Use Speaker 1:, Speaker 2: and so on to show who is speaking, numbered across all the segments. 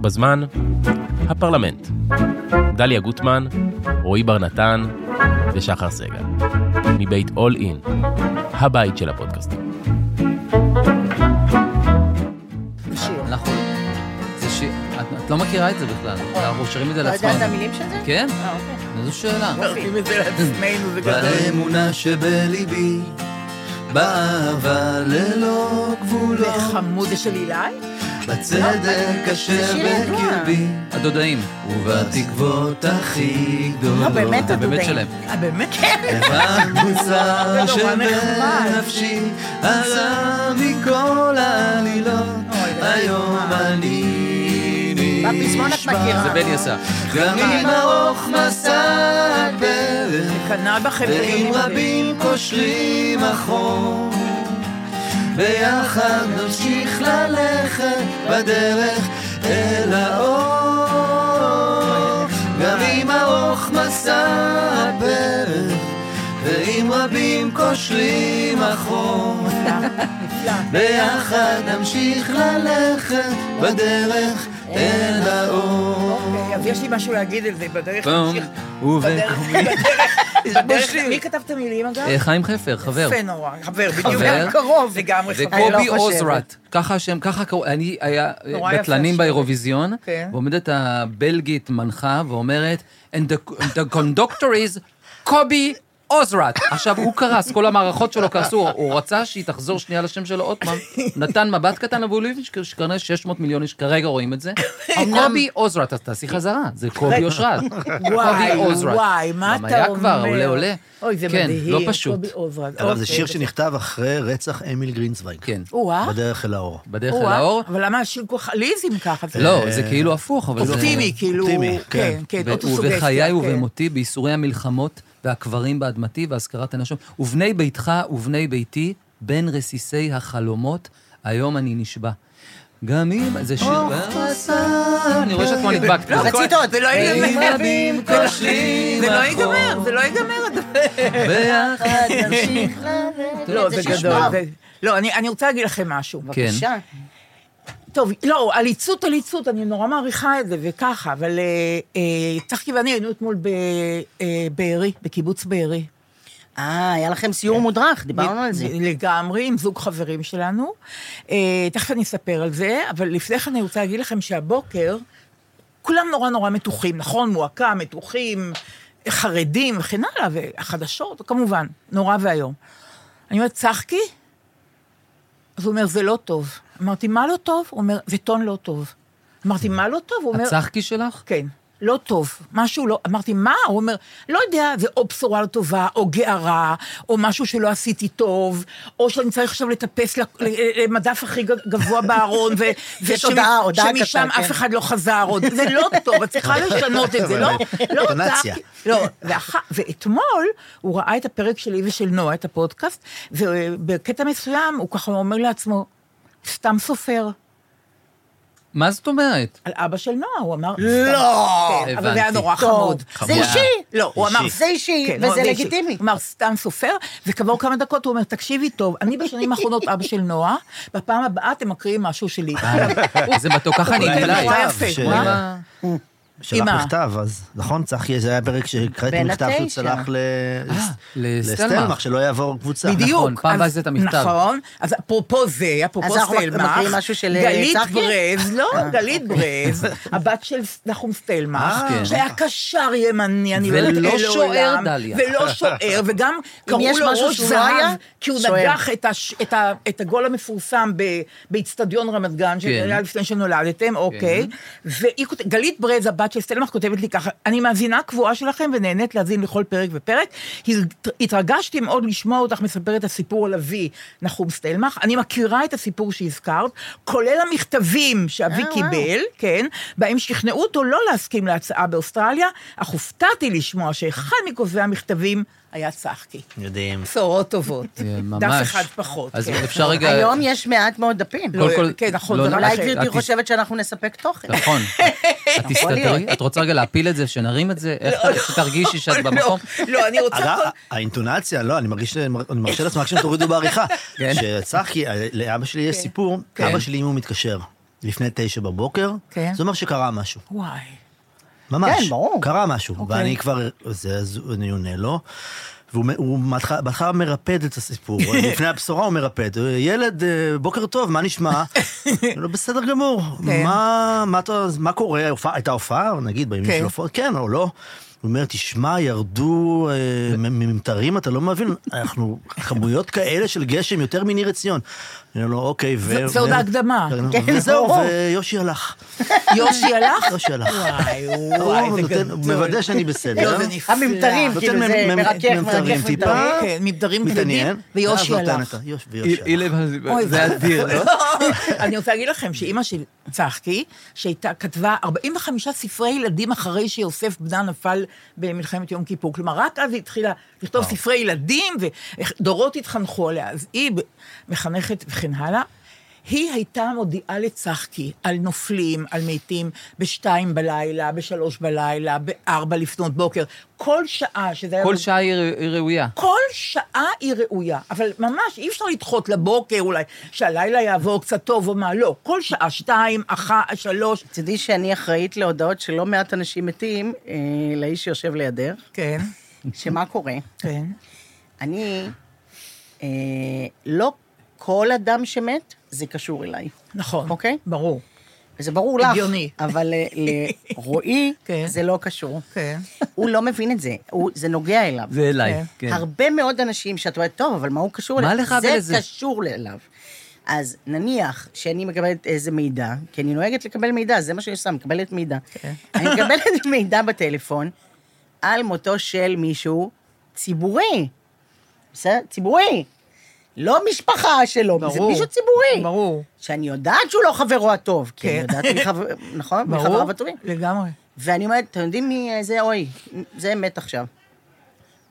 Speaker 1: בזמן, הפרלמנט. דליה גוטמן, רועי בר נתן ושחר סגל. מבית All In, הבית של הפודקאסטים.
Speaker 2: זה שיר.
Speaker 3: אנחנו... נכון. זה ש... את, את לא מכירה את זה בכלל. אנחנו שרים את זה
Speaker 2: אתה יודע נכון. לא את
Speaker 3: לעצמנו.
Speaker 2: המילים של זה?
Speaker 3: כן?
Speaker 2: אה, אוקיי.
Speaker 3: איזו שאלה.
Speaker 2: יופי.
Speaker 4: את זה לעצמנו, זה
Speaker 3: באמונה שבליבי, באהבה ללא
Speaker 2: זה
Speaker 3: גבולות,
Speaker 2: חמוד זה של אילי?
Speaker 3: לא, בצדק
Speaker 2: לא, זה
Speaker 3: אשר
Speaker 2: שיר ידוע. בקרבי,
Speaker 3: הדודאים. ובתקוות הכי
Speaker 2: לא, באמת
Speaker 3: זה באמת
Speaker 2: הדודאים.
Speaker 3: שלהם.
Speaker 2: אה, באמת? כן.
Speaker 3: במוצר
Speaker 2: זה נורא לא, נחמד.
Speaker 3: שבנפשי עלה מכל העלילות,
Speaker 2: אוי, זה
Speaker 3: היום
Speaker 2: נחמד.
Speaker 3: אני
Speaker 2: בפזמון את מכירה.
Speaker 3: זה בני עשה. גם
Speaker 2: נחמד.
Speaker 3: אם ארוך מסע הדרך,
Speaker 2: כנ"ל בכם.
Speaker 3: ועם רבים קושרים אחור, ביחד נמשיך ללכת בדרך אל האור. גם אם ארוך מסע הפרק, ועם רבים קושרים אחור, ביחד נמשיך ללכת בדרך אל האור.
Speaker 2: אוקיי, אז יש לי משהו להגיד על זה בדרך. להמשיך.
Speaker 3: ובקום.
Speaker 2: בדרך- מי כתב את המילים אגב?
Speaker 3: חיים חפר, חבר.
Speaker 2: יפה נורא, חבר, בדיוק
Speaker 3: אה, חבר.
Speaker 2: קרוב. לגמרי
Speaker 3: זה
Speaker 2: חבר.
Speaker 3: קובי
Speaker 2: אני לא חושבת.
Speaker 3: אוזרט. ככה השם, ככה קראו, אני היה
Speaker 2: נורא יפה
Speaker 3: בטלנים
Speaker 2: השם.
Speaker 3: באירוויזיון,
Speaker 2: כן.
Speaker 3: ועומדת הבלגית מנחה ואומרת, And the- the conductor is קובי אוזרט. עכשיו, הוא קרס, כל המערכות שלו קרסו, הוא רצה שהיא תחזור שנייה לשם שלו עוד פעם, נתן מבט קטן, אבל הוא הבין שכנראה 600 מיליון איש כרגע רואים את זה. קובי אוזרט, אז תעשי חזרה, זה קובי אושרת.
Speaker 2: וואי,
Speaker 3: קובי אוזרט.
Speaker 2: וואי, מה
Speaker 3: גם
Speaker 2: אתה
Speaker 3: היה
Speaker 2: אומר?
Speaker 3: כבר, עולה, עולה.
Speaker 2: אוי, זה
Speaker 3: כן,
Speaker 2: מדהים.
Speaker 3: לא פשוט.
Speaker 2: קובי אוזרט.
Speaker 4: אבל זה
Speaker 2: אוקיי,
Speaker 4: שיר שנכתב אחרי רצח אמיל גרינצווייג.
Speaker 3: כן,
Speaker 2: או-אה,
Speaker 4: בדרך אל האור.
Speaker 3: בדרך אל
Speaker 2: או-אה.
Speaker 3: האור.
Speaker 2: אה? אבל למה השיר כל כך ליזים ככה? זה
Speaker 3: לא, זה כאילו הפוך, אבל זה...
Speaker 2: אופטימי, כאילו...
Speaker 4: אופטימי,
Speaker 2: כן,
Speaker 4: כן.
Speaker 2: אה, כן,
Speaker 3: ו-
Speaker 2: אוטוסוגסטיה,
Speaker 3: ובחיי
Speaker 2: כן.
Speaker 3: ובמותי, בייסורי המלחמות והקברים באדמתי והזכרת הנשום. ובני ביתך ובני ביתי, בין רסיסי החלומות, היום אני נשבע. גם אם... זה שיר... אה, אני רואה שאת כבר נדבקת.
Speaker 2: לא, רצית עוד, זה לא ייגמר.
Speaker 3: רבים
Speaker 2: זה לא-
Speaker 3: קושרים
Speaker 2: זה לא
Speaker 3: אחור.
Speaker 2: ייגמר, זה לא ייגמר. הדבר.
Speaker 3: ביחד.
Speaker 2: לא, אה, זה כן.
Speaker 3: תשמע.
Speaker 2: גדול. זה- לא, אני אני רוצה להגיד לכם משהו.
Speaker 3: בבקשה.
Speaker 2: טוב, לא, עליצות, עליצות, אני נורא מעריכה את זה, וככה, אבל אה, אה, צחקי ואני היינו אתמול בבארי, בקיבוץ בארי.
Speaker 5: אה, היה לכם סיור
Speaker 4: כן.
Speaker 5: מודרך, דיברנו על זה.
Speaker 2: לגמרי, עם זוג חברים שלנו. אה, תכף אני אספר על זה, אבל לפני כן אני רוצה להגיד לכם שהבוקר, כולם נורא נורא מתוחים, נכון? מועקה, מתוחים, חרדים וכן הלאה, והחדשות, כמובן, נורא ואיום. אני אומרת, צחקי? אז הוא אומר, זה לא טוב. אמרתי, מה לא טוב? הוא אומר, זה טון לא טוב. אמרתי, מה לא טוב? הוא אומר,
Speaker 3: הצחקי שלך?
Speaker 2: כן, לא טוב, משהו לא, אמרתי, מה? הוא אומר, לא יודע, זה או בשורה לא טובה, או גערה, או משהו שלא עשיתי טוב, או שאני צריך עכשיו לטפס ל- ל- למדף הכי ג- גבוה בארון, ו-
Speaker 5: יש
Speaker 2: ושמ-
Speaker 5: הודעה, הודעה קטנה,
Speaker 2: שמשם
Speaker 5: כן.
Speaker 2: אף אחד לא חזר עוד, זה לא טוב, את צריכה לשנות את זה, לא? לא,
Speaker 4: אינטונציה.
Speaker 2: צעקתי- לא, ואח- ואתמול הוא ראה את הפרק שלי ושל נועה, את הפודקאסט, ובקטע מסוים הוא ככה אומר לעצמו, סתם סופר.
Speaker 3: מה זאת אומרת?
Speaker 2: על אבא של נועה, הוא אמר...
Speaker 5: לא!
Speaker 2: כן, אבל זה היה
Speaker 3: הבנתי.
Speaker 2: נורא
Speaker 5: טוב.
Speaker 2: חמוד.
Speaker 5: זה אישי. לא,
Speaker 2: לא, הוא אמר...
Speaker 5: זה אישי,
Speaker 2: כן,
Speaker 5: וזה
Speaker 2: הוא-
Speaker 5: לגיטימי.
Speaker 2: הוא אמר, סתם סופר, וכעבור כמה דקות הוא אומר, תקשיבי טוב, אני בשנים האחרונות אבא של נועה, בפעם הבאה אתם מקריאים משהו שלי.
Speaker 5: אה.
Speaker 3: איזה מתוק, ככה אני
Speaker 2: הוא כותב
Speaker 3: אליי.
Speaker 2: אוקיי. נורא
Speaker 4: כתב, ש-
Speaker 2: יפה. מה?
Speaker 3: מה?
Speaker 4: שלח
Speaker 2: אמא.
Speaker 4: מכתב, אז נכון, צחי, זה היה פרק שהקראתי
Speaker 5: בין
Speaker 4: מכתב שהוא
Speaker 5: התשע.
Speaker 4: צלח ל-
Speaker 3: לסטלמך.
Speaker 4: לסטלמך, שלא יעבור קבוצה.
Speaker 2: אה, בדיוק.
Speaker 3: נכון, פעם
Speaker 2: אז-
Speaker 3: הבאה זה את המכתב.
Speaker 2: נכון, אז אפרופו זה, אפרופו
Speaker 5: אז אנחנו
Speaker 2: סטלמך,
Speaker 5: מקריאים משהו של, אה, אוקיי.
Speaker 2: גלית
Speaker 5: צחי?
Speaker 2: ברז, לא, גלית ברז, הבת של נחום סטלמך,
Speaker 3: כן.
Speaker 2: שהיה קשר ימני, אני לא
Speaker 3: ולא
Speaker 2: יודעת אל
Speaker 3: שוער,
Speaker 2: עולם,
Speaker 3: דליה.
Speaker 2: ולא שוער, וגם קראו
Speaker 5: יש
Speaker 2: לו
Speaker 5: משהו
Speaker 2: ראש
Speaker 5: שהוא לא
Speaker 2: זהב,
Speaker 5: היה,
Speaker 2: כי הוא
Speaker 5: שוער.
Speaker 2: נגח את הש- את ה- את הגול המפורסם ב- באיצטדיון רמת
Speaker 3: כן.
Speaker 2: גן, שהיה לפני שנולדתם, אוקיי, והיא כותבת- גלית ברז, הבת של סטלמך, כותבת לי ככה, אני מאזינה קבועה שלכם ונהנית להאזין לכל פרק ופרק, הת- התרגשתי מאוד לשמוע אותך מספרת את הסיפור על אבי נחום סטלמך, אני מכירה את הסיפור שהזכרת, כולל המכתבים שאבי
Speaker 5: אה, וואו.
Speaker 2: קיבל, כן, בהם שכנעו אותו לא להסכים להצעה באוסטרליה, אך הופתעתי לשמוע שאחד מכותבי המכתבים היה צחקי.
Speaker 4: יודעים.
Speaker 2: בשורות טובות.
Speaker 3: זה כן, ממש.
Speaker 2: דף אחד פחות.
Speaker 3: אז
Speaker 2: כן.
Speaker 3: אפשר רגע...
Speaker 5: היום יש מעט מאוד דפים.
Speaker 2: לא,
Speaker 3: קודם כל-
Speaker 2: כן, נכון,
Speaker 3: לא,
Speaker 2: זה רק
Speaker 5: אולי
Speaker 3: אחרת.
Speaker 5: גברתי
Speaker 3: את-
Speaker 5: חושבת שאנחנו נספק תוכן.
Speaker 3: נכון. את תסתדרי? את רוצה רגע להפיל את זה, שנרים את זה? איך שתרגישי שאת
Speaker 2: לא,
Speaker 3: במקום?
Speaker 2: לא, אני רוצה...
Speaker 4: אגב,
Speaker 2: כל-
Speaker 4: האינטונציה, לא, אני מרגיש, שאני מר- אני מרשה לעצמי רק שתורידו בעריכה. אה,
Speaker 3: כן.
Speaker 5: כן.
Speaker 4: שצחי, לאבא שלי יש סיפור, אבא שלי אם הוא מתקשר. לפני תשע בבוקר,
Speaker 2: כן.
Speaker 4: זה אומר שקרה משהו.
Speaker 2: וואי.
Speaker 4: ממש.
Speaker 5: כן, ברור.
Speaker 4: קרה משהו,
Speaker 2: אוקיי.
Speaker 4: ואני כבר... זה, אז אני עונה לו. והוא מ- הוא מתח- בהתחלה מרפד את הסיפור, לפני הבשורה הוא מרפד. ילד, אה, בוקר טוב, מה נשמע? אני אומר, בסדר גמור.
Speaker 2: כן.
Speaker 4: מה, מה, אתה- מה קורה? הופעה- הייתה הופעה, נגיד, בימים
Speaker 2: כן.
Speaker 4: של הופעות? כן או לא? הוא אומר, תשמע, ירדו אה, מ- ממטרים, אתה לא מבין, אנחנו כמויות כאלה של גשם יותר מניר עציון. אני אומר לו, אוקיי, ו...
Speaker 2: זה עוד
Speaker 4: ו-
Speaker 2: ההקדמה.
Speaker 5: כן,
Speaker 4: וזהו,
Speaker 5: ברור.
Speaker 4: ויושי הלך.
Speaker 2: יושי הלך?
Speaker 4: יושי הלך.
Speaker 2: וואי,
Speaker 4: הוא
Speaker 2: וואי, זה
Speaker 4: נותן-
Speaker 2: גדול.
Speaker 4: הוא מוודא שאני בסדר. אה?
Speaker 2: לא, זה נפלא.
Speaker 5: הממטרים,
Speaker 4: נותן
Speaker 5: כאילו,
Speaker 4: מ-
Speaker 5: זה
Speaker 4: מ-
Speaker 5: מרכך,
Speaker 4: מ-
Speaker 5: מרכך,
Speaker 4: ממטרים טיפה.
Speaker 5: מרכך.
Speaker 3: אוקיי,
Speaker 2: כן, מבדרים
Speaker 4: מתעניין.
Speaker 2: כבדים, ויושי
Speaker 4: ואז נותן
Speaker 2: הלך.
Speaker 4: את ה- יוש- ויושי הלך.
Speaker 3: אילם,
Speaker 2: אוי,
Speaker 3: זה
Speaker 2: ואבוי.
Speaker 3: אדיר, לא?
Speaker 2: אני רוצה להגיד לכם שאימא של צחקי, שהייתה, כתבה 45 ספרי ילדים אחרי שיוסף בנה נפל במלחמת יום כיפור. כלומר, רק אז היא התחילה לכתוב ספרי ילדים, ודורות התחנכו עליה. אז היא ב- מחנכת וכן הלאה. היא הייתה מודיעה לצחקי על נופלים, על מתים, בשתיים בלילה, בשלוש בלילה, בארבע לפנות בוקר. כל שעה שזה היה...
Speaker 3: כל
Speaker 2: בב-
Speaker 3: שעה היא ר- היא ראויה.
Speaker 2: כל שעה היא ראויה, אבל ממש אי אפשר לדחות לבוקר אולי, שהלילה יעבור קצת טוב או מה, לא. כל שעה, שתיים, אחת, שלוש.
Speaker 5: תדעי שאני אחראית להודעות של לא מעט אנשים מתים, אה, לאיש שיושב לידך,
Speaker 2: כן,
Speaker 5: שמה קורה?
Speaker 2: כן.
Speaker 5: אני, אה, לא כל אדם שמת, זה קשור אליי.
Speaker 2: נכון.
Speaker 5: אוקיי.
Speaker 2: ברור.
Speaker 5: וזה ברור לך.
Speaker 2: הגיוני.
Speaker 5: אבל אה, לרועי,
Speaker 2: כן.
Speaker 5: זה לא קשור.
Speaker 2: כן.
Speaker 5: הוא לא מבין את זה, הוא- זה נוגע אליו.
Speaker 3: זה אליי,
Speaker 2: כן.
Speaker 3: כן.
Speaker 5: הרבה מאוד אנשים שאת אומרת, טוב, אבל מה הוא קשור
Speaker 3: מה
Speaker 5: אליו?
Speaker 3: לך ולזה?"
Speaker 5: זה קשור אליו. אז נניח שאני מקבלת איזה מידע, כי אני נוהגת לקבל מידע, זה מה שאני עושה, מקבלת מידע. אני מקבלת מידע בטלפון על מותו של מישהו ציבורי. בסדר? ציבורי. לא משפחה שלו, זה
Speaker 2: ברור.
Speaker 5: מישהו ציבורי.
Speaker 2: ברור.
Speaker 5: שאני יודעת שהוא לא חברו הטוב, כי
Speaker 2: כן.
Speaker 5: אני יודעת מי חבר... נכון? מי
Speaker 2: ברור.
Speaker 5: חבריו הטובים.
Speaker 2: לגמרי.
Speaker 5: ואני אומרת, אתם יודעים מי אה, זה? אוי, זה מת עכשיו.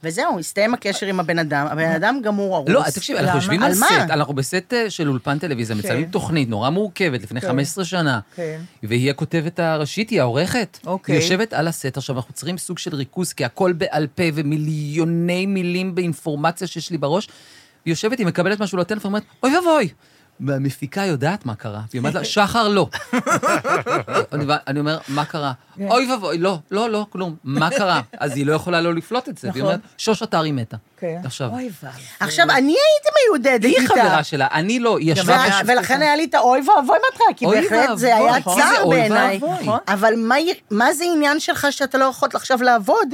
Speaker 5: וזהו, הסתיים הקשר עם הבן אדם, הבן אדם גם הוא הרוס.
Speaker 3: אוקיי. לא, תקשיב, אנחנו
Speaker 2: למה?
Speaker 3: יושבים על
Speaker 5: על מה?
Speaker 3: סט, אנחנו בסט אה, של אולפן טלוויזיה, מצלמים תוכנית נורא מורכבת לפני 15 שנה.
Speaker 2: כן.
Speaker 3: והיא הכותבת הראשית, היא העורכת.
Speaker 2: אוקיי.
Speaker 3: היא יושבת על הסט, עכשיו אנחנו צריכים סוג של ריכוז, כי הכל בעל פה ומיליוני מילים באינפורמציה שיש לי בראש. היא יושבת, היא מקבלת משהו לטלפון, אומרת, אוי ואבוי. והמפיקה יודעת מה קרה, והיא אומרת לה, שחר לא. אני אני אומר, מה קרה?
Speaker 2: כן.
Speaker 3: אוי ואבוי, לא, לא, לא, כלום. מה קרה? אז היא לא יכולה לא לפלוט את זה. והיא
Speaker 2: נכון.
Speaker 3: אומרת, שוש אתר היא מתה.
Speaker 2: כן.
Speaker 3: עכשיו,
Speaker 2: אוי ואבוי.
Speaker 5: עכשיו, אני הייתי מיודדת
Speaker 3: היא
Speaker 5: איתה.
Speaker 3: חברה שלה, אני לא, היא
Speaker 5: ו-
Speaker 3: ישבה... בש-
Speaker 5: ולכן היה לי את האוי ואבוי בהתחלה, כי
Speaker 3: אוי
Speaker 5: בהחלט זה
Speaker 3: ואבוי,
Speaker 5: היה
Speaker 3: נכון.
Speaker 2: זה
Speaker 5: צער
Speaker 3: אוי
Speaker 5: בעיניי.
Speaker 3: ואבוי.
Speaker 5: נכון. אבל מה י- מה זה עניין שלך שאתה לא יכול עכשיו לעבוד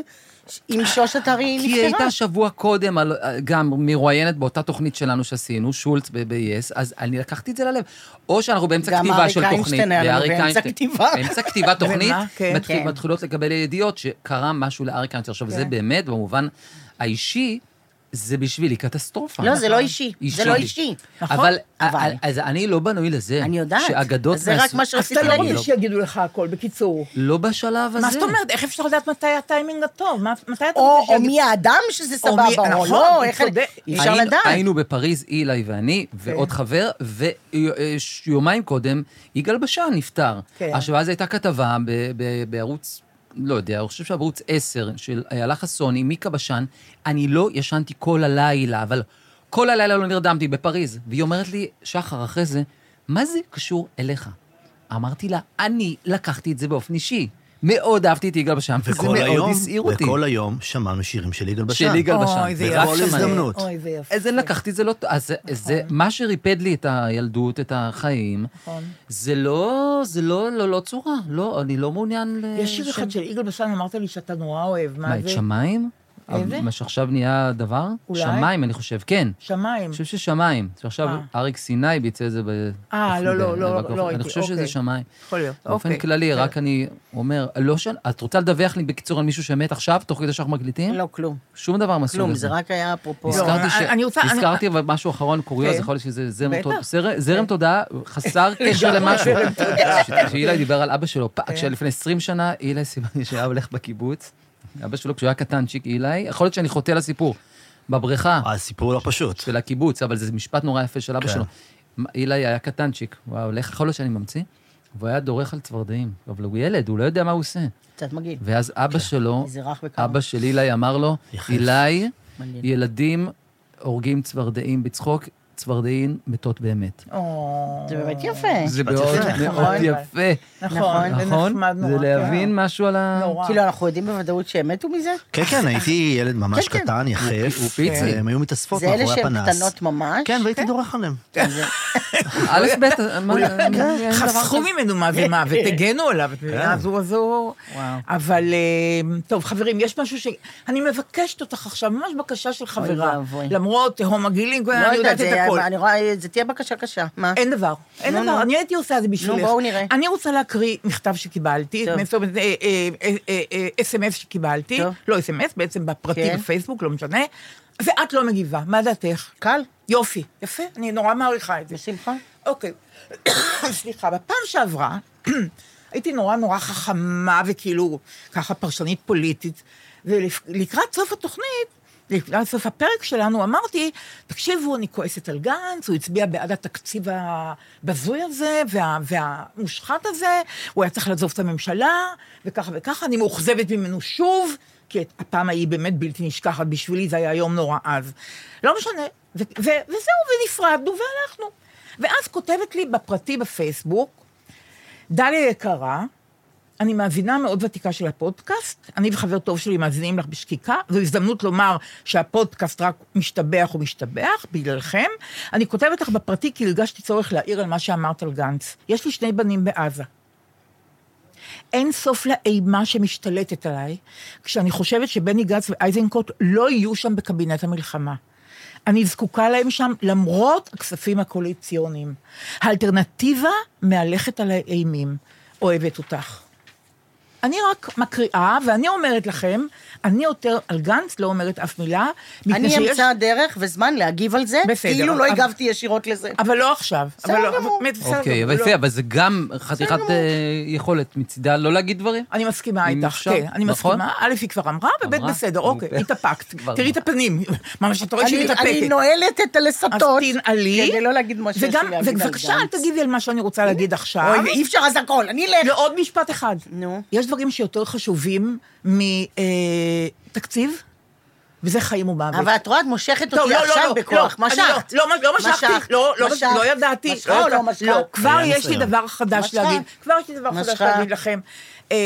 Speaker 5: עם שוש אתרי
Speaker 3: כי היא
Speaker 5: נפטרה?
Speaker 3: הייתה שבוע קודם, על- אה, גם מרואיינת באותה תוכנית שלנו שעשינו, שולץ ב- ב-yes, אז אני לקחתי את זה ללב. או שאנחנו באמצע
Speaker 5: גם
Speaker 3: כתיבה
Speaker 5: אריק
Speaker 3: של תוכנית.
Speaker 5: איינשטיין היה לנו
Speaker 3: ואריק
Speaker 5: באמצע
Speaker 3: איינשטיין-
Speaker 5: כתיבה.
Speaker 3: באמצע כתיבה תוכנית,
Speaker 2: ומה? כן.
Speaker 3: מתחיל-
Speaker 5: כן.
Speaker 3: מתחילות לקבל ידיעות שקרה משהו לאריק איינשטיין. עכשיו, זה באמת, במובן האישי, זה בשבילי קטסטרופה. נכון?
Speaker 5: לא, זה לא אישי. זה לא
Speaker 3: אישי.
Speaker 5: אישי.
Speaker 2: נכון.
Speaker 3: אבל,
Speaker 5: אבל.
Speaker 3: אז אני לא בנוי לזה.
Speaker 5: אני יודעת.
Speaker 3: שאגדות
Speaker 5: אז זה רק
Speaker 3: מהסוג-
Speaker 5: מה שרציתי
Speaker 2: אתה לא
Speaker 5: להגיד.
Speaker 2: רוצה שיגידו לך הכל, בקיצור.
Speaker 3: לא בשלב הזה.
Speaker 2: מה זאת אומרת? איך אפשר לדעת מתי הטיימינג הטוב? מה- מתי אתה
Speaker 5: אה. או
Speaker 2: רוצה
Speaker 5: או
Speaker 2: שיגידו-
Speaker 5: מי האדם שזה
Speaker 2: או מי-
Speaker 5: סבבה, או
Speaker 2: נכון,
Speaker 5: לא,
Speaker 2: הוא
Speaker 5: איך...
Speaker 2: צודק.
Speaker 5: אי אפשר
Speaker 3: היינו-
Speaker 5: לדעת. כן.
Speaker 3: היינו בפריז, אילי ואני, ועוד חבר, ויומיים קודם, יגאל בשן נפטר.
Speaker 2: כן.
Speaker 3: עכשיו, אז הייתה כתבה ב- ב- בערוץ, לא יודע, אני חושב שבערוץ 10, של איילה חסון עם מיקה בשן, אני לא ישנתי כל הלילה, אבל כל הלילה לא נרדמתי בפריז. והיא אומרת לי, שחר, אחרי זה, מה זה קשור אליך? אמרתי לה, אני לקחתי את זה באופן אישי. מאוד אהבתי את יגאל בשן, וזה
Speaker 4: וכל
Speaker 3: מאוד
Speaker 4: היום,
Speaker 3: הסעיר אותי.
Speaker 4: וכל היום שמענו שירים של יגאל בשן.
Speaker 3: של יגאל בשן.
Speaker 2: אוי, זה
Speaker 3: ורק
Speaker 2: יפה.
Speaker 4: בכל
Speaker 3: שמעתי.
Speaker 4: הזדמנות.
Speaker 2: אוי, זה יפה.
Speaker 3: אז אני לקחתי את זה לא... אז זה- זה מה שריפד לי את הילדות, את החיים.
Speaker 2: נכון.
Speaker 3: זה לא, זה לא, לא, לא צורה. לא, אני לא מעוניין ל...
Speaker 2: יש שיר אחד של יגאל בשן, אמרת לי שאתה נורא אוהב,
Speaker 3: מה,
Speaker 2: מה
Speaker 3: את
Speaker 2: זה?
Speaker 3: שמיים?
Speaker 2: איזה?
Speaker 3: מה שעכשיו נהיה דבר?
Speaker 2: אולי.
Speaker 3: שמיים, אני חושב, כן.
Speaker 2: שמיים.
Speaker 3: אני חושב ששמיים. שעכשיו
Speaker 2: אה.
Speaker 3: אריק סיני ביצע את זה ב...
Speaker 2: אה, לא, לא,
Speaker 3: ב-
Speaker 2: לא,
Speaker 3: בקוף.
Speaker 2: לא ראיתי,
Speaker 3: אני חושב שזה
Speaker 2: אוקיי.
Speaker 3: שמיים.
Speaker 2: יכול להיות,
Speaker 3: באופן
Speaker 2: אוקיי.
Speaker 3: כללי,
Speaker 2: בסדר.
Speaker 3: רק אני אומר, לא ש... את רוצה לדווח לי בקיצור על מישהו שמת עכשיו, תוך כדי שאנחנו מקליטים?
Speaker 5: לא, כלום.
Speaker 3: שום דבר מסוג
Speaker 5: כלום,
Speaker 3: הזה.
Speaker 5: זה רק היה אפרופו...
Speaker 2: לא,
Speaker 3: הזכרתי
Speaker 2: אני-
Speaker 3: ש...
Speaker 2: אני רוצה- אני-
Speaker 3: הזכרתי אבל משהו אחרון, קוריוז,
Speaker 2: כן.
Speaker 3: יכול להיות שזה זרם
Speaker 2: בטח. כן.
Speaker 3: תודעה, זרם תודעה חסר קשר למשהו. ש- שאילי דיבר על אבא שלו,
Speaker 2: כן.
Speaker 3: פ- כשלפני 20 שנה, אילי סימני שהיה הולך בקיבוץ, אבא שלו כשהוא היה קטנצ'יק, אילי, יכול להיות שאני חוטא לסיפור, בבריכה
Speaker 4: הסיפור לא פשוט.
Speaker 3: של הקיבוץ, אבל זה משפט נורא יפה של אבא
Speaker 4: כן.
Speaker 3: שלו. מה- אילי היה קטנצ'יק, הוא היה הולך, יכול להיות שאני ממציא, והוא היה דורך על צפרדעים, אבל הוא ילד, הוא לא יודע מה הוא עושה.
Speaker 5: קצת מגעיל.
Speaker 3: ואז
Speaker 2: כן.
Speaker 3: אבא שלו,
Speaker 5: זה רך וקר.
Speaker 3: אבא של אילי אמר לו,
Speaker 4: יחף.
Speaker 3: אילי,
Speaker 5: מגעיל.
Speaker 3: ילדים הורגים צפרדעים בצחוק, צפרדעים מתות באמת.
Speaker 2: או,
Speaker 5: זה באמת יפה.
Speaker 3: זה מאוד
Speaker 2: יפה.
Speaker 3: מאוד
Speaker 2: אוקיי. נכון.
Speaker 3: יפה.
Speaker 2: נכון, זה
Speaker 3: נכון?
Speaker 2: נחמד נורא.
Speaker 3: זה
Speaker 2: כן.
Speaker 3: להבין משהו על ה...
Speaker 2: נורא.
Speaker 5: כאילו, אנחנו יודעים בוודאות שהם מתו מזה?
Speaker 4: כן, כן, הייתי ילד ממש
Speaker 5: כן, כן.
Speaker 4: קטן, יחף.
Speaker 3: הוא פיצי.
Speaker 4: הם היו מתאספות
Speaker 5: זה אלה
Speaker 4: מאחורי
Speaker 5: שהן
Speaker 4: הפנס.
Speaker 5: קטנות ממש?
Speaker 4: כן, והייתי דורך עליהם.
Speaker 3: א', ב', מה- אין
Speaker 5: כן.
Speaker 3: דבר
Speaker 2: כן, חסכו
Speaker 3: כזה.
Speaker 2: ממנו מוות, ותגנו עליו,
Speaker 3: כן.
Speaker 2: את מבינה? אז הוא, אז הוא...
Speaker 3: וואו.
Speaker 2: אבל, אה, טוב, חברים, יש משהו ש... אני מבקשת אותך עכשיו, ממש בקשה של חברה.
Speaker 5: ואבוי.
Speaker 2: למרות תהום הגילים,
Speaker 5: לא
Speaker 2: אני יודעת את
Speaker 5: זה-
Speaker 2: הכל.
Speaker 5: אני רואה, זה תהיה בקשה קשה. מה?
Speaker 2: אין דבר, אין
Speaker 5: נו, נו.
Speaker 2: דבר, אני הייתי עושה את זה בשבילך.
Speaker 5: בואו נראה.
Speaker 2: אני רוצה להקריא מכתב שקיבלתי,
Speaker 5: טוב.
Speaker 2: זאת אומרת, אה, אה, אה, אה, אה, אס.אם.אס שקיבלתי,
Speaker 5: טוב.
Speaker 2: לא אס.אם.אס, בעצם בפרטי
Speaker 5: כן.
Speaker 2: בפייסבוק, לא משנה, ואת לא מגיבה, מה דעתך?
Speaker 5: קל,
Speaker 2: יופי, יפה, אני נורא מעריכה את זה.
Speaker 5: בשמחה.
Speaker 2: אוקיי, סליחה, בפעם שעברה הייתי נורא נורא חכמה וכאילו ככה פרשנית פוליטית, ולקראת סוף התוכנית, לקראת סוף הפרק שלנו, אמרתי, תקשיבו, אני כועסת על גנץ, הוא הצביע בעד התקציב הבזוי הזה וה, והמושחת הזה, הוא היה צריך לעזוב את הממשלה, וככה וככה, אני מאוכזבת ממנו שוב, כי את- הפעם ההיא באמת בלתי נשכחת בשבילי, זה היה יום נורא אז. לא משנה, ו- ו- וזהו, ונפרדנו והלכנו. ואז כותבת לי בפרטי בפייסבוק, דליה יקרה, אני מאזינה מאוד ותיקה של הפודקאסט, אני וחבר טוב שלי מאזינים לך בשקיקה, זו הזדמנות לומר שהפודקאסט רק משתבח ומשתבח, בגללכם. אני כותבת לך בפרטי כי הרגשתי צורך להעיר על מה שאמרת על גנץ. יש לי שני בנים בעזה. אין סוף לאימה שמשתלטת עליי, כשאני חושבת שבני גנץ ואיזנקוט לא יהיו שם בקבינט המלחמה. אני זקוקה להם שם למרות הכספים הקואליציוניים. האלטרנטיבה מהלכת על האימים. אוהבת אותך. אני רק מקריאה, ואני אומרת לכם, אני יותר על גנץ לא אומרת אף מילה, מפני
Speaker 5: אני
Speaker 2: שיש-
Speaker 5: אמצא דרך וזמן להגיב על זה,
Speaker 2: בסדר,
Speaker 5: כאילו לא
Speaker 2: אבל-
Speaker 5: הגבתי ישירות לזה.
Speaker 2: אבל לא עכשיו. אבל
Speaker 5: בסדר
Speaker 2: לא-
Speaker 5: גמור.
Speaker 2: באמת, בסדר,
Speaker 3: אוקיי, אבל
Speaker 2: לא.
Speaker 3: יפה, אבל זה גם חתיכת אה, יכולת מצידה לא להגיד דברים.
Speaker 2: אני מסכימה
Speaker 3: אם
Speaker 2: איתך,
Speaker 3: אפשר,
Speaker 2: כן, אני
Speaker 3: נכון?
Speaker 2: מסכימה. א', היא כבר אמרה, וב',
Speaker 3: אמרה?
Speaker 2: בסדר, אוקיי,
Speaker 3: אוקיי.
Speaker 2: התאפקת.
Speaker 3: כבר
Speaker 2: תראי את
Speaker 3: אמרה.
Speaker 2: הפנים, ממש, אתה רואה שהיא
Speaker 5: אני- אני
Speaker 2: מתאפקת.
Speaker 5: נועלת את
Speaker 2: אז
Speaker 5: הלסתות.
Speaker 2: תנעלי,
Speaker 5: כדי לא להגיד מה שיש לי
Speaker 2: וגם-
Speaker 5: להגיד על
Speaker 2: ובבקשה, אל
Speaker 5: גנץ.
Speaker 2: תגיבי על מה שאני רוצה להגיד עכשיו.
Speaker 5: אוי, אי אפשר אז הכל, אני אלך.
Speaker 2: ועוד משפט אחד.
Speaker 5: נו.
Speaker 2: יש דברים שיותר חשובים מתקציב, וזה חיים ומוות.
Speaker 5: אבל את רואה, את מושכת
Speaker 2: טוב,
Speaker 5: אותי
Speaker 2: לא, לא,
Speaker 5: עכשיו
Speaker 2: לא,
Speaker 5: בכוח.
Speaker 2: לא, אני
Speaker 5: משכת.
Speaker 2: לא, לא, לא משכתי,
Speaker 5: משכת,
Speaker 2: לא, לא,
Speaker 5: משכת.
Speaker 2: לא ידעתי.
Speaker 5: משכה או לא
Speaker 2: ידעתי.
Speaker 5: משכה?
Speaker 2: לא, כבר
Speaker 4: היה
Speaker 2: יש לי
Speaker 4: ניסיון.
Speaker 2: דבר חדש
Speaker 5: משכה.
Speaker 2: להגיד. כבר יש לי דבר חדש
Speaker 5: משכה.
Speaker 2: להגיד לכם. אה,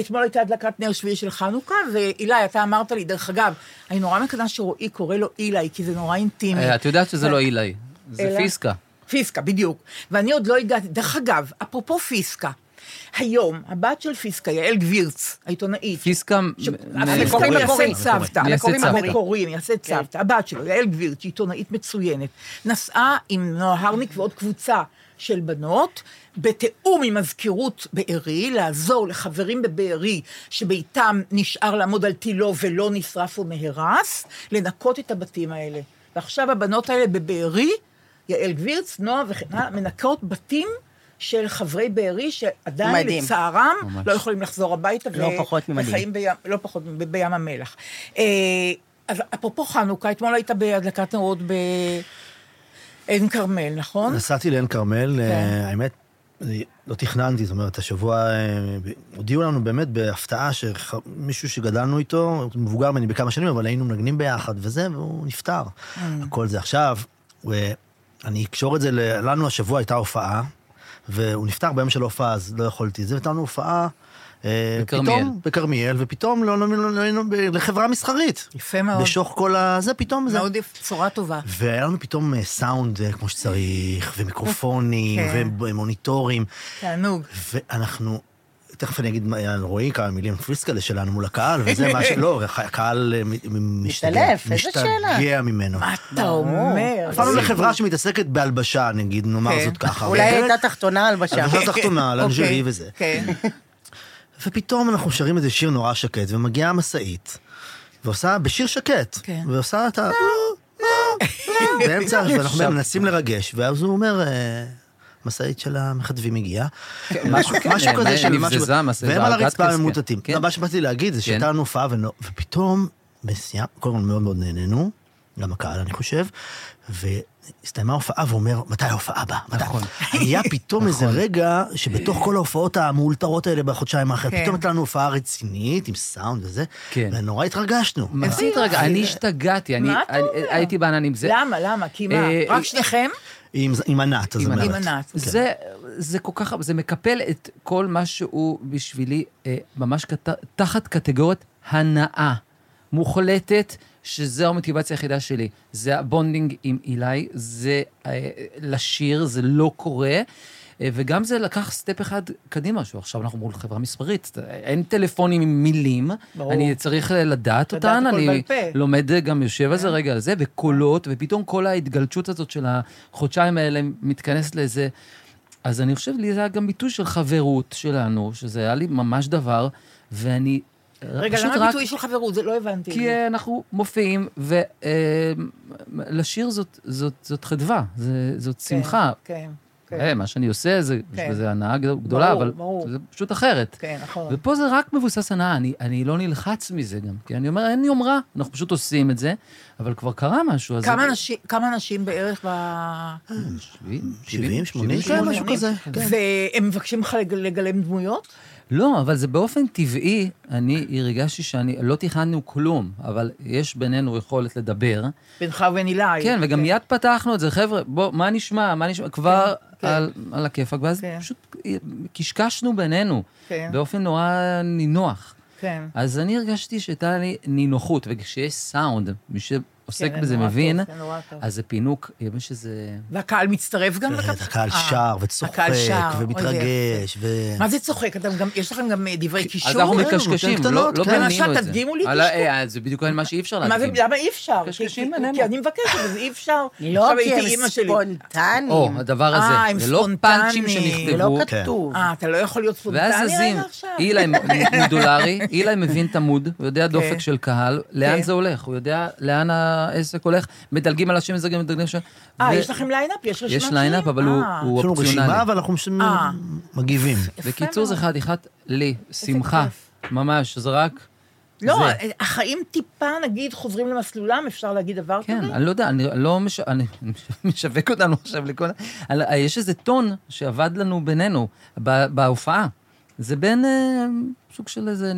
Speaker 2: אתמול הייתה הדלקת נר שביעי של חנוכה, ואילי, אתה אמרת לי, דרך אגב, אני נורא מקנאה שרועי קורא לו אילי, כי זה נורא אינטימי.
Speaker 3: אה, את יודעת שזה
Speaker 2: ו-
Speaker 3: לא אילי, זה
Speaker 2: אלא-
Speaker 3: פיסקה.
Speaker 2: פיסקה, בדיוק. ואני עוד לא הגעתי. דרך אגב, אפרופו פיסקה, היום הבת של פיסקה, יעל גבירץ, העיתונאית,
Speaker 3: פיסקה...
Speaker 2: ש-
Speaker 3: מ-
Speaker 2: המקורי
Speaker 5: המקורי,
Speaker 2: מייסד
Speaker 5: המקורי.
Speaker 2: סבתא,
Speaker 3: מייסד סבתא.
Speaker 2: המקורי מייסד סבתא, הבת שלו, יעל גבירץ', עיתונאית מצוינת, נסעה עם נועה הרניק ועוד קבוצה של בנות, בתיאום עם מזכירות בארי, לעזור לחברים בבארי שביתם נשאר לעמוד על תילו ולא נשרף ומהרס, לנקות את הבתים האלה. ועכשיו הבנות האלה בבארי, יעל גבירץ, נועה וכן הלאה, מנקות בתים. של חברי בארי שעדיין
Speaker 5: מדהים.
Speaker 2: לצערם לא יכולים לחזור הביתה
Speaker 5: לא פחות ממדהים.
Speaker 2: וחיים בים, לא פחות מ- בים המלח. אה, אז אפרופו חנוכה, אתמול היית בהדלקת נרות בעין כרמל, נכון?
Speaker 4: נסעתי לעין כרמל, אה, האמת, אני לא תכננתי, זאת אומרת, השבוע אה, ב- הודיעו לנו באמת בהפתעה שמישהו שגדלנו איתו, הוא מבוגר ממני בכמה שנים, אבל היינו מנגנים ביחד וזה, והוא נפטר. הכל זה עכשיו, ואני אקשור את זה, ל- לנו השבוע הייתה הופעה, והוא נפטר ביום של ההופעה, אז לא יכולתי זה, והייתה לנו הופעה... אה,
Speaker 3: בכרמיאל.
Speaker 4: פתאום, בכרמיאל, ופתאום לא לא- לא- לא היינו ב- לחברה מסחרית.
Speaker 2: יפה מאוד.
Speaker 4: בשוך כל הזה, פתאום זה...
Speaker 2: מאוד יפה, בשורה טובה.
Speaker 4: והיה לנו פתאום אה, סאונד אה, כמו שצריך, ומיקרופונים,
Speaker 2: כן.
Speaker 4: ומוניטורים,
Speaker 2: תענוג.
Speaker 4: ואנחנו... תכף אני אגיד מה היה על רועי כמה מילים פריסקלה שלנו מול הקהל, וזה מה ש... לא, הח- הקהל אה, מ- מ- משתגע
Speaker 5: מתעלף, איזה
Speaker 4: משתגע ממנו.
Speaker 2: מה אתה אומר?
Speaker 4: הפעלנו לחברה שמתעסקת בהלבשה, נגיד, נאמר
Speaker 2: כן.
Speaker 4: זאת ככה.
Speaker 5: אולי
Speaker 4: אבל-
Speaker 5: הייתה תחתונה על בשעה.
Speaker 4: הלבשה תחתונה, לאנג'רי
Speaker 2: אוקיי,
Speaker 4: וזה.
Speaker 2: כן.
Speaker 4: ופתאום אנחנו שרים איזה שיר נורא שקט, ומגיעה משאית, ועושה, בשיר שקט,
Speaker 2: כן.
Speaker 4: ועושה את ה... באמצע, ואנחנו מנסים לרגש, ואז הוא אומר, אה, משאית של המכתבים הגיעה. משהו
Speaker 3: כן,
Speaker 4: משהו
Speaker 3: אה,
Speaker 4: כזה
Speaker 3: אה,
Speaker 4: של משהו,
Speaker 3: נבזזה משאית,
Speaker 4: והם על
Speaker 3: בארגז
Speaker 4: הרצפה
Speaker 3: כס, כן.
Speaker 4: ממוטטים.
Speaker 3: כן.
Speaker 4: מה שבאתי להגיד זה שהייתה לנו הופעה, ונו- ופתאום, בסיימת, קודם כל מאוד מאוד נהנינו, גם הקהל אני חושב, הסתיימה ההופעה ואומר, מתי ההופעה הבאה? מתי?"
Speaker 3: נכון.
Speaker 4: היה פתאום איזה רגע שבתוך כל ההופעות המאולתרות האלה בחודשיים האחרים,
Speaker 2: כן.
Speaker 4: פתאום הייתה לנו הופעה רצינית עם סאונד וזה,
Speaker 3: כן.
Speaker 4: ונורא התרגשנו.
Speaker 3: מה זה התרגע? אני השתגעתי, אני
Speaker 2: מה אתה
Speaker 3: אני-
Speaker 2: אומר?
Speaker 3: הייתי בעננים. זה-
Speaker 2: למה, למה? כי מה,
Speaker 3: אה,
Speaker 2: רק שניכם?
Speaker 4: עם עם ענת, אז
Speaker 3: עם
Speaker 4: אומרת.
Speaker 2: עם ענת.
Speaker 3: זה, זה כל כך, זה מקפל את כל מה שהוא בשבילי אה, ממש קט, תחת קטגוריית הנאה מוחלטת, שזו המוטיבציה היחידה שלי. זה הבונדינג עם אילי, זה אה, לשיר, זה לא קורה. אה, וגם זה לקח סטפ אחד קדימה, שעכשיו אנחנו מול חברה מספרית, אין טלפונים עם מילים,
Speaker 2: ברור.
Speaker 3: אני צריך לדעת
Speaker 2: לדעת
Speaker 3: אותן,
Speaker 2: הכל
Speaker 3: אני
Speaker 2: בעל פה. כן.
Speaker 3: לומד אה, גם, יושב על זה רגע על זה, וקולות, ופתאום כל ההתגלשות הזאת של החודשיים האלה מתכנסת לאיזה... אז אני חושב, לי זה היה גם ביטוי של חברות שלנו, שזה היה לי ממש דבר, ואני
Speaker 2: רגע,
Speaker 3: פשוט
Speaker 2: למה
Speaker 3: רק...
Speaker 2: הביטוי של חברות? זה לא הבנתי.
Speaker 3: כי אה, אנחנו מופיעים, ולשיר זאת, זאת, זאת חדווה, זה, זאת
Speaker 2: כן,
Speaker 3: שמחה.
Speaker 2: כן,
Speaker 3: אה,
Speaker 2: כן,
Speaker 3: מה שאני עושה, זה,
Speaker 2: כן.
Speaker 3: זה הנאה גדולה,
Speaker 2: ברור,
Speaker 3: אבל
Speaker 2: ברור.
Speaker 3: זה פשוט אחרת.
Speaker 2: כן, נכון.
Speaker 3: ופה זה רק מבוסס הנאה, אני, אני לא נלחץ מזה גם, כי אני אומר, אין לי יומרה, אנחנו פשוט עושים את זה, אבל כבר קרה משהו, אז...
Speaker 2: כמה אנשים- כמה אנשים בערך ב...
Speaker 3: 70,
Speaker 4: 70, 80, כן,
Speaker 3: 80.
Speaker 4: משהו כזה. כן.
Speaker 2: והם מבקשים ממך לג- לגלם דמויות?
Speaker 3: לא, אבל זה באופן טבעי, אני הרגשתי שאני, לא תכננו כלום, אבל יש בינינו יכולת לדבר.
Speaker 2: בינך ובין אילי.
Speaker 3: כן, וגם מיד פתחנו את זה, חבר'ה, בוא, מה נשמע, מה נשמע, כבר
Speaker 2: כן.
Speaker 3: על, על הכיפאק, ואז
Speaker 2: כן.
Speaker 3: פשוט אה, קשקשנו בינינו,
Speaker 2: כן.
Speaker 3: באופן נורא נינוח.
Speaker 2: כן.
Speaker 3: אז אני הרגשתי שהייתה לי נינוחות, וכשיש סאונד, מי שעוסק
Speaker 2: כן,
Speaker 3: בזה
Speaker 2: נורא טוב,
Speaker 3: מבין,
Speaker 2: זה נורא טוב.
Speaker 3: אז זה פינוק, יש איזה...
Speaker 2: והקהל מצטרף גם? לקצ-
Speaker 4: הקהל
Speaker 2: אה,
Speaker 4: שר
Speaker 2: הקהל
Speaker 4: וצוחק
Speaker 2: שר, אוי, זה יפה.
Speaker 4: ומתרגש, ו...
Speaker 2: מה זה צוחק? אתם גם- יש לכם גם אה, דברי קישור?
Speaker 3: אז אנחנו
Speaker 2: אין לנו,
Speaker 3: מקשקשים,
Speaker 4: נותן
Speaker 3: לא
Speaker 4: קטנות,
Speaker 3: לא
Speaker 4: כן.
Speaker 3: בנינו את זה.
Speaker 2: למשל, תדגימו לי
Speaker 3: על ה-
Speaker 2: קשקוש.
Speaker 3: אה, זה בדיוק מה שאי אפשר
Speaker 2: מה זה,
Speaker 3: להדגים.
Speaker 2: למה אי אפשר?
Speaker 3: קשקשים
Speaker 2: כי- כי-
Speaker 3: בינינו.
Speaker 2: כי אני מבקשת, אז אי אפשר.
Speaker 5: לא
Speaker 2: עכשיו
Speaker 5: כי
Speaker 2: הייתי
Speaker 5: הם
Speaker 2: אימא שלי.
Speaker 3: או,
Speaker 5: ספונטניים.
Speaker 3: הדבר
Speaker 2: אה, הם
Speaker 3: הזה. זה לא פאנצ'ים
Speaker 2: ספונטניים,
Speaker 5: זה לא
Speaker 3: שנכתבו.
Speaker 5: כתוב.
Speaker 2: אה, אתה לא יכול להיות
Speaker 3: ואז
Speaker 2: ספונטני
Speaker 3: זזים.
Speaker 2: רגע עכשיו?
Speaker 3: אילי מודולרי, אילי מבין את המוד, הוא יודע דופק של קהל, לאן
Speaker 2: כן.
Speaker 3: זה הולך, הוא יודע לאן העסק הולך, מדלגים על השם הזה גם מדלגים שם.
Speaker 2: אה, יש לכם ליינאפ? יש רשימת
Speaker 3: יש ליינאפ, אבל הוא-
Speaker 2: אה,
Speaker 3: הוא
Speaker 4: יש לנו רשימה,
Speaker 3: אופציונלי.
Speaker 4: אבל אנחנו מש-
Speaker 2: אה.
Speaker 4: מגיבים.
Speaker 2: יפה
Speaker 3: בקיצור,
Speaker 2: מאוד.
Speaker 3: זה חתיכת לי, שמחה, ממש, זה רק...
Speaker 2: לא,
Speaker 3: זה.
Speaker 2: החיים טיפה, נגיד, חוזרים למסלולם, אפשר להגיד דבר כזה?
Speaker 3: כן, אני לא יודע, אני לא מש... אני משווק אותנו עכשיו לכל... על- אה, יש איזה טון שעבד לנו בינינו ב- בהופעה. זה בין אה, סוג של איזה...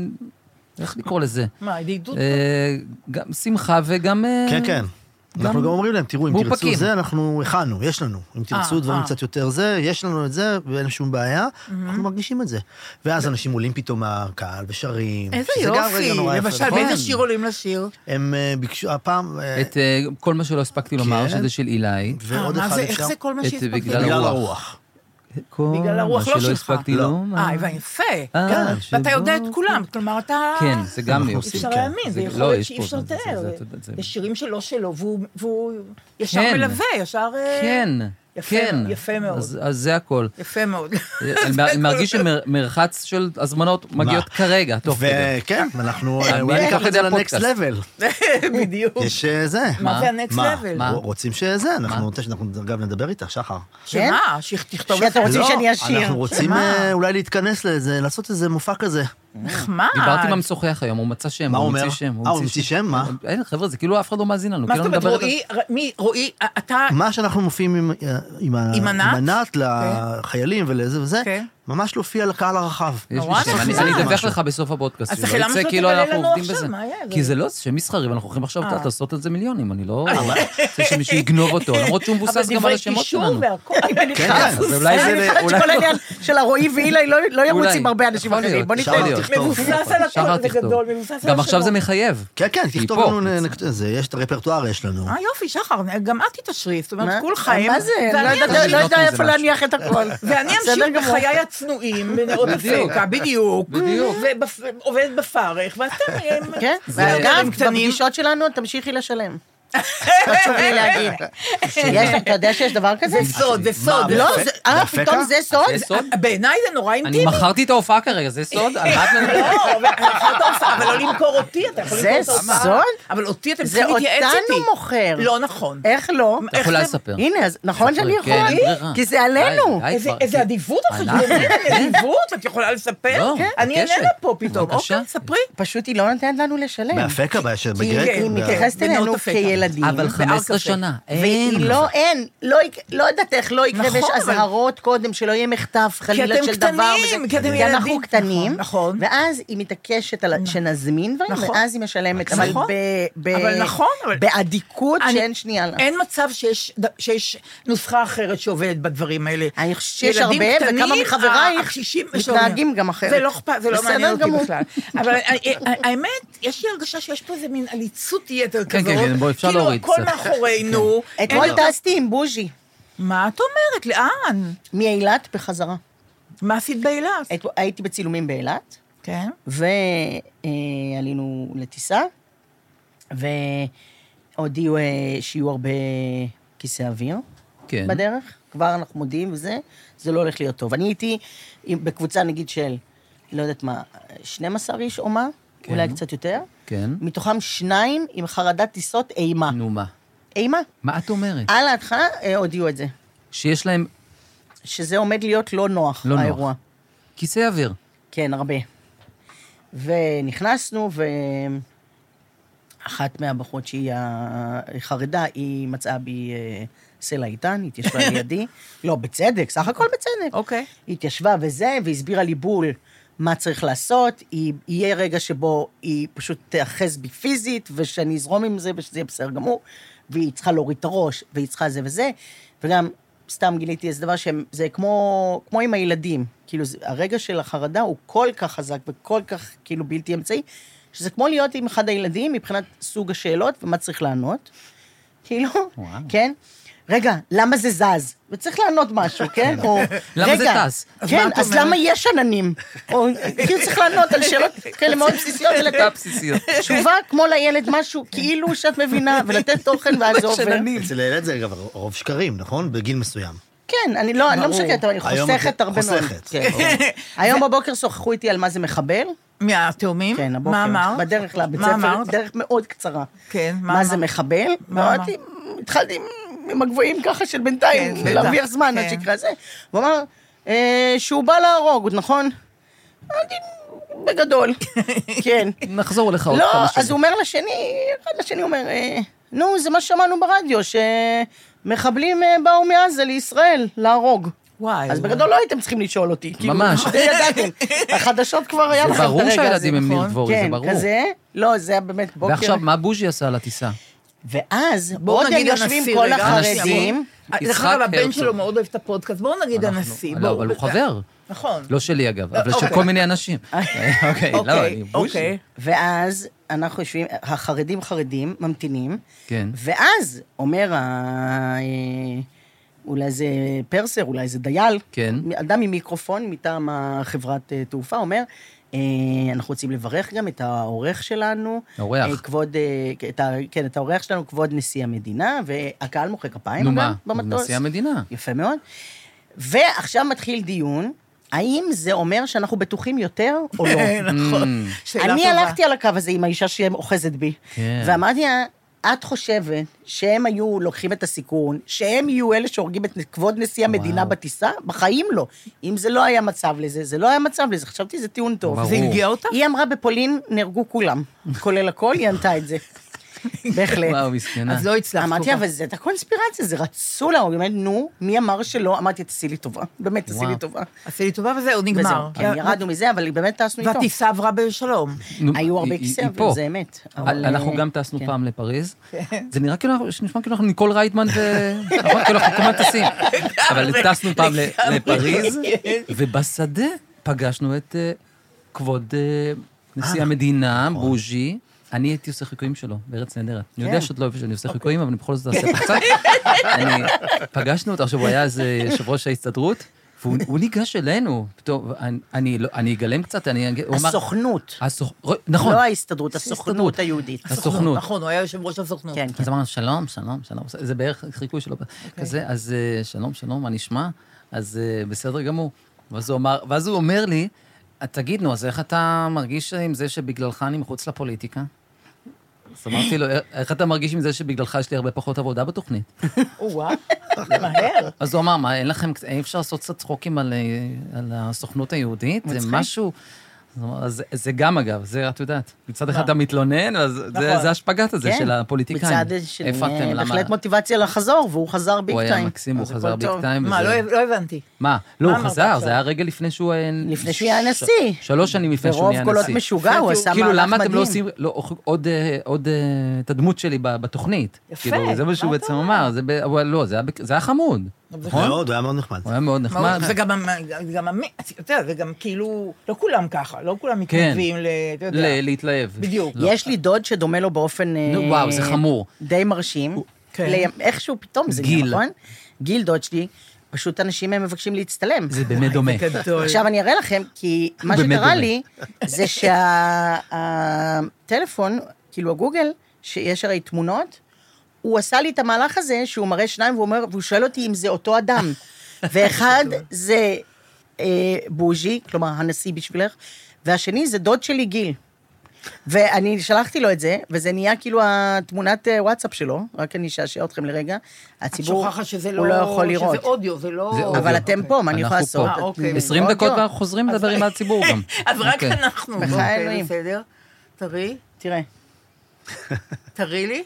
Speaker 3: איך לקרוא לזה?
Speaker 2: מה, ידידות?
Speaker 3: אה, גם שמחה וגם... אה,
Speaker 4: כן, כן. אנחנו גם אומרים להם, תראו, אם תרצו
Speaker 3: מאופקים.
Speaker 4: זה, אנחנו הכנו, יש לנו. אם
Speaker 2: אה,
Speaker 4: תרצו דברים
Speaker 2: אה.
Speaker 4: קצת יותר זה, יש לנו את זה, ואין שום בעיה, אנחנו מרגישים את זה. ואז אנשים עולים פתאום מהקהל ושרים.
Speaker 2: איזה
Speaker 4: שזה גם
Speaker 2: יופי.
Speaker 4: רגע נורא יפה,
Speaker 2: למשל,
Speaker 4: נכון?
Speaker 2: באיזה שיר עולים לשיר?
Speaker 4: הם אה, ביקשו, הפעם, אה,
Speaker 3: את אה, כל מה שלא הספקתי לומר,
Speaker 4: כן.
Speaker 3: שזה של אילי.
Speaker 4: ועוד
Speaker 2: אה, מה
Speaker 4: אחד
Speaker 2: זה,
Speaker 4: אפשר.
Speaker 2: איך זה כל מה אה,
Speaker 3: את
Speaker 2: שהספקתי?
Speaker 3: בגלל
Speaker 4: בגלל
Speaker 3: הרוח.
Speaker 4: הרוח.
Speaker 3: כל
Speaker 2: בגלל הרוח
Speaker 3: מה
Speaker 2: לא
Speaker 3: שלא
Speaker 2: שלך.
Speaker 3: הספקתי
Speaker 4: לא.
Speaker 3: לומר.
Speaker 2: אה, הבנתי, יפה.
Speaker 3: אה,
Speaker 2: כן. ואתה
Speaker 3: שבו-
Speaker 2: יודע את כולם, כלומר, אתה...
Speaker 3: כן, זה גם
Speaker 4: אנחנו
Speaker 3: עושים.
Speaker 2: אי אפשר
Speaker 4: כן.
Speaker 2: להאמין, זה
Speaker 3: זה-
Speaker 2: יכול
Speaker 3: לא,
Speaker 2: להיות
Speaker 3: יש
Speaker 2: שאי
Speaker 3: פה,
Speaker 2: אפשר
Speaker 3: זה- זה-
Speaker 2: לתאר.
Speaker 3: זה- זה-
Speaker 2: יש שירים שלא שלו, והוא- והוא ישר
Speaker 3: כן.
Speaker 2: מלווה, ישר... אה,
Speaker 3: כן,
Speaker 2: יפה,
Speaker 3: כן.
Speaker 2: יפה מאוד.
Speaker 3: אז אז זה הכל.
Speaker 2: יפה מאוד.
Speaker 3: אני מרגיש שמרחץ של הזמנות מגיעות כרגע, תוך כדי.
Speaker 4: וכן, אנחנו אה,
Speaker 3: אני
Speaker 4: אולי
Speaker 3: אקח
Speaker 4: ניקח
Speaker 3: את
Speaker 4: את
Speaker 3: זה
Speaker 4: זה לנקסט
Speaker 3: לפודקאסט.
Speaker 4: לבל.
Speaker 2: בדיוק.
Speaker 4: יש אה, זה.
Speaker 2: מה זה הנקסט
Speaker 4: מה?
Speaker 2: לבל?
Speaker 3: מה?
Speaker 4: רוצים שזה, אנחנו רוצים שאנחנו אגב נדבר איתך, שחר.
Speaker 5: כן?
Speaker 2: שמה? שתכתוב לך
Speaker 5: שאתם רוצים
Speaker 4: לא,
Speaker 5: שאני אשיר.
Speaker 4: אנחנו רוצים
Speaker 2: שמה?
Speaker 4: אה, אולי להתכנס לאיזה, לעשות איזה מופע כזה.
Speaker 2: נחמד.
Speaker 3: דיברתי עם המשוחח היום, הוא מצא שם,
Speaker 4: מה
Speaker 3: הוא
Speaker 4: הוא
Speaker 3: המציא
Speaker 4: אומר?
Speaker 3: שם.
Speaker 4: אה, הוא המציא שם? מה?
Speaker 3: אין, חבר'ה, זה כאילו אף אחד לא מאזין לנו.
Speaker 2: מה
Speaker 3: כאילו
Speaker 2: זאת אומרת,
Speaker 3: נדבר על-
Speaker 2: רועי, ר- מי, רועי, א- אתה...
Speaker 4: מה שאנחנו מופיעים עם, אה, עם, ה-
Speaker 2: עם ענת?
Speaker 4: עם ענת לחיילים ולזה וזה,
Speaker 2: כן.
Speaker 4: ממש להופיע לקהל הרחב.
Speaker 3: יש לי
Speaker 2: נורא
Speaker 3: שם, אני-
Speaker 2: נחמד.
Speaker 3: אני אדווח
Speaker 4: משהו.
Speaker 3: לך בסוף הפודקאסט.
Speaker 2: אז
Speaker 3: שלא
Speaker 2: השאלה
Speaker 3: יצא
Speaker 2: מה שאתה
Speaker 3: כאילו
Speaker 2: תגלה
Speaker 3: אנחנו
Speaker 2: לנו
Speaker 3: עובדים
Speaker 2: עכשיו,
Speaker 3: בזה.
Speaker 2: מה היה?
Speaker 3: כי זה לא, זה שם מסחרי, ואנחנו הולכים עכשיו
Speaker 2: אה.
Speaker 3: לעשות על זה מיליונים, אני לא... זה שמישהו יגנוב אותו, למרות שהוא
Speaker 2: אבל
Speaker 3: מבוסס גם על
Speaker 2: דברי
Speaker 3: השמות
Speaker 2: קישור
Speaker 3: שלנו.
Speaker 2: והכל.
Speaker 4: כן, אז
Speaker 3: אולי
Speaker 5: אני
Speaker 3: זה... אולי
Speaker 5: חושבת שכל העניין של הרועי ואילי לא- לא ירוץ
Speaker 3: אולי.
Speaker 5: עם הרבה אנשים
Speaker 3: יכול
Speaker 5: אחרים.
Speaker 3: להיות,
Speaker 5: בוא
Speaker 3: אפשר
Speaker 5: ניתן.
Speaker 4: להיות. תכתוב.
Speaker 2: מבוסס על
Speaker 3: שחר
Speaker 2: הכל, זה
Speaker 3: תכתוב.
Speaker 2: גדול, מבוסס על השמות.
Speaker 3: גם עכשיו זה מחייב.
Speaker 4: כן, כן,
Speaker 3: כי
Speaker 4: תכתוב
Speaker 3: פה,
Speaker 4: לנו, נק- זה, יש את הרפרטואר יש לנו.
Speaker 2: אה, יופי, שחר, גם את תתעשרי, זאת אומרת,
Speaker 5: מה-
Speaker 2: כולכם.
Speaker 5: מה זה?
Speaker 2: ואני
Speaker 5: לא
Speaker 2: אמשיך-
Speaker 5: יודעת- לא
Speaker 4: לבנות
Speaker 5: יודע
Speaker 4: מזה
Speaker 5: איפה
Speaker 4: משהו.
Speaker 5: להניח את הכל.
Speaker 2: ואני
Speaker 5: בסדר
Speaker 2: אמשיך
Speaker 5: גמור.
Speaker 2: בחיי הצנועים, בנאות
Speaker 3: בדיוק.
Speaker 2: אפקה, בדיוק.
Speaker 3: בדיוק.
Speaker 2: ובפ- עובדת בפרך, ואתם... אה,
Speaker 5: כן,
Speaker 2: זה-
Speaker 5: ואגב,
Speaker 2: דברים קטנים.
Speaker 5: בפגישות שלנו תמשיכי לשלם. לא חשוב לי להגיד. שיש, אתה יודע שיש דבר כזה?
Speaker 2: זה סוד, זה סוד.
Speaker 5: לא,
Speaker 4: זה-
Speaker 5: זה- אה,
Speaker 4: זה
Speaker 5: פתאום
Speaker 4: הפקה?
Speaker 5: זה סוד?
Speaker 3: זה סוד?
Speaker 2: בעיניי זה נורא
Speaker 3: אני
Speaker 2: אינטימי.
Speaker 3: מכרתי את ההופעה כרגע, זה סוד? על מה את מדברת?
Speaker 2: לא, אבל מכרת הופעה, אבל לא למכור אותי, אתה יכול
Speaker 5: זה
Speaker 2: למכור את ההופעה.
Speaker 5: סוד?
Speaker 2: אבל אותי אתם
Speaker 5: זה
Speaker 2: צריכים להתייעץ
Speaker 5: אותנו
Speaker 2: איתי.
Speaker 5: מוכר.
Speaker 2: לא נכון.
Speaker 5: איך לא?
Speaker 3: אתה יכולה לספר.
Speaker 5: הנה, אז נכון שאני
Speaker 3: כן, אין ברירה.
Speaker 5: יכולה, כי זה עלינו.
Speaker 3: די, די
Speaker 2: איזה-
Speaker 3: כבר,
Speaker 2: איזה
Speaker 3: כן.
Speaker 2: אדיבות
Speaker 3: אנחנו,
Speaker 2: החשבונית,
Speaker 3: כן.
Speaker 2: אדיבות, את יכולה לספר?
Speaker 3: לא,
Speaker 2: אני
Speaker 3: בקשת.
Speaker 2: איננה פה פתאום.
Speaker 3: בבקשה.
Speaker 2: אוקיי, ספרי. כן.
Speaker 5: פשוט היא לא נותנת לנו לשלם.
Speaker 4: באפקה, בש-
Speaker 5: כי
Speaker 4: בגרק,
Speaker 5: היא
Speaker 4: ב-
Speaker 5: מתייחסת
Speaker 2: בנאות
Speaker 5: אלינו
Speaker 2: הפתע.
Speaker 5: ילדים.
Speaker 3: אבל
Speaker 5: בהר
Speaker 3: 15
Speaker 5: לא. קפה.
Speaker 3: שנה, אין.
Speaker 5: והיא לא, אין, לא, יק- לא יודעת איך, לא יקרה,
Speaker 2: נכון,
Speaker 5: ויש
Speaker 2: אבל-
Speaker 5: אזהרות קודם, שלא יהיה מחטף
Speaker 2: כי
Speaker 5: חלילה
Speaker 2: אתם
Speaker 5: של דבר.
Speaker 2: קטנים,
Speaker 5: וזה-
Speaker 2: כי אתם
Speaker 5: כי
Speaker 2: ילדים.
Speaker 5: אנחנו קטנים,
Speaker 2: נכון. נכון.
Speaker 5: ואז היא מתעקשת על- שנזמין דברים,
Speaker 2: נכון.
Speaker 5: ואז היא משלמת, אבל
Speaker 2: נכון.
Speaker 5: ב- ב-
Speaker 2: אבל נכון, אבל-
Speaker 5: באדיקות
Speaker 2: אני-
Speaker 5: שאין שנייה לה.
Speaker 2: אין מצב שיש, שיש נוסחה אחרת שעובדת בדברים האלה.
Speaker 5: אני חושבת שיש
Speaker 2: ילדים
Speaker 5: הרבה,
Speaker 2: קטנים,
Speaker 5: וכמה מחברייך
Speaker 2: הקשישים
Speaker 5: מתנהגים גם אחרת.
Speaker 2: זה לא אכפת, זה לא
Speaker 5: בסדר
Speaker 2: מעניין אותי
Speaker 5: גמור.
Speaker 2: בכלל. אבל ה- ה- האמת, יש לי הרגשה שיש פה איזה מין עליצות יתר
Speaker 3: כן,
Speaker 2: כזאת.
Speaker 3: כן, בוא, אפשר להוריד
Speaker 2: כאילו,
Speaker 3: קצת. כן.
Speaker 2: הכל מאחורינו.
Speaker 5: אתמול
Speaker 2: אין-
Speaker 5: טסתי עם בוז'י,
Speaker 2: מה את אומרת? לאן?
Speaker 5: מאילת בחזרה.
Speaker 2: מה עשית באילת?
Speaker 5: את- הייתי בצילומים באילת,
Speaker 2: כן.
Speaker 5: ועלינו לטיסה, והודיעו אה, שיהיו הרבה כיסא אוויר
Speaker 3: כן.
Speaker 5: בדרך, כבר אנחנו מודיעים וזה, זה לא הולך להיות טוב. אני הייתי עם- בקבוצה נגיד של, לא יודעת מה, 12 איש או מה,
Speaker 3: כן.
Speaker 5: אולי קצת יותר,
Speaker 3: כן.
Speaker 5: מתוכם שניים עם חרדת טיסות אימה.
Speaker 3: נו כן. מה?
Speaker 5: אימה.
Speaker 3: מה את אומרת?
Speaker 5: על ההתחלה אה, הודיעו את זה,
Speaker 3: שיש להם
Speaker 5: שזה עומד להיות לא נוח,
Speaker 3: לא נוח.
Speaker 5: האירוע.
Speaker 3: כיסא אוויר.
Speaker 5: כן, הרבה. ונכנסנו, ואחת מהבחורות שהיא ה- חרדה, היא מצאה בי אה, סלע איתן, היא התיישבה לידי. לא, בצדק, סך הכל בצדק.
Speaker 2: אוקיי.
Speaker 5: היא התיישבה וזה, והסבירה לי בול מה צריך לעשות. היא, יהיה רגע שבו היא פשוט תיאחז בי פיזית, ושאני אזרום עם זה, ושזה יהיה בסדר גמור, והיא צריכה להוריד את הראש, והיא צריכה זה וזה, וגם סתם גיליתי איזה דבר שהם, זה כמו, כמו עם הילדים. כאילו, זה, הרגע של החרדה הוא כל כך חזק וכל כך, כאילו, בלתי אמצעי, שזה כמו להיות עם אחד הילדים מבחינת סוג השאלות ומה צריך לענות. כאילו,
Speaker 3: וואו.
Speaker 5: כן? רגע, למה זה זז? וצריך לענות משהו, כן? או,
Speaker 3: למה זה
Speaker 5: רגע,
Speaker 3: טס?
Speaker 2: אז
Speaker 5: כן,
Speaker 2: מה את
Speaker 5: אז
Speaker 2: אומרת?
Speaker 5: למה יש עננים? או, כאילו צריך לענות על שאלות כאלה מאוד בסיסיות
Speaker 3: שאלה
Speaker 5: ולתת
Speaker 3: בסיסיות.
Speaker 5: תשובה כמו לילד משהו, כאילו שאת מבינה, ולתת תוכן ואז זה עובר.
Speaker 4: אצל הילד זה אגב רוב שקרים, נכון? בגיל מסוים.
Speaker 5: כן, אני לא אני לא
Speaker 2: ברור.
Speaker 5: משקרת, אבל אני
Speaker 4: היום את-
Speaker 5: חוסכת הרבה מאוד.
Speaker 4: חוסכת.
Speaker 5: כן. היום בבוקר שוחחו איתי על מה זה מחבל.
Speaker 2: מהתאומים?
Speaker 5: כן, הבוקר.
Speaker 2: מה אמרת?
Speaker 5: בדרך לבית
Speaker 2: מה
Speaker 5: ספר,
Speaker 2: אמרת?
Speaker 5: דרך מאוד קצרה.
Speaker 2: כן, מה
Speaker 5: מה זה
Speaker 2: אמרת?
Speaker 5: מחבל?
Speaker 2: מה
Speaker 5: ואמרתי, התחלתי עם- עם הגבוהים ככה של בינתיים,
Speaker 2: כן,
Speaker 5: להרוויח
Speaker 2: בטח.
Speaker 5: זמן עד
Speaker 2: כן.
Speaker 5: שיקרה זה. הוא אמר, אה, שהוא בא להרוג, נכון? אמרתי, בגדול, כן.
Speaker 3: נחזור אליך עוד
Speaker 5: לא,
Speaker 3: כמה שנים.
Speaker 5: אז הוא אומר לשני, אחד לשני אומר, אה, נו, זה מה ששמענו ברדיו, שמחבלים אה, באו מעזה לישראל להרוג.
Speaker 2: וואי.
Speaker 5: אז
Speaker 2: וואי.
Speaker 5: בגדול לא הייתם צריכים לשאול אותי. כאילו,
Speaker 3: ממש.
Speaker 5: אתם ידעתם. החדשות כבר היה לכם את
Speaker 3: זה
Speaker 5: הרגע הזה.
Speaker 3: ברור שהילדים הם ניר
Speaker 2: נכון?
Speaker 3: דבורי, זה
Speaker 5: כן,
Speaker 3: ברור.
Speaker 5: כזה. לא, זה היה באמת בוקר.
Speaker 3: ועכשיו, מה בוז'י עשה על הטיסה?
Speaker 5: ואז,
Speaker 2: בואו
Speaker 5: עוד הם
Speaker 2: נגיד
Speaker 5: יושבים
Speaker 2: הנשיא
Speaker 5: כל
Speaker 2: רגע.
Speaker 5: החרדים.
Speaker 2: דרך
Speaker 3: יצחק
Speaker 2: אגב, הבן
Speaker 3: הרצוג.
Speaker 2: שלו מאוד אוהב את הפודקאסט, בואו נגיד
Speaker 3: אנחנו-
Speaker 2: הנשיא.
Speaker 3: לא,
Speaker 2: בואו.
Speaker 3: אבל הוא חבר.
Speaker 2: נכון.
Speaker 3: לא שלי אגב,
Speaker 2: אה,
Speaker 3: אבל של
Speaker 2: אוקיי.
Speaker 3: כל מיני אנשים.
Speaker 5: אה,
Speaker 3: אוקיי, לא, אני בוז'י.
Speaker 2: אוקיי.
Speaker 5: ואז אנחנו יושבים, החרדים חרדים, ממתינים.
Speaker 3: כן.
Speaker 5: ואז אומר ה... אה, אולי זה פרסר, אולי זה דייל.
Speaker 3: כן.
Speaker 5: אדם עם מיקרופון מטעם החברת אה, תעופה, אומר, אה, אנחנו רוצים לברך גם את העורך שלנו.
Speaker 3: האורח.
Speaker 5: אה, כבוד, אה, את ה, כן, את העורך שלנו, כבוד נשיא המדינה, והקהל מוחא כפיים.
Speaker 3: נו
Speaker 5: אגב,
Speaker 3: מה, הוא
Speaker 5: במטוס.
Speaker 3: נשיא המדינה.
Speaker 5: יפה מאוד. ועכשיו מתחיל דיון, האם זה אומר שאנחנו בטוחים יותר או לא?
Speaker 2: נכון. שאלה
Speaker 5: אני
Speaker 2: טובה.
Speaker 5: הלכתי על הקו הזה עם האישה שאוחזת בי,
Speaker 3: כן.
Speaker 5: ואמרתי לה, את חושבת שהם היו לוקחים את הסיכון, שהם יהיו אלה שהורגים את כבוד נשיא המדינה
Speaker 3: וואו.
Speaker 5: בטיסה? בחיים לא. אם זה לא היה מצב לזה, זה לא היה מצב לזה, חשבתי זה טיעון טוב.
Speaker 3: ברור.
Speaker 2: זה הרגיע אותך?
Speaker 5: היא אמרה, בפולין נהרגו כולם, כולל הכל, היא ענתה את זה. בהחלט.
Speaker 3: וואו, מסכנה.
Speaker 2: אז לא הצלחת כל
Speaker 5: אמרתי,
Speaker 2: כך.
Speaker 5: אבל זה את הקונספירציה, זה רצו להרוג. היא אומרת, נו, מי אמר שלא? אמרתי, תעשי לי טובה. באמת, תעשי
Speaker 3: וואו.
Speaker 5: לי טובה.
Speaker 2: עשי לי טובה וזהו, נגמר.
Speaker 5: וזהו, כן, ירדנו מזה, אבל באמת טסנו איתו.
Speaker 2: והטיסה עברה בשלום.
Speaker 3: נו,
Speaker 5: היו
Speaker 3: היא-
Speaker 5: הרבה
Speaker 3: היא-
Speaker 5: כיסא,
Speaker 3: היא
Speaker 5: אבל
Speaker 3: פה.
Speaker 5: זה אמת. אבל,
Speaker 3: אנחנו
Speaker 5: אה,
Speaker 3: גם טסנו
Speaker 5: כן.
Speaker 3: פעם לפריז. זה נראה כאילו, אנחנו- שנשמע כאילו אנחנו ניקול רייטמן ו... נכון, כאילו אנחנו כל הזמן טסים. אבל טסנו פעם ל- לפריז, ובשדה פגשנו את אה, כבוד אה, נשיא המדינה, בוז'י. אני הייתי עושה חיקויים שלו, בארץ נהדרת. אני יודע שאת לא אוהבת שאני עושה חיקויים, אבל אני בכל זאת אעשה קצת. אני- פגשנו אותו, עכשיו הוא היה אז אה, יושב ראש ההסתדרות, והוא הוא ניגש אלינו. פתאום, אני- אני לא- אני אגלם קצת, אני... אג- הוא אמר-
Speaker 5: הסוכנות,
Speaker 3: הסוכ- נכון.
Speaker 5: לא ההסתדרות, הסוכנות היהודית.
Speaker 3: הסוכנות.
Speaker 2: נכון, הוא היה יושב ראש הסוכנות.
Speaker 5: כן, כן.
Speaker 3: אז אמרנו, שלום, שלום, שלום. זה בערך חיקוי שלו
Speaker 5: אוקיי.
Speaker 3: כזה, אז אה, שלום, שלום, מה נשמע? אז אה, בסדר גמור. ואז הוא אמר- ואז הוא אומר לי, "אה, תגיד, נו, אז איך אתה מרגיש עם זה שבגללך אני מחוץ לפוליטיקה? אז אמרתי לו, "איך- איך אתה מרגיש עם זה שבגללך יש לי הרבה פחות עבודה בתוכנית?
Speaker 2: או-אה, מהר.
Speaker 3: אז הוא אמר, מה, אין לכם, אי אפשר לעשות קצת צחוקים על, אה, על הסוכנות היהודית? זה משהו... זאת אומרת, אז זה- זה גם, אגב, זה, את יודעת, מצד אחד
Speaker 2: נכון.
Speaker 3: אתה מתלונן, אז זה-
Speaker 2: נכון.
Speaker 3: זה השפגת הזה
Speaker 5: לא. כן.
Speaker 3: של הפוליטיקאים.
Speaker 5: מצד
Speaker 3: הפקתם,
Speaker 5: שני,
Speaker 3: למה?
Speaker 5: בהחלט מוטיבציה לחזור, והוא חזר ביג
Speaker 3: הוא
Speaker 5: טיים.
Speaker 3: היה מקסים, הוא
Speaker 5: אז
Speaker 3: חזר
Speaker 5: הכל
Speaker 3: ביג
Speaker 5: טוב.
Speaker 3: טיים.
Speaker 2: מה,
Speaker 3: כן, וזה-
Speaker 2: לא לא הבנתי.
Speaker 3: מה? לא,
Speaker 2: מה
Speaker 3: הוא
Speaker 2: אמרת
Speaker 3: חזר,
Speaker 2: עכשיו?
Speaker 3: זה היה רגע לפני שהוא... היה-
Speaker 5: לפני
Speaker 3: ש-
Speaker 5: שהוא היה
Speaker 3: ש-
Speaker 5: נשיא.
Speaker 3: שלוש שנים לפני שהוא
Speaker 5: ברוב
Speaker 3: נהיה נשיא.
Speaker 5: קולות משוגע, הוא עשה
Speaker 3: כאילו,
Speaker 5: מהלך
Speaker 3: למה אתם לא
Speaker 5: מדהים.
Speaker 3: עושים לא, עוד, אה, עוד אה, את הדמות שלי ב- בתוכנית?
Speaker 2: יפה,
Speaker 3: כאילו, זה מה
Speaker 2: מה
Speaker 3: שהוא
Speaker 2: אתה
Speaker 3: בעצם
Speaker 2: אומר?
Speaker 3: אמר, זה ב- אבל לא, זה היה בק- זה היה חמוד. נכון?
Speaker 4: מאוד, הוא היה מאוד נחמד.
Speaker 3: הוא היה מאוד נחמד.
Speaker 2: מאוד, זה גם, המ- גם, המ- אתה יודע, זה גם כאילו, לא כולם ככה, לא כולם
Speaker 3: כן.
Speaker 2: מתנדבים ל... אתה יודע.
Speaker 3: ל- להתלהב.
Speaker 2: בדיוק.
Speaker 3: לא.
Speaker 5: יש לי דוד שדומה לו באופן...
Speaker 3: נו,
Speaker 5: אה,
Speaker 3: וואו, זה חמור.
Speaker 5: די מרשים.
Speaker 2: כן.
Speaker 5: ל- איכשהו פתאום זה
Speaker 3: גיל.
Speaker 5: גיל, נכון? גיל, דוד שלי, פשוט אנשים הם מבקשים להצטלם.
Speaker 3: זה באמת דומה.
Speaker 2: גדול.
Speaker 5: עכשיו אני אראה לכם, כי מה
Speaker 3: באמת דומה.
Speaker 5: שקרה לי, זה שהטלפון, כאילו הגוגל, שיש הרי תמונות, הוא עשה לי את המהלך הזה, שהוא מראה שניים, והוא אומר, והוא שואל אותי אם זה אותו אדם. ואחד זה אה, בוז'י, כלומר הנשיא בשבילך, והשני זה דוד שלי גיל. ואני שלחתי לו את זה, וזה נהיה כאילו התמונת אה, וואטסאפ שלו, רק אני אשעשע אתכם לרגע.
Speaker 2: את
Speaker 5: הציבור,
Speaker 2: שוכחת שזה לא...
Speaker 5: הוא לא יכול לראות.
Speaker 2: שזה אודיו, זה לא...
Speaker 3: זה אודיו.
Speaker 5: אבל אתם פה, מה אני יכולה
Speaker 3: אנחנו פה.
Speaker 5: לעשות?
Speaker 2: אה, אוקיי.
Speaker 3: 20
Speaker 5: אוקיי.
Speaker 3: דקות ואנחנו חוזרים לדבר עם הציבור גם.
Speaker 2: אז רק
Speaker 3: אוקיי.
Speaker 2: אנחנו.
Speaker 5: בחיי
Speaker 2: אוקיי,
Speaker 5: אלוהים.
Speaker 2: בסדר. תראי,
Speaker 5: תראה,
Speaker 2: תראי לי,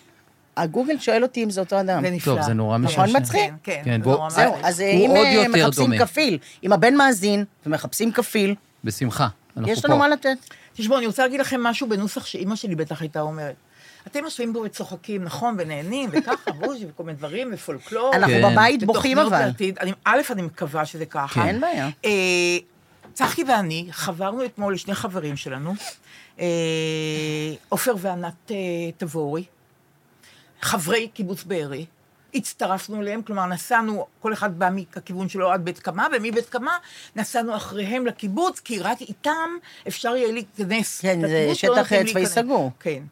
Speaker 5: הגוגל שואל אותי אם זה אותו אדם.
Speaker 2: זה נפלא.
Speaker 3: טוב, זה נורא
Speaker 2: כן.
Speaker 3: משעשע.
Speaker 5: נכון, מצחיק?
Speaker 2: כן, כן.
Speaker 3: כן,
Speaker 2: זה
Speaker 3: בוא-
Speaker 2: נורא
Speaker 5: זהו,
Speaker 2: מצחיק.
Speaker 5: אז אה,
Speaker 3: הוא
Speaker 5: אם
Speaker 3: עוד
Speaker 5: אה,
Speaker 3: יותר
Speaker 5: מחפשים
Speaker 3: דומה.
Speaker 5: כפיל, אם הבן מאזין ומחפשים כפיל,
Speaker 3: בשמחה. אנחנו
Speaker 5: יש לנו
Speaker 3: פה.
Speaker 5: מה לתת.
Speaker 2: תשמעו, אני רוצה להגיד לכם משהו בנוסח שאימא שלי בטח הייתה אומרת. אתם יושבים פה וצוחקים, נכון, ונהנים, וככה, בוז'י, וכל מיני דברים, ופולקלור.
Speaker 5: אנחנו
Speaker 3: כן.
Speaker 5: בבית בוכים
Speaker 2: ותוכניות
Speaker 5: אבל.
Speaker 2: לעתיד. אני- א', אני מקווה שזה ככה.
Speaker 3: כן.
Speaker 5: אין בעיה.
Speaker 2: אה, צחי ואני חברנו אתמול לשני חברים שלנו, אה, עופר וענת אה, תבורי, חברי קיבוץ בארי. הצטרפנו אליהם, כלומר נסענו, כל אחד בא מהכיוון שלו עד בית קמה, ומבית קמה נסענו אחריהם לקיבוץ, כי רק איתם אפשר יהיה להיכנס.
Speaker 5: כן, זה
Speaker 2: לקיבוץ, לא
Speaker 5: שטח,
Speaker 2: נותנים
Speaker 5: אה, צבאי
Speaker 2: להיכנס.
Speaker 5: סגור.
Speaker 2: כן.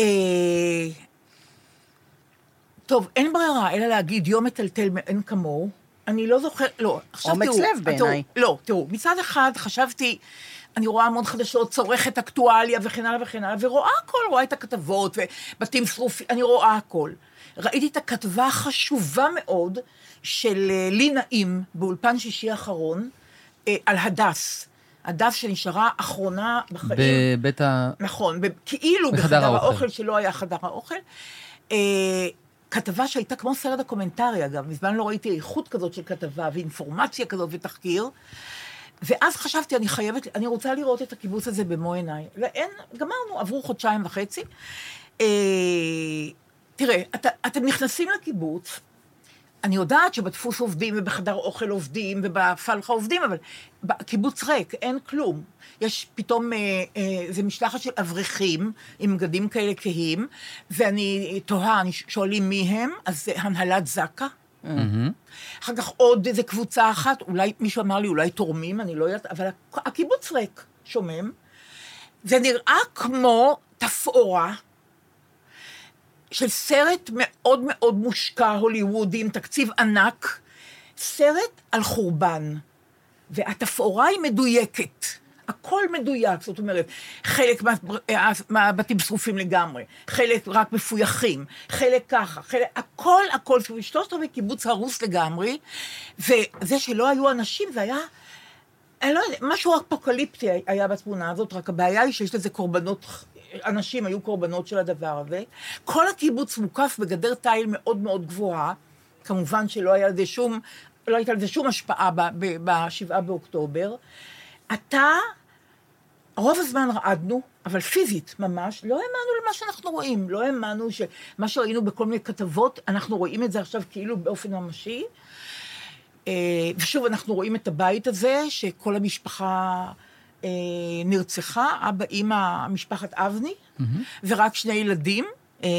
Speaker 2: אה, טוב, אין ברירה אלא להגיד יום מטלטל מאין כמוהו. אני לא זוכר, לא, עכשיו
Speaker 5: אומץ
Speaker 2: תראו.
Speaker 5: לב בעיניי.
Speaker 2: תראו, לא, תראו, מצד אחד חשבתי, אני רואה המון חדשות, צורכת אקטואליה וכן הלאה וכן הלאה, ורואה הכל, רואה את הכתבות ובתים שרופים, אני רואה הכל. ראיתי את הכתבה החשובה מאוד של אה, לי נעים באולפן שישי האחרון, אה, על הדס. הדס שנשארה אחרונה בחיים.
Speaker 3: בבית ה...
Speaker 2: נכון, ב- כאילו
Speaker 3: בחדר
Speaker 2: בחדר
Speaker 3: האוכל.
Speaker 2: האוכל שלא היה חדר האוכל. אה, כתבה שהייתה כמו סרט דוקומנטרי, אגב, מזמן לא ראיתי איכות כזאת של כתבה ואינפורמציה כזאת ותחקיר. ואז חשבתי, אני חייבת, אני רוצה לראות את הקיבוץ הזה במו עיניי. ואין, גמרנו, עברו חודשיים וחצי. אה, תראה, אתה, אתם נכנסים לקיבוץ, אני יודעת שבדפוס עובדים ובחדר אוכל עובדים ובפלחה עובדים, אבל בקיבוץ ריק, אין כלום. יש פתאום, אה, אה, זה משלחת של אברכים עם בגדים כאלה כהים, ואני תוהה, אני ש- שואלים מי הם, אז זה הנהלת זק"א. אחר כך עוד איזה קבוצה אחת, אולי, מישהו אמר לי, אולי תורמים, אני לא יודעת, אבל הכ- הקיבוץ ריק, שומם. זה נראה כמו תפאורה של סרט מאוד מאוד מושקע, הוליוודי, עם תקציב ענק, סרט על חורבן. והתפאורה היא מדויקת. הכל מדויק, זאת אומרת, חלק מה- אה, מהבתים שרופים לגמרי, חלק רק מפויחים, חלק ככה, חלק, הכל, הכל, זאת אומרת, שלושת רבעי קיבוץ הרוס לגמרי, וזה שלא היו אנשים, זה היה אני לא יודעת, משהו אפוקליפטי היה בתמונה הזאת, רק הבעיה היא שיש לזה קורבנות, אנשים היו קורבנות של הדבר הזה. כל הקיבוץ מוקף בגדר תיל מאוד מאוד גבוהה, כמובן שלא היה לזה שום, לא הייתה לזה שום השפעה ב- ב- בשבעה באוקטובר. אתה, רוב הזמן רעדנו, אבל פיזית ממש, לא האמנו למה שאנחנו רואים, לא האמנו שמה שראינו בכל מיני כתבות, אנחנו רואים את זה עכשיו כאילו באופן ממשי. אה, ושוב, אנחנו רואים את הבית הזה, שכל המשפחה אה, נרצחה, אבא, אימא, משפחת אבני, ורק שני ילדים אה, אה,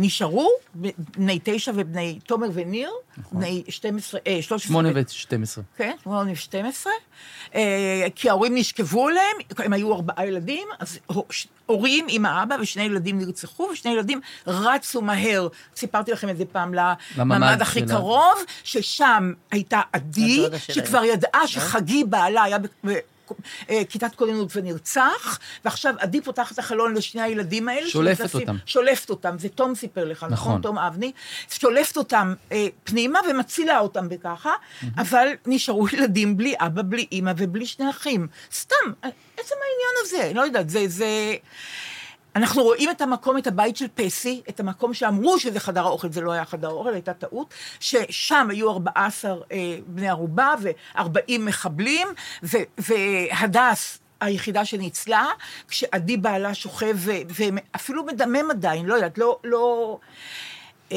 Speaker 2: נשארו, ב- בני תשע ובני תומר וניר, בני 12, אה, 13.
Speaker 3: 8 ו-12.
Speaker 2: כן, 8 ו-12, אה, כי ההורים נשכבו עליהם, הם היו ארבעה ילדים, אז הו- ש- הורים עם האבא ושני ילדים נרצחו, ושני ילדים רצו מהר, סיפרתי לכם את זה פעם לממ"ד
Speaker 3: לממ"ד
Speaker 2: הכי
Speaker 3: של ה-
Speaker 2: קרוב, ששם הייתה עדי,
Speaker 5: הדודה שלהם.
Speaker 2: שכבר ידעה שחגי בעלה היה ב- ב- אה, כיתת כוננות ונרצח, ועכשיו עדי פותחת את החלון לשני הילדים האלה.
Speaker 3: שולפת
Speaker 2: שנכנסים-
Speaker 3: אותם.
Speaker 2: שולפת אותם, זה תום סיפר לך, נכון,
Speaker 3: נכון.
Speaker 2: נכון תום אבני, שולפת אותם אה, פנימה ומצילה אותם בככה, אבל נשארו ילדים בלי אבא, בלי אימא ובלי שני אחים. סתם, אה, עצם העניין הזה, לא יודעת, זה... זה... אנחנו רואים את המקום, את הבית של פסי, את המקום שאמרו שזה חדר האוכל, זה לא היה חדר האוכל, הייתה טעות, ששם היו 14 אה, בני ערובה ו-40 מחבלים, ו- והדס היחידה שניצלה, כשעדי בעלה שוכב ו- ואפילו מדמם עדיין, לא יודעת, לא... לא... אה,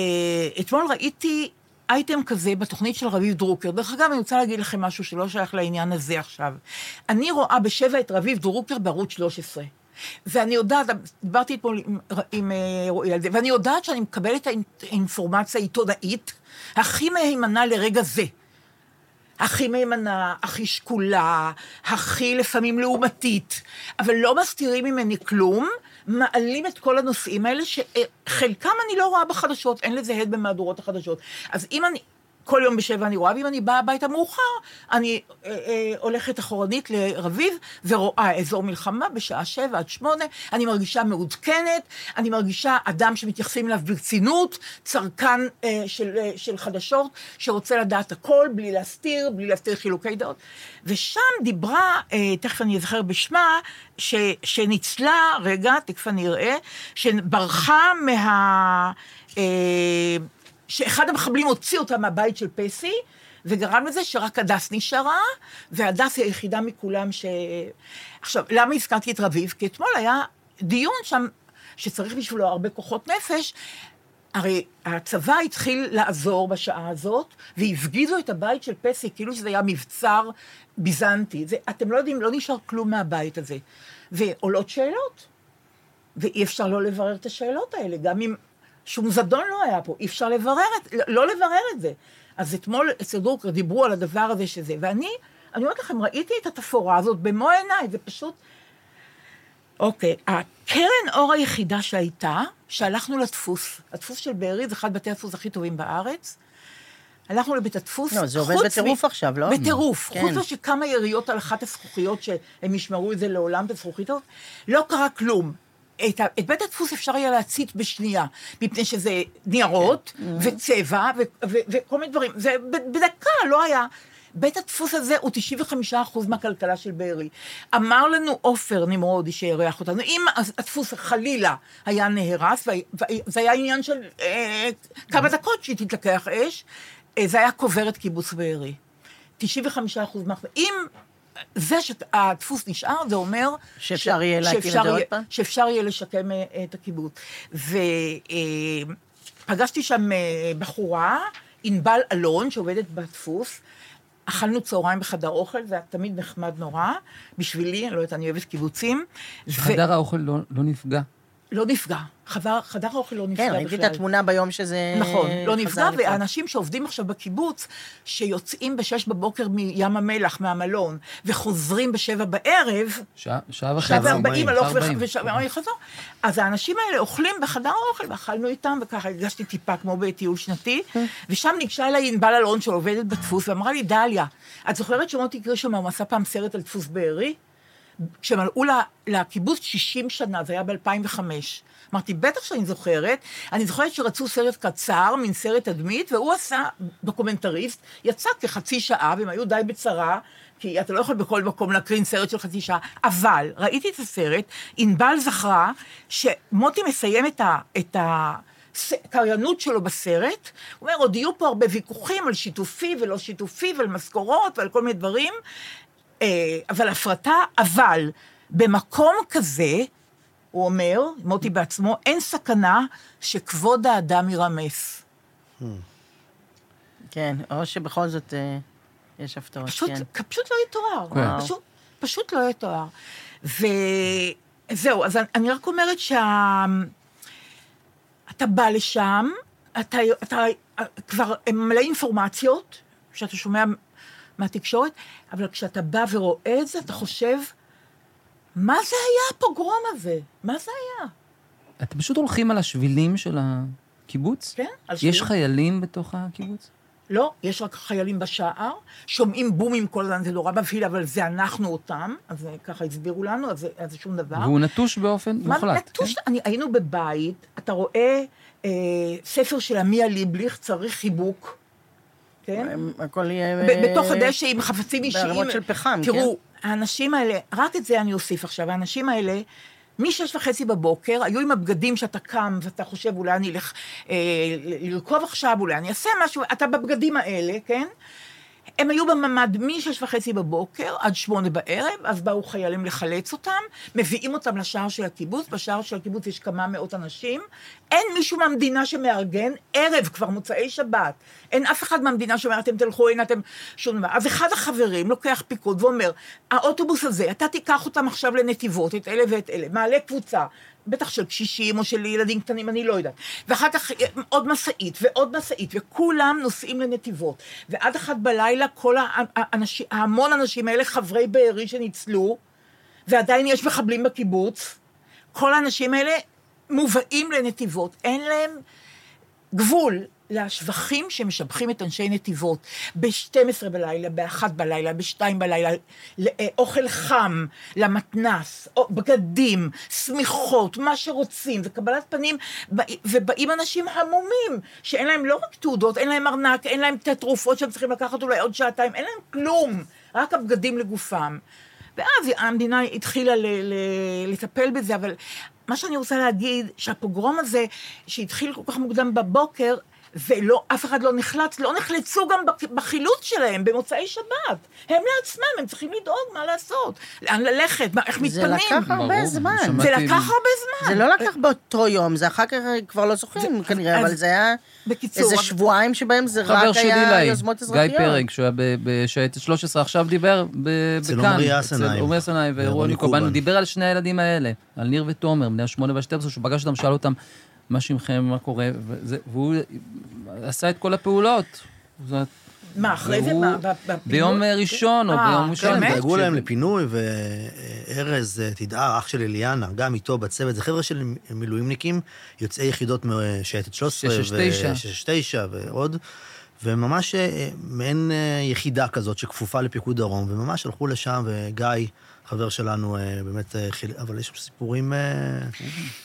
Speaker 2: אתמול ראיתי אייטם כזה בתוכנית של רביב דרוקר. דרך אגב, אני רוצה להגיד לכם משהו שלא שייך לעניין הזה עכשיו. אני רואה בשבע את רביב דרוקר בערוץ 13. ואני יודעת, דיברתי אתמול עם, עם אה, רועי על זה, ואני יודעת שאני מקבלת את האינפורמציה העיתונאית הכי מהימנה לרגע זה. הכי מהימנה, הכי שקולה, הכי לפעמים לעומתית, אבל לא מסתירים ממני כלום, מעלים את כל הנושאים האלה, שחלקם אני לא רואה בחדשות, אין לזה הד במהדורות החדשות. אז אם אני... כל יום בשבע אני רואה, ואם אני באה הביתה מאוחר, אני אה, אה, הולכת אחורנית לרביב ורואה אזור מלחמה בשעה שבע עד שמונה, אני מרגישה מעודכנת, אני מרגישה אדם שמתייחסים אליו ברצינות, צרכן אה, של, אה, של חדשות, שרוצה לדעת הכל, בלי להסתיר, בלי להסתיר חילוקי דעות. ושם דיברה, אה, תכף אני אזכר בשמה, ש, שניצלה, רגע, תכף אני אראה, שברחה מה... אה, שאחד המחבלים הוציא אותה מהבית של פסי, וגרם לזה שרק הדס נשארה, והדס היא היחידה מכולם ש... עכשיו, למה הזכרתי את רביב? כי אתמול היה דיון שם, שצריך בשבילו הרבה כוחות נפש. הרי הצבא התחיל לעזור בשעה הזאת, והפגיזו את הבית של פסי, כאילו שזה היה מבצר ביזנטי. זה, אתם לא יודעים, לא נשאר כלום מהבית הזה. ועולות שאלות. ואי אפשר לא לברר את השאלות האלה, גם אם שום זדון לא היה פה, אי אפשר לברר את, לא לברר את זה. אז אתמול אצל דרוקר דיברו על הדבר הזה שזה, ואני, אני אומרת לכם, ראיתי את התפאורה הזאת במו עיניי, זה פשוט... אוקיי, הקרן אור היחידה שהייתה, שהלכנו לדפוס, הדפוס של בארי זה אחד בתי הדפוס הכי טובים בארץ, הלכנו לבית הדפוס,
Speaker 5: לא, זה עובד
Speaker 2: חוץ
Speaker 5: בטירוף עכשיו, לא?
Speaker 2: בטירוף.
Speaker 5: כן.
Speaker 2: חוץ מזה שכמה יריות על אחת הזכוכיות, שהם ישמרו את זה לעולם בזכוכית, הזאת, לא קרה כלום. את, ה- את בית הדפוס אפשר היה להצית בשנייה, מפני שזה ניירות וצבע ו, ו, וכל מיני דברים. זה ב- בדקה, לא היה. בית הדפוס הזה הוא 95% מהכלכלה של בארי. אמר לנו עופר נמרודי שאירח אותנו, אם הדפוס חלילה היה נהרס, וזה היה עניין של אה, כמה דקות שהיא תתלקח אש, אה, זה היה קובר את קיבוץ בארי. 95 אחוז מהחזקה. אם זה שהדפוס נשאר, זה אומר...
Speaker 5: שאפשר יהיה
Speaker 2: ש-
Speaker 5: להקים את
Speaker 2: שאפשר
Speaker 5: זה עוד
Speaker 2: יהיה-
Speaker 5: פעם?
Speaker 2: שאפשר יהיה לשקם אה, את הקיבוץ. ופגשתי שם אה, בחורה, ענבל אלון, שעובדת בדפוס. אכלנו צהריים בחדר אוכל, זה היה תמיד נחמד נורא, בשבילי, אני לא יודעת, אני אוהבת קיבוצים.
Speaker 3: חדר האוכל לא לא נפגע.
Speaker 2: ולא נפגע. חדר, חדר האוכל לא נפגע
Speaker 5: כן,
Speaker 2: בכלל.
Speaker 5: ראיתי את התמונה ביום שזה... אה,
Speaker 2: נכון, לא
Speaker 5: חזר
Speaker 2: נפגע,
Speaker 5: לפעול.
Speaker 2: והאנשים שעובדים עכשיו בקיבוץ, שיוצאים בשש בבוקר מים המלח, מהמלון, וחוזרים בשבע בערב,
Speaker 3: שעה שעה וחצי.
Speaker 2: שעה
Speaker 4: ארבעים,
Speaker 2: וארבעים הלוך
Speaker 3: שעה ארבעים.
Speaker 2: וחזור, אז האנשים האלה אוכלים בחדר האוכל, ואכלנו איתם, וככה הרגשתי טיפה כמו בטיול שנתי, ושם ניגשה אליי ענבל אלון שעובדת בדפוס, ואמרה לי, דליה, את זוכרת שמוטי גרשמן הוא עשה פעם סרט על דפוס בארי? כשמלאו לה- לקיבוץ 60 שנה, זה היה ב-2005. אמרתי, בטח שאני זוכרת, אני זוכרת שרצו סרט קצר, מין סרט תדמית, והוא עשה דוקומנטריסט, יצא כחצי שעה, והם היו די בצרה, כי אתה לא יכול בכל מקום להקרין סרט של חצי שעה, אבל ראיתי את הסרט, ענבל זכרה שמוטי מסיים את ה... את ה הקריינות שלו בסרט, הוא אומר, עוד יהיו פה הרבה ויכוחים על שיתופי ולא שיתופי ועל משכורות ועל כל מיני דברים, אה, אבל הפרטה, אבל במקום כזה, הוא אומר, מוטי בעצמו, אין סכנה שכבוד האדם יירמס.
Speaker 5: כן, או שבכל זאת אה, יש הפתעות,
Speaker 2: פשוט,
Speaker 5: כן.
Speaker 2: כן. פשוט לא יתואר.
Speaker 3: כן.
Speaker 2: פשוט, פשוט לא יתואר. וזהו, אז אני- אני רק אומרת שה... אתה בא לשם, אתה, אתה כבר מלא אינפורמציות, שאתה שומע מהתקשורת, אבל כשאתה בא ורואה את זה, אתה חושב, מה זה היה הפוגרום הזה? מה זה היה?
Speaker 3: אתם פשוט הולכים על השבילים של הקיבוץ?
Speaker 2: כן, על
Speaker 3: יש
Speaker 2: שבילים.
Speaker 3: חיילים בתוך הקיבוץ?
Speaker 2: לא, יש רק חיילים בשער, שומעים בומים כל הזמן, זה נורא מבהיל, אבל זה אנחנו אותם, אז אה, ככה הסבירו לנו, אז זה- אז זה שום דבר.
Speaker 3: והוא נטוש באופן
Speaker 2: מה,
Speaker 3: מוחלט.
Speaker 5: כן.
Speaker 2: נטוש, אני, היינו בבית, אתה רואה אה, ספר של עמיה ליבליך, צריך חיבוק, כן?
Speaker 5: הם- הכל יהיה...
Speaker 2: ב- בתוך הדשא עם חפצים אישיים.
Speaker 5: בערימות אה, של פחם, כן?
Speaker 2: תראו, האנשים האלה, רק את זה אני אוסיף עכשיו, האנשים האלה, משש וחצי בבוקר, היו עם הבגדים שאתה קם ואתה חושב, אולי אני אלך אה, ל- לרכוב עכשיו, אולי אני אעשה משהו, אתה בבגדים האלה, כן? הם היו בממ"ד משש וחצי בבוקר עד שמונה בערב, אז באו חיילים לחלץ אותם, מביאים אותם לשער של הקיבוץ, בשער של הקיבוץ יש כמה מאות אנשים, אין מישהו מהמדינה שמארגן, ערב כבר, מוצאי שבת, אין אף אחד מהמדינה שאומר, אתם תלכו, הנה אתם, שום דבר. אז אחד החברים לוקח פיקוד ואומר, האוטובוס הזה, אתה תיקח אותם עכשיו לנתיבות, את אלה ואת אלה, מעלה קבוצה. בטח של קשישים או של ילדים קטנים, אני לא יודעת. ואחר כך אה, עוד משאית ועוד משאית, וכולם נוסעים לנתיבות. ועד אחת בלילה כל ה- האנשים, ההמון האנשים האלה, חברי בארי שניצלו, ועדיין יש מחבלים בקיבוץ, כל האנשים האלה מובאים לנתיבות. אין להם גבול לשבחים שמשבחים את אנשי נתיבות ב-12 בלילה, ב-1 בלילה, ב-2 בלילה, לא- אה, אוכל חם למתנס, או- בגדים, שמיכות, מה שרוצים, וקבלת פנים, בא- ובאים אנשים המומים, שאין להם לא רק תעודות, אין להם ארנק, אין להם את התרופות שהם צריכים לקחת אולי עוד שעתיים, אין להם כלום, רק הבגדים לגופם. ואז המדינה התחילה ל- ל- לטפל בזה, אבל מה שאני רוצה להגיד, שהפוגרום הזה, שהתחיל כל כך מוקדם בבוקר, ולא, אף אחד לא נחלץ, לא נחלצו גם בק- בחילוץ שלהם במוצאי שבת. הם לעצמם, הם צריכים לדאוג מה לעשות, לאן ללכת, מה, איך
Speaker 5: זה
Speaker 2: מתפנים.
Speaker 5: לקח הרבה
Speaker 3: ברור,
Speaker 5: זמן.
Speaker 3: שמעתי.
Speaker 2: זה לקח הרבה זמן.
Speaker 5: זה לא לקח באותו יום, זה אחר כך כבר לא זוכרים כנראה,
Speaker 2: אז-
Speaker 5: אבל זה היה
Speaker 2: בקיצור,
Speaker 5: איזה
Speaker 2: אבל-
Speaker 5: שבועיים שבהם זה
Speaker 3: חבר
Speaker 5: רק
Speaker 3: שלי
Speaker 5: היה
Speaker 3: לי,
Speaker 5: יוזמות אזרחיות.
Speaker 3: גיא פרג, שהוא היה ב- בשייטת 13, עכשיו דיבר ב-
Speaker 4: אצל
Speaker 3: בכאן.
Speaker 4: עמרי אסנהיים.
Speaker 3: אצל עמרי אסנאי
Speaker 4: ורוני
Speaker 3: ורוני קובן. הוא
Speaker 4: קובן.
Speaker 3: דיבר על שני הילדים האלה, על ניר ותומר, בני השמונה והשתים-עשרה, שהוא פגש אותם, שאל אותם, מה שמכם, מה קורה, וזה- והוא עשה את כל הפעולות. זאת אומרת,
Speaker 2: מה, אחרי זה?
Speaker 3: והוא-
Speaker 2: מה, ב- בפינוי?
Speaker 3: ביום ראשון או
Speaker 2: אה,
Speaker 3: ביום ראשון. כן.
Speaker 2: באמת?
Speaker 4: כן, דאגו להם
Speaker 3: ש-
Speaker 4: לפינוי, וארז אה, תדהר, אח של אליאנה, גם איתו בצוות, זה חבר'ה של מילואימניקים, יוצאי יחידות מ- אה, שייטת 13,
Speaker 3: 669.
Speaker 4: ו- 669 ועוד, וממש אה, מעין אה, יחידה כזאת שכפופה לפיקוד דרום, וממש הלכו לשם, וגיא, חבר שלנו, אה, באמת, אה, חיל- אבל יש שם סיפורים... אה,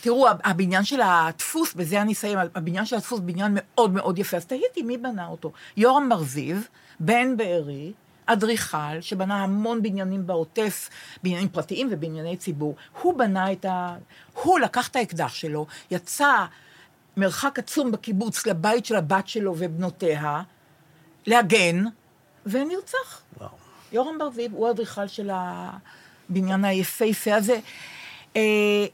Speaker 2: תראו, הב- הבניין של הדפוס, בזה אני אסיים, הבניין של הדפוס בניין מאוד מאוד יפה, אז תהיתי מי בנה אותו. יורם ברזיב, בן בארי, אדריכל, שבנה המון בניינים בעוטף, בניינים פרטיים ובנייני ציבור. הוא בנה את ה... הוא לקח את האקדח שלו, יצא מרחק עצום בקיבוץ לבית של הבת שלו ובנותיה, להגן, ונרצח.
Speaker 4: וואו.
Speaker 2: יורם ברזיב הוא האדריכל של הבניין היפהפה הזה. אה,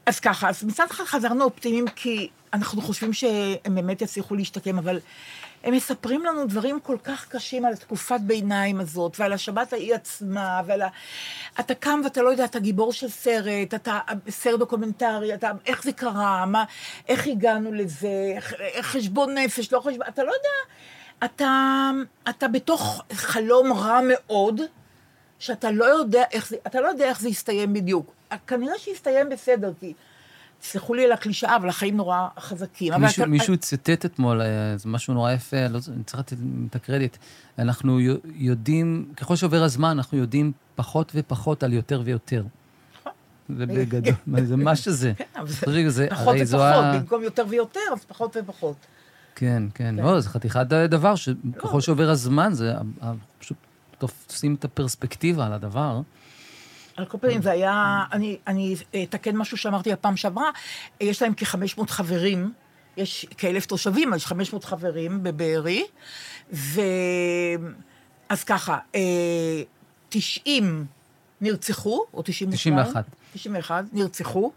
Speaker 2: אז ככה, אז מצד אחד חזרנו אופטימיים, כי אנחנו חושבים שהם באמת יצליחו להשתקם, אבל הם מספרים לנו דברים כל כך קשים על תקופת ביניים הזאת, ועל השבת ההיא עצמה, ועל ה... אתה קם ואתה לא יודע, אתה גיבור של סרט, אתה סרט דוקומנטרי, אתה... איך זה קרה, מה... איך הגענו לזה, איך, איך חשבון נפש, לא חשבון... אתה לא יודע. אתה, אתה בתוך חלום רע מאוד, שאתה לא יודע איך זה, אתה לא יודע איך זה יסתיים בדיוק. כנראה שיסתיים בסדר, כי, תסלחו לי על הקלישאה, אבל החיים נורא חזקים. אבל
Speaker 3: מישהו,
Speaker 2: אתה-
Speaker 3: מישהו ציטט אתמול אה, איזה משהו נורא יפה, לא, זו- אני צריך לתת את הקרדיט. אנחנו יו- יודעים, ככל שעובר הזמן, אנחנו יודעים פחות ופחות על יותר ויותר. זה בגדול, מה זה מה שזה.
Speaker 2: כן, אבל זה-
Speaker 3: תראי, זה-
Speaker 2: פחות
Speaker 3: הרי זו
Speaker 2: ופחות,
Speaker 3: ה-
Speaker 2: במקום יותר ויותר, אז פחות ופחות.
Speaker 3: כן, כן, לא, זה חתיכת אה, דבר,
Speaker 2: לא.
Speaker 3: שככל שעובר הזמן, זה אה, אה, פשוט תופסים את הפרספקטיבה על הדבר.
Speaker 2: על כל פנים, זה היה, אני, אני אתקן משהו שאמרתי הפעם שעברה, יש להם כ-500 חברים, יש כ-1,000 תושבים, אז 500 חברים בבארי, ו... אז ככה, אה, 90 נרצחו, או 92?
Speaker 3: 91.
Speaker 2: 91 נרצחו,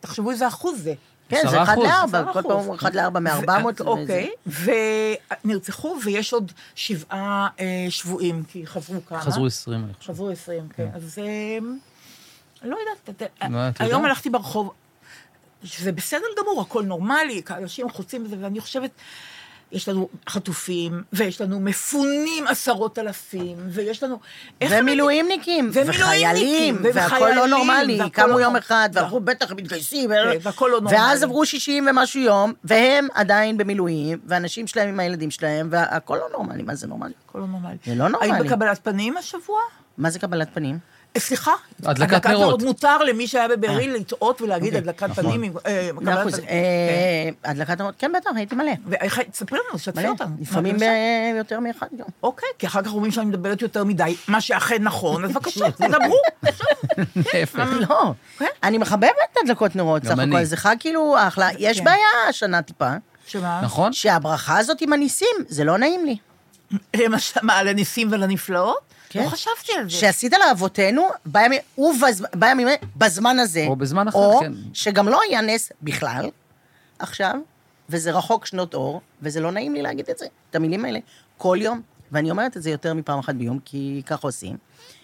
Speaker 2: תחשבו איזה אחוז זה.
Speaker 5: כן, זה 1
Speaker 3: 10%.
Speaker 5: ל-4, כל
Speaker 2: 10%.
Speaker 5: פעם הוא 1 ל-4 מ-400.
Speaker 2: אוקיי, ונרצחו, ויש עוד שבעה אה, שבויים, כי חזרו כמה.
Speaker 3: חזרו 20, אני חושב.
Speaker 2: חזרו 20, כן. אז אמ, לא יודעת, את-
Speaker 3: לא, את
Speaker 2: היום
Speaker 3: יודעת.
Speaker 2: הלכתי ברחוב, שזה בסדר גמור, הכל נורמלי, אנשים חוצים את זה, ואני חושבת, יש לנו חטופים, ויש לנו מפונים עשרות אלפים, ויש לנו... איך המד-
Speaker 5: ומילואימניקים, וחיילים, והכל לא
Speaker 2: וחיילים,
Speaker 5: נורמלי,
Speaker 2: והכל
Speaker 5: קמו
Speaker 2: לא-
Speaker 5: יום אחד,
Speaker 2: וה-
Speaker 5: ואנחנו בטח מתגייסים,
Speaker 2: והכל לא נורמלי.
Speaker 5: ואז עברו 60 ומשהו יום, והם עדיין במילואים, והנשים שלהם עם הילדים שלהם, והכל לא נורמלי, מה זה נורמלי?
Speaker 2: הכל לא נורמלי.
Speaker 5: זה לא נורמלי.
Speaker 2: היית בקבלת פנים השבוע?
Speaker 5: מה זה קבלת פנים?
Speaker 2: אה, סליחה?
Speaker 3: הדלקת נרות.
Speaker 2: עוד מותר למי שהיה בבארי לטעות ולהגיד
Speaker 5: אוקיי,
Speaker 2: הדלקת פנים. עם- אה, קבלת
Speaker 5: מאה אחוז.
Speaker 2: פנים.
Speaker 5: אה, הדלקת נרות, כן בטח, הייתי מלא.
Speaker 2: ואיך- תספרי לנו, תשתפי
Speaker 5: מלא.
Speaker 2: אותנו.
Speaker 5: לפעמים
Speaker 2: בבקשה.
Speaker 5: אה, יותר מאחד גם.
Speaker 2: אוקיי, כי אחר כך אומרים שאני מדברת יותר מדי, מה שאכן נכון, אז בבקשה, תדברו.
Speaker 3: להפך.
Speaker 5: לא,
Speaker 2: כן.
Speaker 5: אני מחבבת את הדלקות נרות,
Speaker 3: גם
Speaker 5: סך
Speaker 3: אני.
Speaker 5: הכל, זה חג כאילו אחלה. יש
Speaker 2: כן.
Speaker 5: בעיה השנה טיפה,
Speaker 2: שמה?
Speaker 3: נכון?
Speaker 5: שהברכה הזאת עם הניסים, זה לא נעים לי.
Speaker 2: למשל, מה, לניסים ולנפלאות?
Speaker 5: כן.
Speaker 2: לא חשבתי על זה.
Speaker 5: שעשית לאבותינו בימים, ובז- בימים, בזמן הזה.
Speaker 3: או בזמן אחר,
Speaker 5: או
Speaker 3: כן.
Speaker 5: שגם לא היה נס בכלל, עכשיו, וזה רחוק שנות אור, וזה לא נעים לי להגיד את זה, את המילים האלה, כל יום. ואני אומרת את זה יותר מפעם אחת ביום, כי ככה עושים.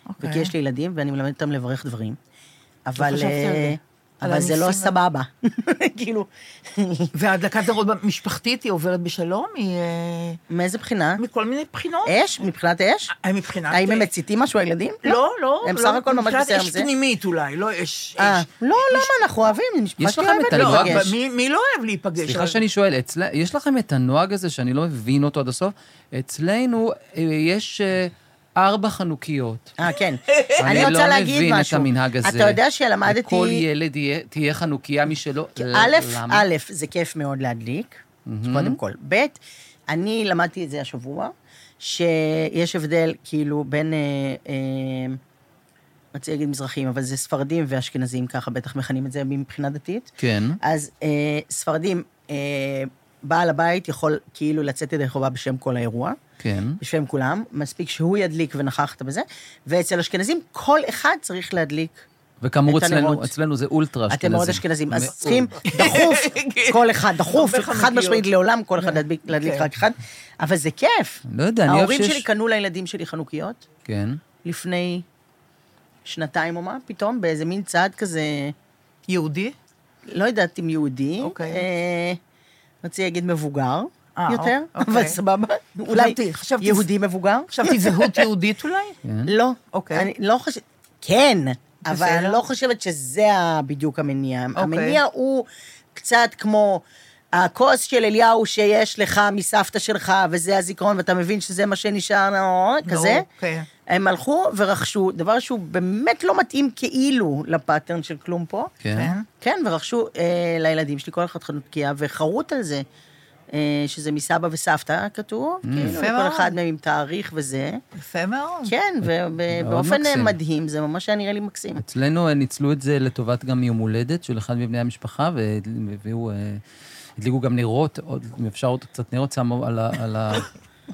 Speaker 2: אוקיי.
Speaker 5: וכי יש לי ילדים, ואני מלמדת אותם לברך דברים. אבל,
Speaker 2: חשבתי על זה.
Speaker 5: אה,
Speaker 2: על
Speaker 5: אבל זה לא
Speaker 2: הניסים.
Speaker 5: סבבה. כאילו,
Speaker 2: והדלקת נרות במשפחתית היא עוברת בשלום? היא... אה,
Speaker 5: מאיזה בחינה?
Speaker 2: מכל מיני בחינות?
Speaker 5: אש? מבחינת אש?
Speaker 2: אה, מבחינת...
Speaker 5: אה? האם הם
Speaker 2: אה,
Speaker 5: מציתים משהו, הילדים?
Speaker 2: לא, לא.
Speaker 5: הם
Speaker 2: לא,
Speaker 5: סך הכל ממש
Speaker 2: מבחינת
Speaker 5: בסדר עם
Speaker 2: אש
Speaker 5: זה.
Speaker 2: פנימית אולי, לא אש...
Speaker 5: אה,
Speaker 2: אש.
Speaker 5: לא, למה? אנחנו אוהבים, משפחה
Speaker 3: יש
Speaker 5: שלי
Speaker 3: לכם
Speaker 5: אוהבת
Speaker 2: לא,
Speaker 3: את הנוהג?
Speaker 5: להיפגש.
Speaker 2: אבל מי- מי לא אוהב להיפגש?
Speaker 3: סליחה
Speaker 2: אבל-
Speaker 3: שאני שואל, אצל... יש לכם את הנוהג הזה שאני לא מבין אותו עד הסוף? אצלנו אה, יש אה, ארבע חנוכיות.
Speaker 5: אה, כן.
Speaker 3: אני
Speaker 5: אני
Speaker 3: לא
Speaker 5: רוצה להגיד
Speaker 3: מבין את
Speaker 5: משהו.
Speaker 3: המנהג הזה.
Speaker 5: אתה יודע שלמדתי...
Speaker 3: לכל ילד יהיה- תהיה חנוכיה משלו.
Speaker 5: א',
Speaker 3: למה?
Speaker 5: א', זה כיף מאוד להדליק, קודם כל. ב', אני למדתי את זה השבוע, שיש הבדל כאילו בין, אה, אה, רציתי להגיד מזרחים, אבל זה ספרדים ואשכנזים ככה, בטח מכנים את זה מבחינה דתית.
Speaker 3: כן.
Speaker 5: אז אה, ספרדים, אה, בעל הבית יכול כאילו לצאת ידי חובה בשם כל האירוע.
Speaker 3: כן.
Speaker 5: בשם כולם, מספיק שהוא ידליק ונכחת בזה, ואצל אשכנזים כל אחד צריך להדליק
Speaker 3: וכאמור,
Speaker 5: את
Speaker 3: אצלנו,
Speaker 5: הנרות.
Speaker 3: אצלנו זה אולטרה אשכנזים.
Speaker 5: אתם מאוד אשכנזים, אז
Speaker 3: מאוד. כן.
Speaker 5: צריכים דחוף, כל אחד, דחוף,
Speaker 2: הרבה
Speaker 5: חד
Speaker 2: חנוכיות.
Speaker 5: משמעית לעולם, כל אחד להדביק- להדליק
Speaker 2: כן.
Speaker 5: רק אחד, אבל זה כיף.
Speaker 3: לא יודע, אני אוהב
Speaker 5: ההורים
Speaker 3: שיש-
Speaker 5: שלי קנו לילדים שלי חנוכיות
Speaker 3: כן.
Speaker 5: לפני שנתיים או מה, פתאום באיזה מין צעד כזה,
Speaker 2: יהודי?
Speaker 5: לא יודעת אם יהודי,
Speaker 2: אוקיי.
Speaker 5: אה, רציתי להגיד מבוגר
Speaker 2: אה,
Speaker 5: יותר,
Speaker 2: אוקיי.
Speaker 5: אבל סבבה, אולי
Speaker 2: חשבתי- חשבתי-
Speaker 5: יהודי מבוגר.
Speaker 2: חשבתי זהות יהודית אולי?
Speaker 3: כן.
Speaker 5: לא.
Speaker 2: אוקיי.
Speaker 5: אני לא חושבת... כן, אבל
Speaker 2: בסדר. אוקיי.
Speaker 5: אני לא חושבת שזה ה- בדיוק המניע. המניע הוא קצת כמו הכוס של אליהו שיש לך מסבתא שלך, וזה הזיכרון, ואתה מבין שזה מה שנשאר, אה, כזה.
Speaker 2: אוקיי.
Speaker 5: הם הלכו ורכשו דבר שהוא באמת לא מתאים כאילו לפאטרן של כלום פה.
Speaker 3: כן.
Speaker 5: כן, ורכשו אה, לילדים שלי כל אחד חנוכיה, וחרוט על זה, אה, שזה מסבא וסבתא כתוב,
Speaker 3: Mm.
Speaker 5: כאילו,
Speaker 2: יפה
Speaker 5: כל
Speaker 2: מאוד.
Speaker 5: אחד מהם עם תאריך וזה.
Speaker 2: יפה מאוד.
Speaker 5: כן, ובאופן
Speaker 3: מקסים.
Speaker 5: אה, מדהים, זה ממש היה נראה לי מקסים.
Speaker 3: אצלנו אה, ניצלו את זה לטובת גם יום הולדת של אחד מבני המשפחה, והביאו, אה, הדליקו גם נרות, עוד, אם אפשר עוד קצת נרות, שמו על ה- על ה-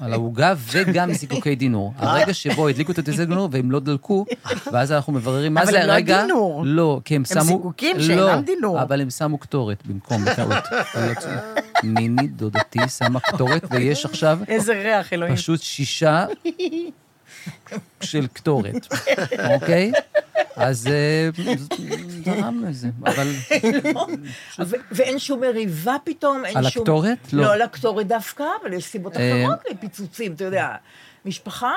Speaker 3: על העוגה, וגם זיקוקי דינור. הרגע שבו הדליקו את הזיקוקי דינור והם לא דלקו, ואז אנחנו מבררים מה
Speaker 5: אבל
Speaker 3: זה
Speaker 5: הם לא
Speaker 3: הרגע.
Speaker 5: דינור.
Speaker 3: לא, כי הם
Speaker 5: הם
Speaker 3: שמו...
Speaker 5: זיקוקים שאינם
Speaker 3: לא,
Speaker 5: דינור.
Speaker 3: אבל הם שמו קטורת במקום, בטעות. לא צודק. ניני, דודתי, שמה קטורת, ויש עכשיו
Speaker 5: איזה ריח, אלוהים.
Speaker 3: פשוט שישה של קטורת, אוקיי? אז אה, ז- זרמנו לזה, אבל
Speaker 2: ו- ואין שום מריבה פתאום, אין
Speaker 3: על
Speaker 2: שום...
Speaker 3: הקטורת? לא.
Speaker 2: לא, על הקטורת דווקא, אבל יש סיבות
Speaker 3: אה.
Speaker 2: אחרות לפיצוצים, אתה יודע. משפחה,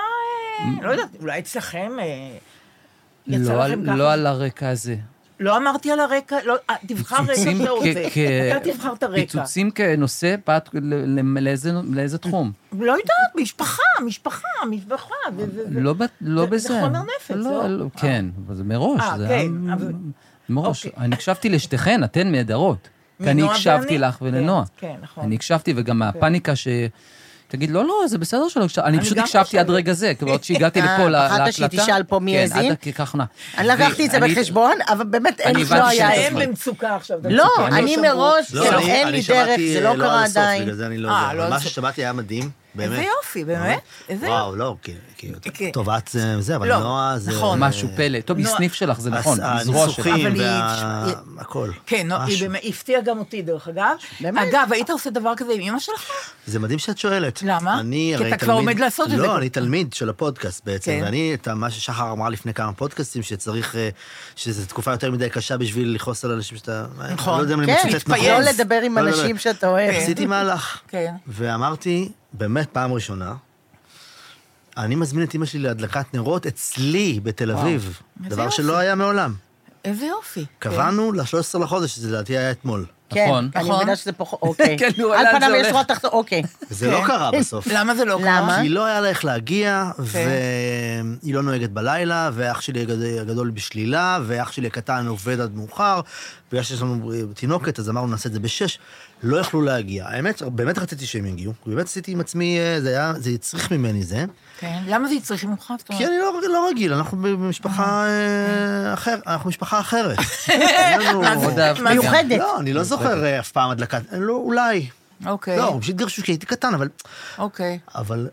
Speaker 2: אה, לא יודעת, אולי אצלכם... אה, יצא
Speaker 3: לא
Speaker 2: לכם
Speaker 3: על-
Speaker 2: ככה?
Speaker 3: לא על הרקע הזה.
Speaker 2: לא אמרתי על הרקע, לא, אה, תבחר רקע
Speaker 3: פיצוצים
Speaker 2: שאתה רוצה.
Speaker 3: כ- כ-
Speaker 2: אתה תבחר את הרקע.
Speaker 3: פיצוצים כנושא, פרט ל- ל- לאיזה- לאיזה תחום?
Speaker 2: לא יודעת, משפחה, משפחה, משפחה. ו- ו- ו-
Speaker 3: לא ב- לא
Speaker 2: זה-
Speaker 3: בזה.
Speaker 2: זה חומר נפץ, לא?
Speaker 3: כן, אבל זה מראש.
Speaker 2: אה,
Speaker 3: זה
Speaker 2: כן,
Speaker 3: היה-
Speaker 2: אבל-
Speaker 3: מראש.
Speaker 2: אוקיי.
Speaker 3: אני הקשבתי לשתיכן, אתן נהדרות. כי אני
Speaker 2: מנועה
Speaker 3: הקשבתי
Speaker 2: ואני?
Speaker 3: לך ולנועה.
Speaker 2: כן, כן, נכון.
Speaker 3: אני הקשבתי, וגם מהפניקה ש... תגיד, לא, לא, זה בסדר שלא הקשבתי. אני פשוט
Speaker 2: גם
Speaker 3: הקשבתי
Speaker 2: חושבת.
Speaker 3: עד רגע זה, כבר עוד שהגעתי
Speaker 5: אה,
Speaker 3: לפה ל-
Speaker 5: פחדת
Speaker 3: להקלטה.
Speaker 5: שהיא תשאל פה מי
Speaker 3: כן,
Speaker 5: האזין?
Speaker 3: עד הככונה.
Speaker 5: אני לקחתי את זה בחשבון, אבל באמת אין
Speaker 3: אני
Speaker 5: לי, לא
Speaker 3: הבנתי
Speaker 5: היה...
Speaker 3: שזה
Speaker 5: אין
Speaker 2: הם
Speaker 3: הזמן.
Speaker 5: לי-
Speaker 2: במצוקה עכשיו.
Speaker 5: לא,
Speaker 2: דווקא.
Speaker 5: אני
Speaker 2: לא שמעו.
Speaker 5: מראש,
Speaker 4: לא,
Speaker 5: כאילו,
Speaker 4: אני-
Speaker 5: אין
Speaker 4: אני
Speaker 5: לי דרך,
Speaker 4: שמעתי,
Speaker 5: זה לא
Speaker 4: אה,
Speaker 5: קרה
Speaker 4: עד הסוף,
Speaker 5: עדיין.
Speaker 4: בגלל זה אני לא
Speaker 2: אה,
Speaker 4: יודע.
Speaker 2: לא
Speaker 4: אבל
Speaker 2: עד
Speaker 4: מה
Speaker 2: הסוף.
Speaker 4: ששמעתי היה מדהים. באמת.
Speaker 2: איזה יופי, באמת? איזה
Speaker 4: וואו, לא, כי- כי...
Speaker 2: כן.
Speaker 4: טוב, את זה, זה, אבל
Speaker 2: לא,
Speaker 4: נועה זה...
Speaker 2: נכון.
Speaker 3: משהו פלא. טוב,
Speaker 2: נועה-
Speaker 3: מסניף שלך, זה נכון,
Speaker 4: הס-
Speaker 3: מזרוע שלך.
Speaker 4: הניסוחים
Speaker 2: אבל היא-
Speaker 4: וה...
Speaker 2: היא-
Speaker 4: הכל.
Speaker 2: כן, נו, היא
Speaker 4: משהו.
Speaker 2: באמת היא הפתיעה גם אותי, דרך אגב.
Speaker 5: באמת?
Speaker 2: אגב, היית עושה דבר כזה עם אמא שלך?
Speaker 4: זה מדהים שאת שואלת.
Speaker 2: למה?
Speaker 4: אני
Speaker 2: כי
Speaker 4: הרי
Speaker 2: אתה כבר
Speaker 4: תלמיד-
Speaker 2: עומד לעשות את זה.
Speaker 4: לא, אני תלמיד של הפודקאסט בעצם,
Speaker 2: כן.
Speaker 4: ואני, את ה- מה ששחר אמרה לפני כמה פודקאסטים, שצריך, אה, שזו תקופה יותר מדי קשה בשביל לכעוס על אנשים שאתה...
Speaker 2: נכון.
Speaker 4: לא יודע אם אני
Speaker 5: כן,
Speaker 4: מצטט נכון.
Speaker 5: לא לדבר עם
Speaker 4: לא, לא, לא.
Speaker 5: אנשים שאתה אוהב.
Speaker 4: עשיתי מהלך.
Speaker 2: כן.
Speaker 4: ואמרתי, באמת פעם ראשונה, אני מזמין את אימא שלי להדלקת נרות אצלי בתל אביב,
Speaker 2: איזה
Speaker 4: דבר
Speaker 2: יופי. כן.
Speaker 4: שלא היה מעולם.
Speaker 2: איזה יופי.
Speaker 4: קבענו ל-13 לחודש, שזה לדעתי היה אתמול.
Speaker 5: כן,
Speaker 3: נכון.
Speaker 5: אני
Speaker 2: נכון.
Speaker 5: מבינה שזה פחות, אוקיי.
Speaker 3: כן, נו, לאן
Speaker 5: על פניו
Speaker 3: זה
Speaker 5: יש
Speaker 3: הולך?
Speaker 5: שורה תחתונה, אוקיי.
Speaker 4: זה לא קרה בסוף.
Speaker 2: כן. למה אוקיי. זה לא קרה?
Speaker 5: למה?
Speaker 4: כי לא היה לה איך להגיע, והיא לא נוהגת בלילה, ואח שלי הגד- הגדול בשלילה, ואח שלי הקטן עובד עד מאוחר, בגלל שיש לנו אה, תינוקת, אז אמרנו נעשה את זה בשש, לא יכלו להגיע. האמת, באמת רציתי שהם יגיעו, באמת עשיתי עם עצמי, אה, זה היה, זה הצריך ממני זה,
Speaker 2: כן. למה זה הצריך ממך? זאת אומרת?
Speaker 4: כי אני לא, לא רגיל, אנחנו במשפחה אה, אחר, אנחנו משפחה אחרת. אין לנו-
Speaker 3: מאוד אהבתי.
Speaker 2: מה זה?
Speaker 5: מיוחדת.
Speaker 4: לא, אני לא זוכר אה, אף פעם הדלקת, לא, אולי.
Speaker 2: אוקיי,
Speaker 4: לא, פשוט גרשו כי הייתי קטן, אבל
Speaker 2: אוקיי.
Speaker 4: אבל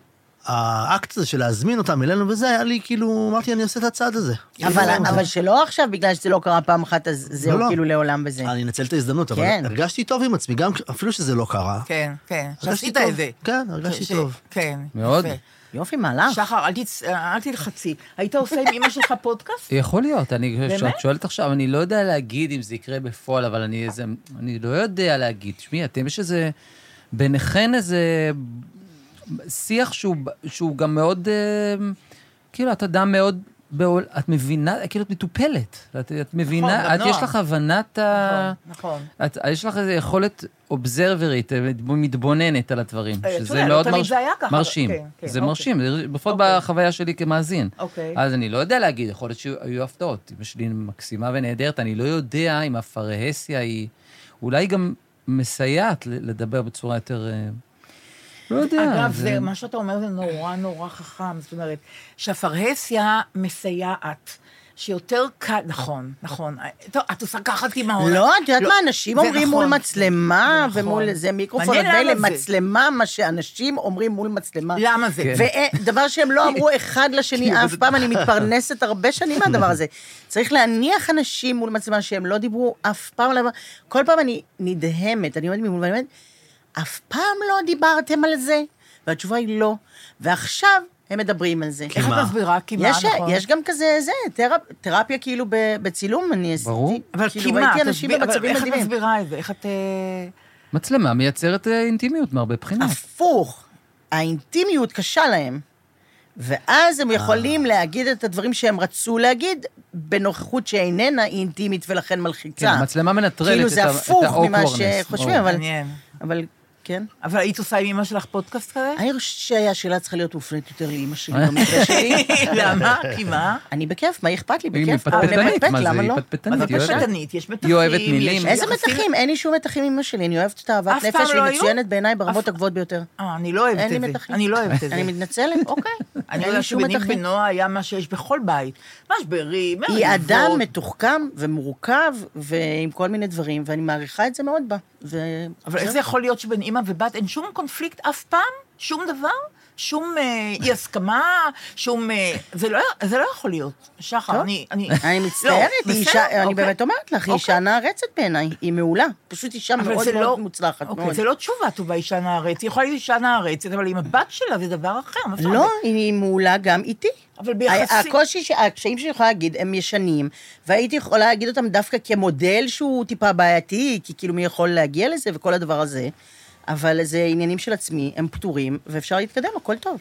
Speaker 4: האקט הזה של להזמין אותם אלינו וזה, היה לי כאילו, אמרתי, אני עושה את הצעד הזה. כאילו,
Speaker 5: אבל
Speaker 4: אני-
Speaker 5: אבל שלא עכשיו, בגלל שזה לא קרה פעם אחת, אז זהו
Speaker 4: לא, לא.
Speaker 5: כאילו לעולם בזה.
Speaker 4: אני אנצל את ההזדמנות, אבל
Speaker 5: כן.
Speaker 4: הרגשתי טוב עם עצמי, גם כש- אפילו שזה לא קרה.
Speaker 2: כן, כן.
Speaker 4: הרגשתי
Speaker 2: שעשית
Speaker 4: טוב.
Speaker 2: את זה.
Speaker 4: כן, הרגשתי
Speaker 2: ש-
Speaker 4: טוב. אה.
Speaker 2: כן.
Speaker 3: מאוד.
Speaker 2: יפה.
Speaker 5: יופי, מהלך.
Speaker 2: שחר, אל תצ- אה, אל תלחצי. היית עושה עם אמא שלך פודקאסט?
Speaker 3: יכול להיות, אני,
Speaker 2: באמת?
Speaker 3: כשאת שואלת עכשיו, אני לא יודע להגיד אם זה יקרה בפועל, אבל אני איזה, אני לא יודע להגיד. תשמעי, אתם, יש איזה, ביניכן איזה שיח שהוא, שהוא גם מאוד, אה, כאילו, את אדם מאוד, בעול, את מבינה, כאילו, את מטופלת. את, את מבינה,
Speaker 2: נכון, גם
Speaker 3: את, יש
Speaker 2: נועה.
Speaker 3: לך הבנת
Speaker 4: אה.
Speaker 3: ה...
Speaker 2: נכון, נכון.
Speaker 3: את, יש לך איזו יכולת אובזרברית, אה, מתבוננת על הדברים,
Speaker 2: אה, אתה
Speaker 3: שזה
Speaker 2: יודע, לא
Speaker 3: מאוד
Speaker 2: תמיד
Speaker 3: מרש...
Speaker 2: זה היה ככה,
Speaker 3: מרשים.
Speaker 2: אבל- כן, כן,
Speaker 3: זה
Speaker 2: אוקיי.
Speaker 3: מרשים, זה- לפחות
Speaker 2: אוקיי.
Speaker 3: בחוויה שלי כמאזין.
Speaker 2: אוקיי.
Speaker 3: אז אני לא יודע להגיד, יכול להיות שהיו הפתעות. אמא שלי מקסימה ונהדרת, אני לא יודע אם הפרהסיה היא... אולי גם מסייעת ל- לדבר בצורה יותר... אה, לא יודע.
Speaker 4: אה,
Speaker 2: אגב, זה, מה שאתה אומר זה נורא נורא חכם, זאת אומרת, שהפרהסיה מסייעת, שיותר קל, נכון, נכון. טוב, את עושה ככה תימהון.
Speaker 5: לא, את יודעת מה, אנשים
Speaker 2: זה
Speaker 5: אומרים מול
Speaker 2: נכון.
Speaker 5: מצלמה,
Speaker 2: זה נכון.
Speaker 5: ומול זה מיקרופון,
Speaker 2: מעניין
Speaker 5: הרבה
Speaker 2: למה זה.
Speaker 5: למצלמה, מה שאנשים אומרים מול מצלמה.
Speaker 2: למה זה?
Speaker 3: כן.
Speaker 5: ודבר שהם לא אמרו אחד לשני אף פעם, אני מתפרנסת הרבה שנים מהדבר הזה. צריך להניח אנשים מול מצלמה שהם לא דיברו אף פעם על הדבר. כל פעם אני נדהמת, אני עומדת ממול ואני אומרת, אף פעם לא דיברתם על זה? והתשובה היא לא. ועכשיו הם מדברים על זה.
Speaker 2: איך את
Speaker 4: מה?
Speaker 2: מסבירה? כי מה,
Speaker 5: יש,
Speaker 2: נכון?
Speaker 5: יש גם כזה, זה, תרפ, תרפיה כאילו ב, בצילום, אני עשיתי.
Speaker 3: ברור.
Speaker 2: אבל
Speaker 5: כאילו
Speaker 2: כי מה,
Speaker 5: ראיתי אנשים
Speaker 2: תסביר- אבל
Speaker 5: במצבים
Speaker 2: איך את
Speaker 5: מדהימים.
Speaker 2: מסבירה את זה? איך את... אה,
Speaker 3: מצלמה מייצרת אה, אינטימיות מהרבה בחינות.
Speaker 5: הפוך, האינטימיות קשה להם. ואז
Speaker 3: אה.
Speaker 5: הם יכולים להגיד את הדברים שהם רצו להגיד, בנוכחות שאיננה אינטימית ולכן
Speaker 3: כן,
Speaker 5: מלחיצה.
Speaker 3: המצלמה מנטרלת
Speaker 5: כאילו
Speaker 3: את
Speaker 5: זה
Speaker 3: ה-
Speaker 5: הפוך
Speaker 3: את
Speaker 5: ממה
Speaker 3: ה-awkwardness,
Speaker 5: שחושבים,
Speaker 3: ברור.
Speaker 5: אבל...
Speaker 2: מעניין.
Speaker 5: אבל כן.
Speaker 2: אבל היית עושה עם אמא שלך פודקאסט כזה?
Speaker 5: אני חושבת שהשאלה צריכה להיות מופנית יותר לאימא שלי במקרה שלי.
Speaker 2: למה? כי מה?
Speaker 5: אני בכיף, מה אכפת לי?
Speaker 3: היא
Speaker 5: בכיף.
Speaker 3: מפטפטנית,
Speaker 5: למפת,
Speaker 3: מה זה,
Speaker 5: למה
Speaker 3: היא
Speaker 5: לא?
Speaker 2: מה
Speaker 3: פטפטנית,
Speaker 2: זה
Speaker 3: היא אוהבת.
Speaker 2: פשטנית? יש מתחים.
Speaker 3: היא אוהבת
Speaker 2: יש
Speaker 3: מילים.
Speaker 5: איזה
Speaker 2: יחסים-
Speaker 5: מתחים? אין לי שום מתחים עם אמא שלי, אני אוהבת
Speaker 2: אף
Speaker 5: את אהבת
Speaker 2: פעם
Speaker 5: נפש,
Speaker 2: לא
Speaker 5: והיא
Speaker 2: היו?
Speaker 5: מצוינת בעיניי
Speaker 2: אף-
Speaker 5: ברמות הגבוהות ביותר.
Speaker 2: אה, אני לא אוהבת
Speaker 5: אין לי
Speaker 2: את זה.
Speaker 5: מתחים.
Speaker 2: אני לא אוהבת את זה.
Speaker 5: אני מתנצלת, אוקיי.
Speaker 2: אני
Speaker 5: אין לי
Speaker 2: יודעת
Speaker 5: שום
Speaker 2: שבניק
Speaker 5: מתחים.
Speaker 2: בנוע היה מה שיש בכל בית. משברים,
Speaker 5: היא אדם מתוחכם ומורכב ועם כל מיני דברים, ואני מעריכה את זה מאוד בה. ו-
Speaker 2: אבל איך
Speaker 5: זהו.
Speaker 2: זה יכול להיות שבין אימא ובת אין שום קונפליקט אף פעם? שום דבר? שום אה, אי-הסכמה? שום... אה, זה לא- זה לא יכול להיות. שחר,
Speaker 5: טוב.
Speaker 2: אני... אני
Speaker 5: אני
Speaker 2: לא,
Speaker 5: מצטערת, היא
Speaker 2: בסדר,
Speaker 5: אישה, אני
Speaker 2: אוקיי.
Speaker 5: באמת אומרת לך, היא
Speaker 2: אוקיי.
Speaker 5: אישה נערצת בעיניי, היא מעולה. פשוט אישה
Speaker 2: אבל
Speaker 5: מאוד
Speaker 2: זה לא-
Speaker 5: מאוד מוצלחת. מאוד.
Speaker 2: אוקיי, זה לא תשובה טובה, אישה נערצת. היא יכולה להיות אישה נערצת, אבל עם הבת שלה זה דבר אחר. מה זאת אומרת?
Speaker 5: לא, היא מעולה גם איתי.
Speaker 2: אבל ביחסים-
Speaker 5: הקושי, ש- הקשיים שאני יכולה להגיד הם ישנים, והייתי יכולה להגיד אותם דווקא כמודל שהוא טיפה בעייתי, כי כאילו מי יכול להגיע לזה וכל הדבר הזה, אבל זה עניינים של עצמי, הם פתורים, ואפשר להתקדם, הכל טוב.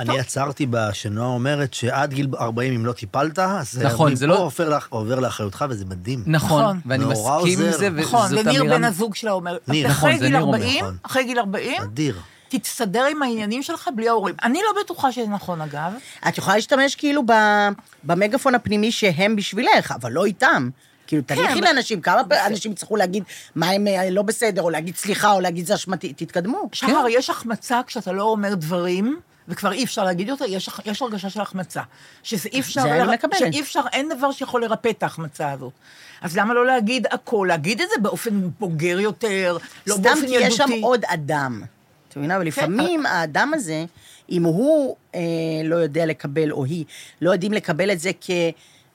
Speaker 4: אני עצרתי בה, שנועה אומרת שעד גיל 40, אם לא טיפלת, אז
Speaker 3: נכון, זה
Speaker 4: מפה
Speaker 3: לא-
Speaker 4: עובר לאח- עובר לאחריותך, וזה מדהים.
Speaker 3: נכון,
Speaker 2: נכון.
Speaker 3: ואני
Speaker 4: נורא
Speaker 3: מסכים עם
Speaker 4: עוזר.
Speaker 3: זה,
Speaker 2: נכון,
Speaker 3: וזאת
Speaker 2: וניר בן
Speaker 3: אמירה...
Speaker 2: הזוג שלה אומר,
Speaker 4: ניר,
Speaker 3: נכון,
Speaker 2: אחרי
Speaker 3: זה
Speaker 2: גיל
Speaker 3: ניר אומר,
Speaker 2: 40,
Speaker 4: נכון.
Speaker 2: אחרי גיל 40,
Speaker 4: אדיר.
Speaker 2: תסתדר עם העניינים שלך בלי ההורים. אני לא בטוחה שזה נכון, אגב.
Speaker 5: את יכולה להשתמש כאילו ב- במגפון הפנימי שהם בשבילך, אבל לא איתם. כאילו, תניחי
Speaker 2: כן, אבל-
Speaker 5: לאנשים, כמה פ- אנשים יצטרכו להגיד מה הם אה, לא בסדר, או להגיד סליחה, או להגיד זה אשמתי, תתקדמו.
Speaker 2: שחר, יש החמצה כשאתה לא אומר דברים, וכבר אי אפשר להגיד אותה, יש, יש הרגשה של החמצה. שזה אי אפשר...
Speaker 5: זה אני מקבלת.
Speaker 2: שאי אפשר, אין דבר שיכול לרפא את ההחמצה הזאת. אז למה לא להגיד הכל? להגיד את זה באופן בוגר יותר, לא
Speaker 5: סתם
Speaker 2: באופן
Speaker 5: כי
Speaker 2: ילדותי. כן,
Speaker 5: יש שם עוד אדם. את מבינה? ולפעמים האדם הזה, אם הוא אה, לא יודע לקבל, או היא, לא יודעים לקבל את זה כ...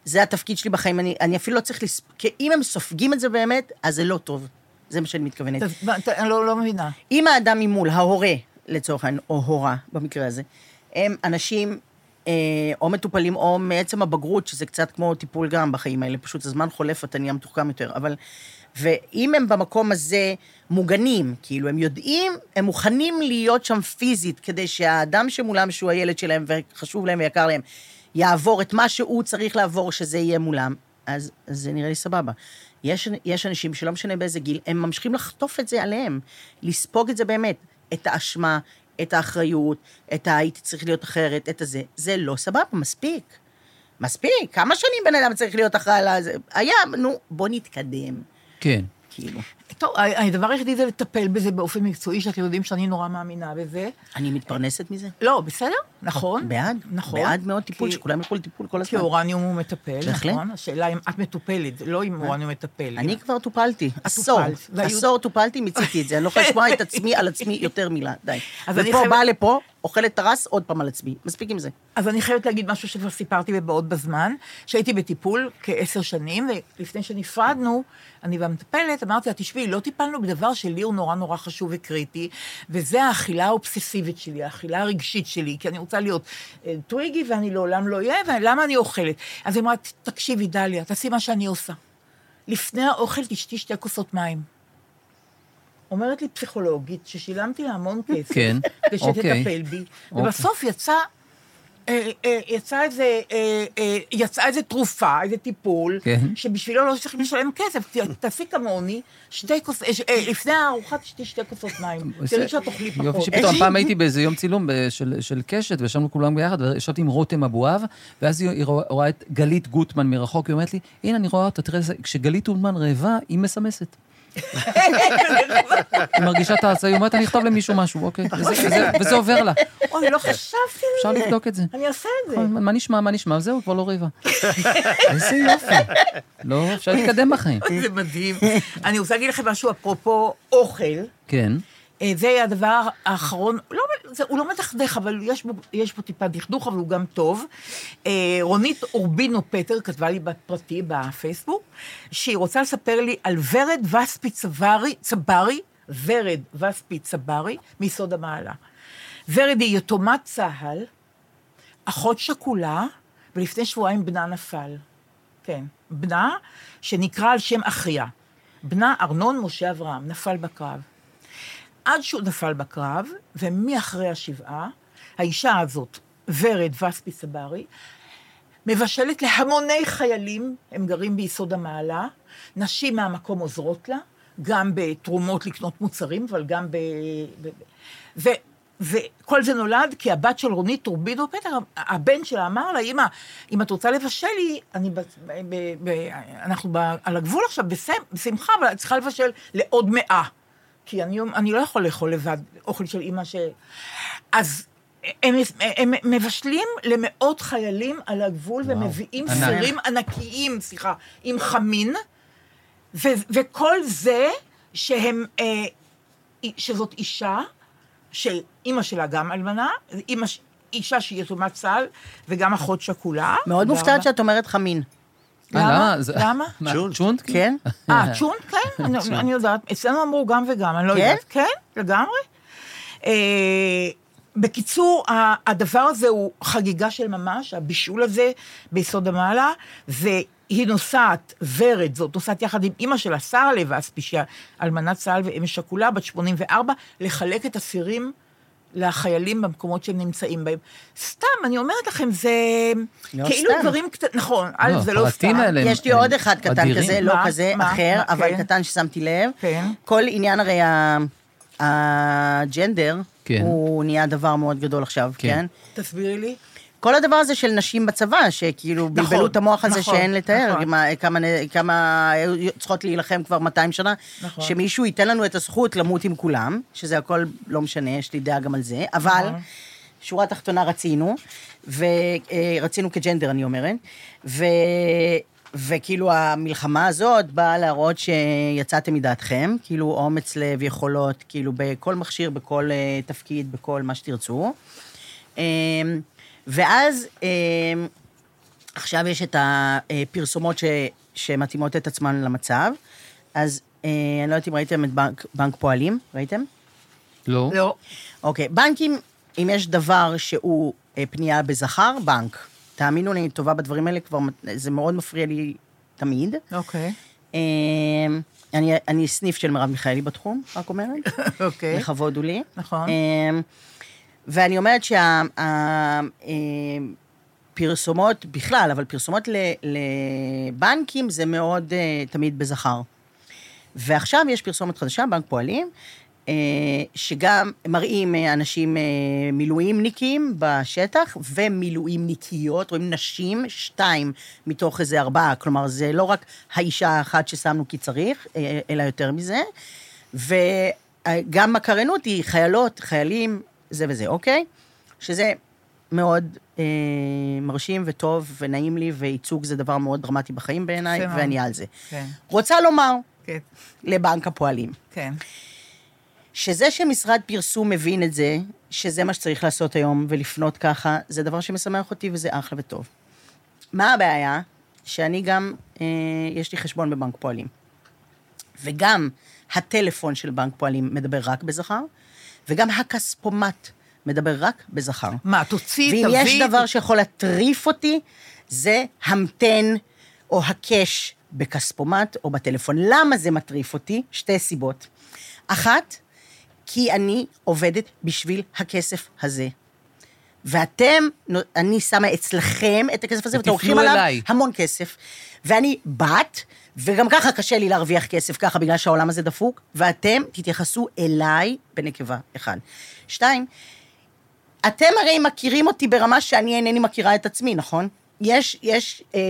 Speaker 5: זה התפקיד שלי בחיים, אני, אני אפילו לא צריך לס... כי אם הם סופגים את זה באמת, אז זה לא טוב. זה מה שאני מתכוונת.
Speaker 2: ת- ת- אני לא לא מבינה.
Speaker 5: אם האדם ממול, ההורה, לצורך העניין, או הורה, במקרה הזה, הם אנשים אה, או מטופלים או מעצם הבגרות, שזה קצת כמו טיפול גם בחיים האלה, פשוט הזמן חולף ואתה נהיה מתוחכם יותר, אבל... ואם הם במקום הזה מוגנים, כאילו, הם יודעים, הם מוכנים להיות שם פיזית, כדי שהאדם שמולם, שהוא הילד שלהם וחשוב להם ויקר להם, יעבור את מה שהוא צריך לעבור, שזה יהיה מולם, אז, אז זה נראה לי סבבה. יש, יש אנשים שלא משנה באיזה גיל, הם ממשיכים לחטוף את זה עליהם, לספוג את זה באמת, את האשמה, את האחריות, את הייתי צריך להיות אחרת, את הזה. זה לא סבבה, מספיק. מספיק, כמה שנים בן אדם צריך להיות אחראי על זה? היה, נו, בוא נתקדם,
Speaker 3: כן.
Speaker 5: כאילו.
Speaker 2: טוב, ה- הדבר היחידי זה לטפל בזה באופן מקצועי, שאתם יודעים שאני נורא מאמינה בזה.
Speaker 5: אני מתפרנסת מזה?
Speaker 2: לא, בסדר, נכון.
Speaker 5: בעד,
Speaker 2: נכון.
Speaker 5: בעד מאוד טיפול,
Speaker 2: כי-
Speaker 5: שכולם ילכו לטיפול כל
Speaker 2: כי
Speaker 5: הזמן.
Speaker 2: אורניום הוא מטפל,
Speaker 5: בהחלט.
Speaker 2: נכון? השאלה אם את מטופלת, לא אם אורניום מטפל.
Speaker 5: אני כבר טופלתי, עשור.
Speaker 2: טופלת. והיו-
Speaker 5: עשור טופלתי, מיציתי את זה. אני לא יכולה לשמוע את עצמי על עצמי יותר מילה, די.
Speaker 2: אז אני
Speaker 5: ופה
Speaker 2: חייבת-
Speaker 5: באה לפה, אוכלת טרס, עוד פעם על עצמי. מספיק עם זה.
Speaker 2: אז אני חייבת להגיד משהו שכבר סיפרתי בבעוד בזמן, שהייתי בטיפול כעשר שנים, ולפני שנפרדנו, אני והמטפלת, אמרתי לה, תשמעי, לא טיפלנו בדבר שלי הוא נורא נורא חשוב וקריטי, וזה האכילה האובססיבית שלי, האכילה הרגשית שלי, כי אני רוצה להיות אה, טוויגי ואני לעולם לא אהיה, ולמה אני אוכלת? אז היא אמרה, תקשיבי, דליה, תעשי מה שאני עושה. לפני האוכל תשתי שתי כוסות מים. אומרת לי פסיכולוגית, ששילמתי לה המון כסף,
Speaker 3: כן,
Speaker 2: כדי שתטפל
Speaker 3: אוקיי.
Speaker 2: בי,
Speaker 3: אוקיי.
Speaker 2: ובסוף יצא אה, אה, יצא איזה, אה, אה, יצאה איזה תרופה, איזה טיפול,
Speaker 3: כן.
Speaker 2: שבשבילו לא צריכים לשלם כסף. ת- תעשי כמוני, שתי כוס, אה, ש- אה, לפני הארוחה תשתי שתי כוסות מים. תראי שאת אוכלי לא פחות.
Speaker 3: יופי שפתאום, פעם הייתי באיזה יום צילום ב- של- של קשת, וישבנו כולם ביחד, וישבתי עם רותם אבואב, ואז היא היא רואה רואה את גלית גוטמן מרחוק, היא אומרת לי, הנה, אני רואה אותה, תראה, איזה- כשגלית גוטמן רעבה, היא מסמסת.
Speaker 2: כן,
Speaker 3: היא מרגישה את ההצעה, היא אומרת, אני אכתוב למישהו משהו, אוקיי, וזה- וזה- וזה עובר לה.
Speaker 2: אוי, לא חשבתי
Speaker 3: אפשר
Speaker 2: על זה.
Speaker 3: לבדוק את זה.
Speaker 2: אני אעשה את זה.
Speaker 3: מה נשמע, מה נשמע, זהו, כבר לא רעבה. איזה יופי. לא, אפשר להתקדם בחיים.
Speaker 2: אוי, זה מדהים. אני רוצה להגיד לכם משהו אפרופו אוכל.
Speaker 3: כן,
Speaker 2: אה, זה הדבר האחרון, לא, זה, הוא לא מדכדך, אבל יש בו, יש בו טיפה דכדוך, אבל הוא גם טוב. אה, רונית אורבינו פטר כתבה לי בפרטי בפייסבוק, שהיא רוצה לספר לי על ורד וספי צברי, צברי, ורד וספי צברי, מיסוד המעלה. ורד היא יתומת צה"ל, אחות שכולה, ולפני שבועיים בנה נפל. כן, בנה שנקרא על שם אחיה. בנה ארנון משה אברהם, נפל בקרב. עד שהוא נפל בקרב, ומאחרי השבעה, האישה הזאת, ורד וספי סברי, מבשלת להמוני חיילים, הם גרים ביסוד המעלה, נשים מהמקום עוזרות לה, גם בתרומות לקנות מוצרים, אבל גם ב... ב... ו... וכל זה נולד כי הבת של רונית טורבידו פטר, הבן שלה אמר לה, אמא, אם את רוצה לבשל לי, אני ב, ב, ב, אנחנו ב, על הגבול עכשיו, בשמ, בשמחה, אבל את צריכה לבשל לעוד מאה. כי אני, אני לא יכול לאכול לבד אוכל של אימא ש... אז הם, הם מבשלים למאות חיילים על הגבול וואו, ומביאים
Speaker 3: ענק.
Speaker 2: סירים ענקיים, סליחה, עם חמין, ו, וכל זה שהם, אה, שזאת אישה, שאימא שלה גם אלמנה, אימא, ש- אישה שהיא יתומת צה"ל וגם אחות שכולה.
Speaker 5: מאוד
Speaker 2: תודה
Speaker 5: מופתעת
Speaker 2: רבה.
Speaker 5: שאת אומרת חמין.
Speaker 3: אה,
Speaker 2: למה?
Speaker 3: למה? זה-
Speaker 2: למה?
Speaker 3: מה,
Speaker 4: צ'ונט.
Speaker 3: צ'ונט?
Speaker 5: כן?
Speaker 2: אה, צ'ונט, כן, אני- אני יודעת. אצלנו אמרו גם וגם, אני לא
Speaker 5: כן?
Speaker 2: יודעת. כן, לגמרי. אה, בקיצור, ה- הדבר הזה הוא חגיגה של ממש, הבישול הזה ביסוד המעלה, והיא נוסעת, ורד זאת, נוסעת יחד עם אימא שלה, שרה לב אספי, שהיא אלמנת צה"ל ואם שכולה, בת 84, לחלק את הסירים לחיילים במקומות שהם נמצאים בהם. סתם, אני אומרת לכם, זה
Speaker 5: לא
Speaker 2: כאילו
Speaker 5: סתם.
Speaker 2: דברים קטנים, נכון, א', זה לא
Speaker 3: הפרטים
Speaker 2: סתם.
Speaker 3: האלה הם-
Speaker 5: יש לי
Speaker 3: הם
Speaker 5: עוד אחד קטן
Speaker 3: אדירים.
Speaker 5: כזה, לא
Speaker 2: מה?
Speaker 5: כזה,
Speaker 2: מה?
Speaker 5: אחר,
Speaker 2: מה?
Speaker 5: אבל
Speaker 2: כן.
Speaker 5: קטן ששמתי לב.
Speaker 2: כן.
Speaker 5: כל עניין הרי ה- הג'נדר,
Speaker 3: כן.
Speaker 5: הוא נהיה דבר מאוד גדול עכשיו,
Speaker 3: כן.
Speaker 5: כן?
Speaker 2: תסבירי לי.
Speaker 5: כל הדבר הזה של נשים בצבא, שכאילו
Speaker 2: נכון,
Speaker 5: בלבלו את המוח הזה
Speaker 2: נכון,
Speaker 5: שאין לתאר,
Speaker 2: נכון.
Speaker 5: מה- כמה נ- כמה היו צריכות להילחם כבר 200 שנה,
Speaker 2: נכון.
Speaker 5: שמישהו ייתן לנו את הזכות למות עם כולם, שזה הכל לא משנה, יש לי דעה גם על זה, אבל שורה אה, תחתונה רצינו, ורצינו כג'נדר, אני אומרת, ו... וכאילו המלחמה הזאת באה להראות שיצאתם מדעתכם, כאילו אומץ לב, יכולות, כאילו בכל מכשיר, בכל אה, תפקיד, בכל מה שתרצו. אה, ואז אה, עכשיו יש את הפרסומות ש, שמתאימות את עצמן למצב. אז אה, אני לא יודעת אם ראיתם את בנק, בנק פועלים, ראיתם?
Speaker 3: לא.
Speaker 2: לא.
Speaker 5: אוקיי, בנקים, אם יש דבר שהוא אה, פנייה בזכר, בנק. תאמינו לי, אני טובה בדברים האלה, כבר, זה מאוד מפריע לי תמיד.
Speaker 2: אוקיי.
Speaker 5: אה, אני, אני סניף של מרב מיכאלי בתחום, רק אומרת.
Speaker 2: אוקיי.
Speaker 5: לכבוד הוא לי.
Speaker 2: נכון.
Speaker 5: אמ, ואני אומרת שהפרסומות בכלל, אבל פרסומות ל- לבנקים זה מאוד אה, תמיד בזכר. ועכשיו יש פרסומת חדשה, בנק פועלים, אה, שגם מראים אה, אנשים אה, מילואימניקים בשטח ומילואימניקיות, רואים נשים, שתיים מתוך איזה ארבעה. כלומר, זה לא רק האישה האחת ששמנו כי צריך, אה, אלא יותר מזה. וגם הקרנות היא חיילות, חיילים, זה וזה, אוקיי? שזה מאוד אה, מרשים וטוב ונעים לי, וייצוג זה דבר מאוד דרמטי בחיים בעיניי,
Speaker 2: יפה מאוד.
Speaker 5: ואני על זה.
Speaker 2: כן,
Speaker 5: רוצה לומר
Speaker 2: כן,
Speaker 5: לבנק הפועלים,
Speaker 2: כן.
Speaker 5: שזה שמשרד פרסום מבין את זה, שזה מה שצריך לעשות היום ולפנות ככה, זה דבר שמשמח אותי וזה אחלה וטוב. מה הבעיה? שאני גם, אה, יש לי חשבון בבנק פועלים. וגם הטלפון של בנק פועלים מדבר רק בזכר, וגם הכספומט מדבר רק בזכר.
Speaker 2: מה, תוציא, תביא.
Speaker 5: ואם יש דבר שיכול להטריף אותי, זה המתן או הקש בכספומט או בטלפון. למה זה מטריף אותי? שתי סיבות. אחת, כי אני עובדת בשביל הכסף הזה. ואתם, נו, אני שמה אצלכם את הכסף הזה, ואתם
Speaker 3: ותפנו
Speaker 5: לוקחים עליו
Speaker 3: אליי.
Speaker 5: המון כסף. ואני בת, וגם ככה קשה לי להרוויח כסף ככה, בגלל שהעולם הזה דפוק, ואתם תתייחסו אליי בנקבה, אחד. שתיים, אתם הרי מכירים אותי ברמה שאני אינני מכירה את עצמי, נכון? יש, יש אה,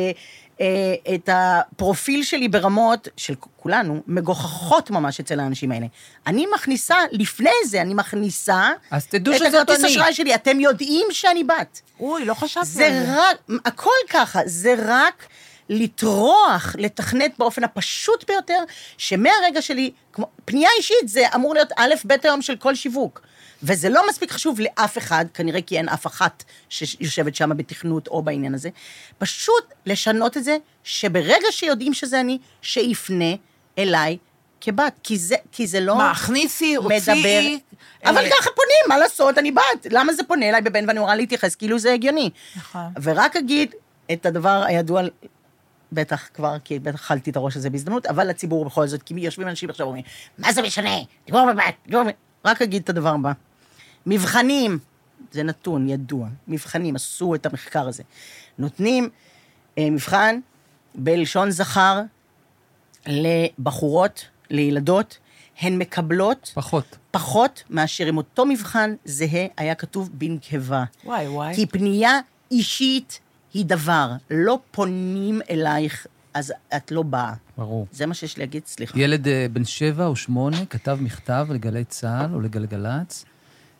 Speaker 5: אה, את הפרופיל שלי ברמות של כולנו, מגוחכות ממש אצל האנשים האלה. אני מכניסה, לפני זה אני מכניסה
Speaker 3: אז תדעו
Speaker 5: את
Speaker 3: שזאת
Speaker 5: הכרטיס
Speaker 3: אני.
Speaker 5: אשראי שלי. אתם יודעים שאני בת.
Speaker 2: אוי, לא חשבתי על
Speaker 5: זה רק, הכל ככה, זה רק לטרוח, לתכנת באופן הפשוט ביותר, שמהרגע שלי, כמו, פנייה אישית זה אמור להיות א' ב' היום של כל שיווק. וזה לא מספיק חשוב לאף אחד, כנראה כי אין אף אחת שיושבת שם בתכנות או בעניין הזה. פשוט לשנות את זה, שברגע שיודעים שזה אני, שיפנה אליי כבת, כי זה, כי זה לא...
Speaker 2: מה, הכניסי,
Speaker 5: מדבר.
Speaker 2: הוציאי.
Speaker 5: אבל
Speaker 2: אה,
Speaker 5: ככה פונים, מה לעשות, אני בת. למה זה פונה אליי בבן ואני אמורה להתייחס כאילו זה הגיוני?
Speaker 2: נכון.
Speaker 5: ורק אגיד את הדבר הידוע, בטח כבר, כי בטח אכלתי את הראש הזה בהזדמנות, אבל לציבור בכל זאת, כי יושבים אנשים עכשיו ואומרים, מה זה משנה? תגמור בבת, תגמור בבת. רק אגיד את הדבר הבא. מבחנים, זה נתון ידוע, מבחנים, עשו את המחקר הזה. נותנים אה, מבחן בלשון זכר לבחורות, לילדות, הן מקבלות
Speaker 3: פחות.
Speaker 5: פחות מאשר אם אותו מבחן זהה היה כתוב בנקבה.
Speaker 2: וואי, וואי.
Speaker 5: כי פנייה אישית היא דבר, לא פונים אלייך, אז את לא באה.
Speaker 3: ברור.
Speaker 5: זה מה שיש להגיד, סליחה.
Speaker 3: ילד אה, בן שבע או שמונה כתב מכתב לגלי צה"ל או לגלגלצ,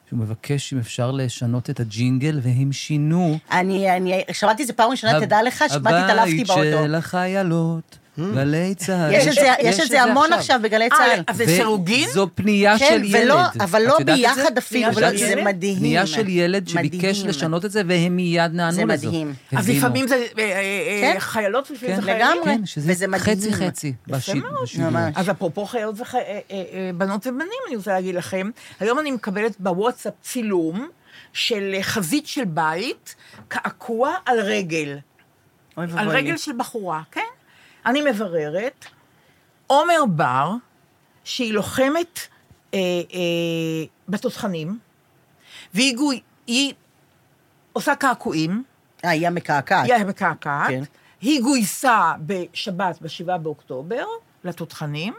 Speaker 3: שהוא מבקש אם אפשר לשנות את הג'ינגל, והם שינו.
Speaker 5: אני, אני שמעתי את זה פעם ראשונה, תדע לך, שמעתי, התעלפתי
Speaker 3: הבית
Speaker 5: באוטו.
Speaker 3: של החיילות, גלי צה"ל.
Speaker 5: יש את זה- יש את זה המון עכשיו בגלי צה"ל.
Speaker 2: אה, אז זה סירוגין?
Speaker 3: זו פנייה
Speaker 5: כן,
Speaker 3: של ילד.
Speaker 5: ולא- אבל
Speaker 3: את
Speaker 5: לא
Speaker 3: יודעת את זה?
Speaker 5: ביחד אפילו, לא,
Speaker 3: את
Speaker 2: אבל
Speaker 3: יודעת
Speaker 2: זה
Speaker 3: את זה?
Speaker 5: מדהים.
Speaker 3: פנייה של ילד שביקש
Speaker 5: מדהים.
Speaker 3: לשנות את זה, והם מיד נענו
Speaker 5: זה
Speaker 3: לזה.
Speaker 5: מדהים.
Speaker 2: אז
Speaker 3: הבינו.
Speaker 2: לפעמים זה אה, אה, אה,
Speaker 5: כן.
Speaker 2: חיילות ולפעמים
Speaker 3: כן,
Speaker 2: זה חיילים.
Speaker 5: לגמרי.
Speaker 3: כן, שזה
Speaker 5: וזה מדהים.
Speaker 3: חצי חצי. בשיד- בשידור.
Speaker 5: ממש.
Speaker 2: אז אפרופו חיילות אה, ובנות ובנים, אני רוצה להגיד לכם, היום אני מקבלת בוואטסאפ צילום של אה, חזית של בית, קעקוע על רגל.
Speaker 5: אוי
Speaker 2: על
Speaker 5: ואבוי לי.
Speaker 2: רגל של בחורה, כן? אני מבררת, עומר בר, שהיא לוחמת אה, אה, בתותחנים, והיא גו- היא עושה קעקועים,
Speaker 5: אה, היא המקעקעת.
Speaker 2: היא מקעקעת,
Speaker 5: כן.
Speaker 2: היא גויסה בשבת, ב-7 באוקטובר, לתותחנים,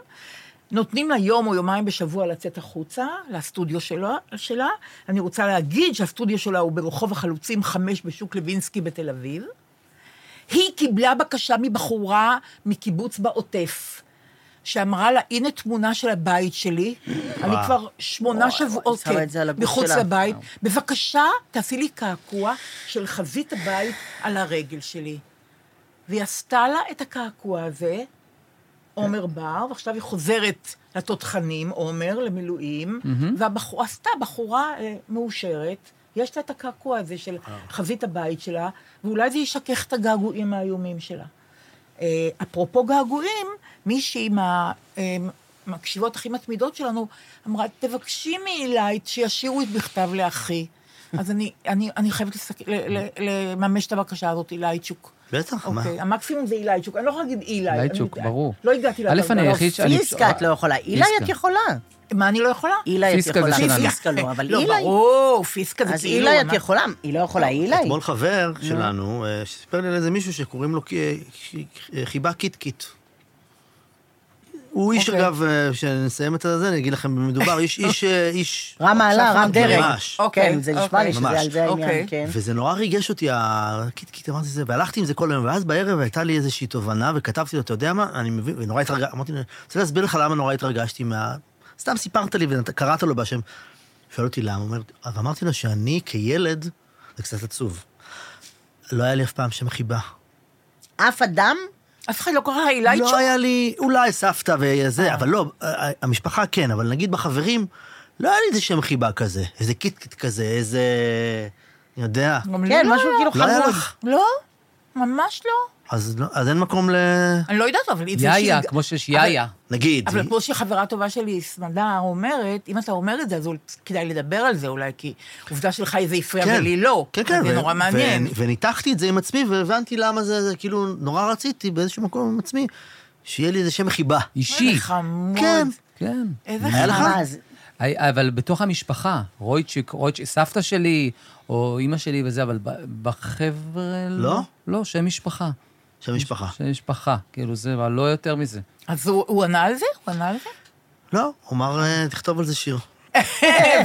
Speaker 2: נותנים לה יום או יומיים בשבוע לצאת החוצה, לסטודיו שלה, שלה. אני רוצה להגיד שהסטודיו שלה הוא ברחוב החלוצים 5 בשוק לוינסקי בתל אביב. היא קיבלה בקשה מבחורה מקיבוץ בעוטף, שאמרה לה, הנה תמונה של הבית שלי, אני כבר שמונה
Speaker 5: וואי,
Speaker 2: שבועות כן,
Speaker 5: וואי, שמה את זה על הגוף
Speaker 2: מחוץ
Speaker 5: שלה.
Speaker 2: לבית, בבקשה, תעשי לי קעקוע של חבית הבית על הרגל שלי. והיא עשתה לה את הקעקוע הזה, עומר בר, ועכשיו היא חוזרת לתותחנים, עומר, למילואים, והבחורה, עשתה בחורה אה, מאושרת, יש לה את הקעקוע הזה של חזית הבית שלה, ואולי זה ישכך את הגעגועים האיומים שלה. אה, אפרופו געגועים, מישהי מה- אה, מהקשיבות הכי מתמידות שלנו אמרה, תבקשי מאילי שישאירו את בכתב לאחי. אז אני, אני, אני חייבת לסק... ל, ל, לממש את הבקשה הזאת, אילייצ'וק.
Speaker 4: בטח, מה?
Speaker 2: אוקיי, המקסימום זה אילייצ'וק, אני לא יכולה להגיד אילי. אני-
Speaker 3: אילייצ'וק, ברור.
Speaker 2: לא הגעתי
Speaker 3: א',
Speaker 2: לדרגה.
Speaker 3: אני היחיד ש- אני-
Speaker 5: פיסקה את לא יכולה. אילה
Speaker 3: פיסקה.
Speaker 5: את יכולה.
Speaker 2: מה, אני לא יכולה?
Speaker 5: אילה את
Speaker 3: פיסקה זה
Speaker 5: יכולה.
Speaker 3: שלנו.
Speaker 5: פיסקה לא, אבל
Speaker 2: לא,
Speaker 5: אילה...
Speaker 2: ברור, פיסקה זה
Speaker 5: אז
Speaker 2: כאילו...
Speaker 5: אילה את
Speaker 2: אנחנו-
Speaker 5: יכולה. היא לא יכולה, אילה היא.
Speaker 4: אתמול חבר שלנו, אה, שסיפר לי על איזה מישהו שקוראים לו קי- קי- אה, חיבה קיטקיט. הוא איש,
Speaker 2: אוקיי.
Speaker 4: אגב, אה, כשנסיים את הזה, אני אגיד לכם במדובר, איש, איש, אה, איש...
Speaker 5: רם מעלה, רם דרג.
Speaker 4: ממש.
Speaker 2: אוקיי,
Speaker 5: כן, זה נשמע
Speaker 2: אוקיי.
Speaker 5: לי שזה
Speaker 4: ממש.
Speaker 5: על זה העניין,
Speaker 2: אוקיי.
Speaker 5: כן.
Speaker 4: וזה נורא ריגש אותי, הקיטקיט, אמרתי זה, והלכתי עם זה כל היום, ואז בערב הייתה לי איזושהי תובנה, וכתבתי לו, אתה יודע מה, אני מבין, ונורא התרגשתי, אמרתי לו, אני רוצה להסביר לך למה נורא התרגשתי מה... סתם סיפרת לי וקראת לו בשם. שואל אותי למה, הוא אומר, אז אמרתי לו שאני כילד, זה קצת עצוב. לא היה לי אף פעם שם חיבה.
Speaker 5: אף אדם?
Speaker 2: אף אחד לא קרא אילייצ'וק.
Speaker 4: לא היה לי, אולי סבתא וזה, אבל לא, ה- ה- המשפחה כן, אבל נגיד בחברים, לא היה לי איזה שם חיבה כזה, איזה קיטקיט כזה, איזה... אני יודע.
Speaker 2: גם לי
Speaker 5: כן,
Speaker 2: לא
Speaker 5: משהו
Speaker 2: היה.
Speaker 5: כאילו
Speaker 4: לא היה
Speaker 5: חמוד.
Speaker 4: לך.
Speaker 2: לא, ממש לא.
Speaker 4: אז לא- אז אין מקום ל...
Speaker 2: אני לא יודעת, אבל... אם זה
Speaker 3: יאיה,
Speaker 2: שהיא-
Speaker 3: כמו שיש יאיה.
Speaker 4: נגיד.
Speaker 2: אבל פה שחברה טובה שלי, סמדר, אומרת, אם אתה אומר את זה, אז אולי כדאי לדבר על זה אולי, כי עובדה שלך זה הפריע ולי לא.
Speaker 4: כן, כן.
Speaker 2: אז זה
Speaker 4: ו-
Speaker 2: נורא מעניין.
Speaker 4: ו- וניתחתי את זה עם עצמי, והבנתי למה זה, זה כאילו, נורא רציתי באיזשהו מקום עם עצמי, שיהיה לי איזה שם חיבה.
Speaker 3: אישי.
Speaker 2: איזה
Speaker 5: נכון.
Speaker 2: חמוד.
Speaker 4: כן.
Speaker 3: כן.
Speaker 2: איזה
Speaker 4: היה לך?
Speaker 2: חמוד.
Speaker 5: אז
Speaker 3: הי- אבל בתוך המשפחה, רויצ'יק, רויצ'יק, סבתא שלי, או אימא שלי וזה, אבל ב- בחבר'ה...
Speaker 4: לא?
Speaker 3: לא, שם משפחה.
Speaker 4: שם משפחה.
Speaker 3: שם משפחה, כאילו זה, אבל לא יותר מזה.
Speaker 2: אז הוא הוא ענה על זה? הוא ענה על זה?
Speaker 4: לא, הוא אמר, אה, תכתוב על זה שיר.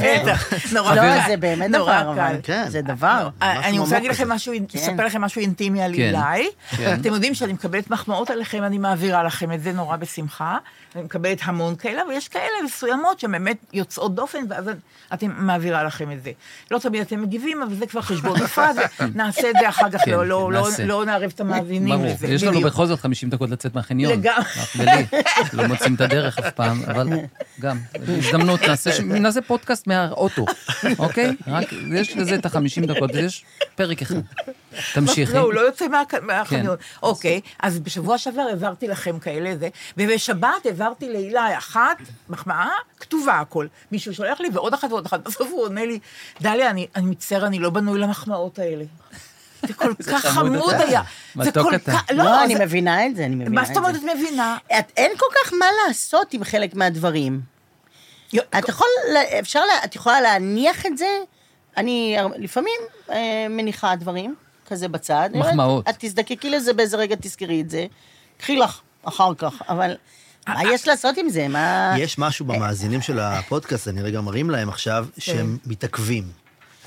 Speaker 2: בטח. נורא
Speaker 5: לא,
Speaker 2: קל.
Speaker 5: זה באמת
Speaker 2: נורא
Speaker 5: דבר, אבל.
Speaker 2: קל. אה,
Speaker 4: כן.
Speaker 5: זה דבר.
Speaker 4: משהו
Speaker 2: אני
Speaker 4: עמוק
Speaker 2: רוצה להגיד
Speaker 4: כזה.
Speaker 2: לכם משהו, לספר לכם משהו אינטימי על
Speaker 3: כן.
Speaker 2: אילי.
Speaker 3: כן.
Speaker 2: אתם יודעים שאני מקבלת מחמאות עליכם, אני מעבירה לכם את זה נורא בשמחה. אני מקבלת המון כאלה, ויש כאלה מסוימות שהן באמת יוצאות דופן, ואז אתם מעבירה לכם את זה. לא תמיד אתם מגיבים, אבל זה כבר חשבון נפרד, נעשה את זה אחר כך,
Speaker 3: כן,
Speaker 2: לא- לא- לא-
Speaker 3: נעשה.
Speaker 2: לא נערב את המאזינים
Speaker 3: ברור.
Speaker 2: לזה.
Speaker 3: יש לנו
Speaker 2: בדיוק.
Speaker 3: בכל זאת 50 דקות לצאת מהחניון.
Speaker 2: לגמרי.
Speaker 3: רק ולי, לא מוצאים את הדרך אף פעם, אבל גם, הזדמנות, נעשה ש- נעשה פודקאסט מהאוטו, אוקיי? רק, יש לזה את ה-50 דקות, יש פרק אחד. תמשיכי. כן.
Speaker 2: לא, הוא לא יוצא מה- מהחניון. אוקיי, אז בשבוע שעבר העברתי לכם כאלה זה, ובשבת העברתי להילה אחת, מחמאה, כתובה הכל. מישהו שולח לי, ועוד אחת ועוד אחת. בסוף הוא עונה לי, דליה, אני אני מצטער, אני לא בנוי למחמאות האלה. זה כל כך
Speaker 3: חמוד
Speaker 2: חמוד
Speaker 3: אתה.
Speaker 2: היה. זה
Speaker 3: מתוק
Speaker 2: כל
Speaker 3: אתה.
Speaker 2: כך...
Speaker 5: לא, אני
Speaker 2: זה-
Speaker 5: מבינה את זה, אני מבינה
Speaker 2: מה
Speaker 5: את זה.
Speaker 2: זאת אומרת את מבינה?
Speaker 5: את- אין כל כך מה לעשות עם חלק מהדברים. את יכול, ל- אפשר, לה- את יכולה להניח את זה? אני הר- לפעמים אה, מניחה דברים, כזה בצד. אני אומרת,
Speaker 3: מחמאות.
Speaker 5: את תזדקקי לזה באיזה רגע, תזכרי את זה. קחי לך אחר כך, אבל מה יש לעשות עם זה?
Speaker 2: אה.
Speaker 5: מה...
Speaker 4: יש משהו במאזינים של הפודקאסט, אני רגע מרים להם עכשיו,
Speaker 2: כן.
Speaker 4: שהם מתעכבים.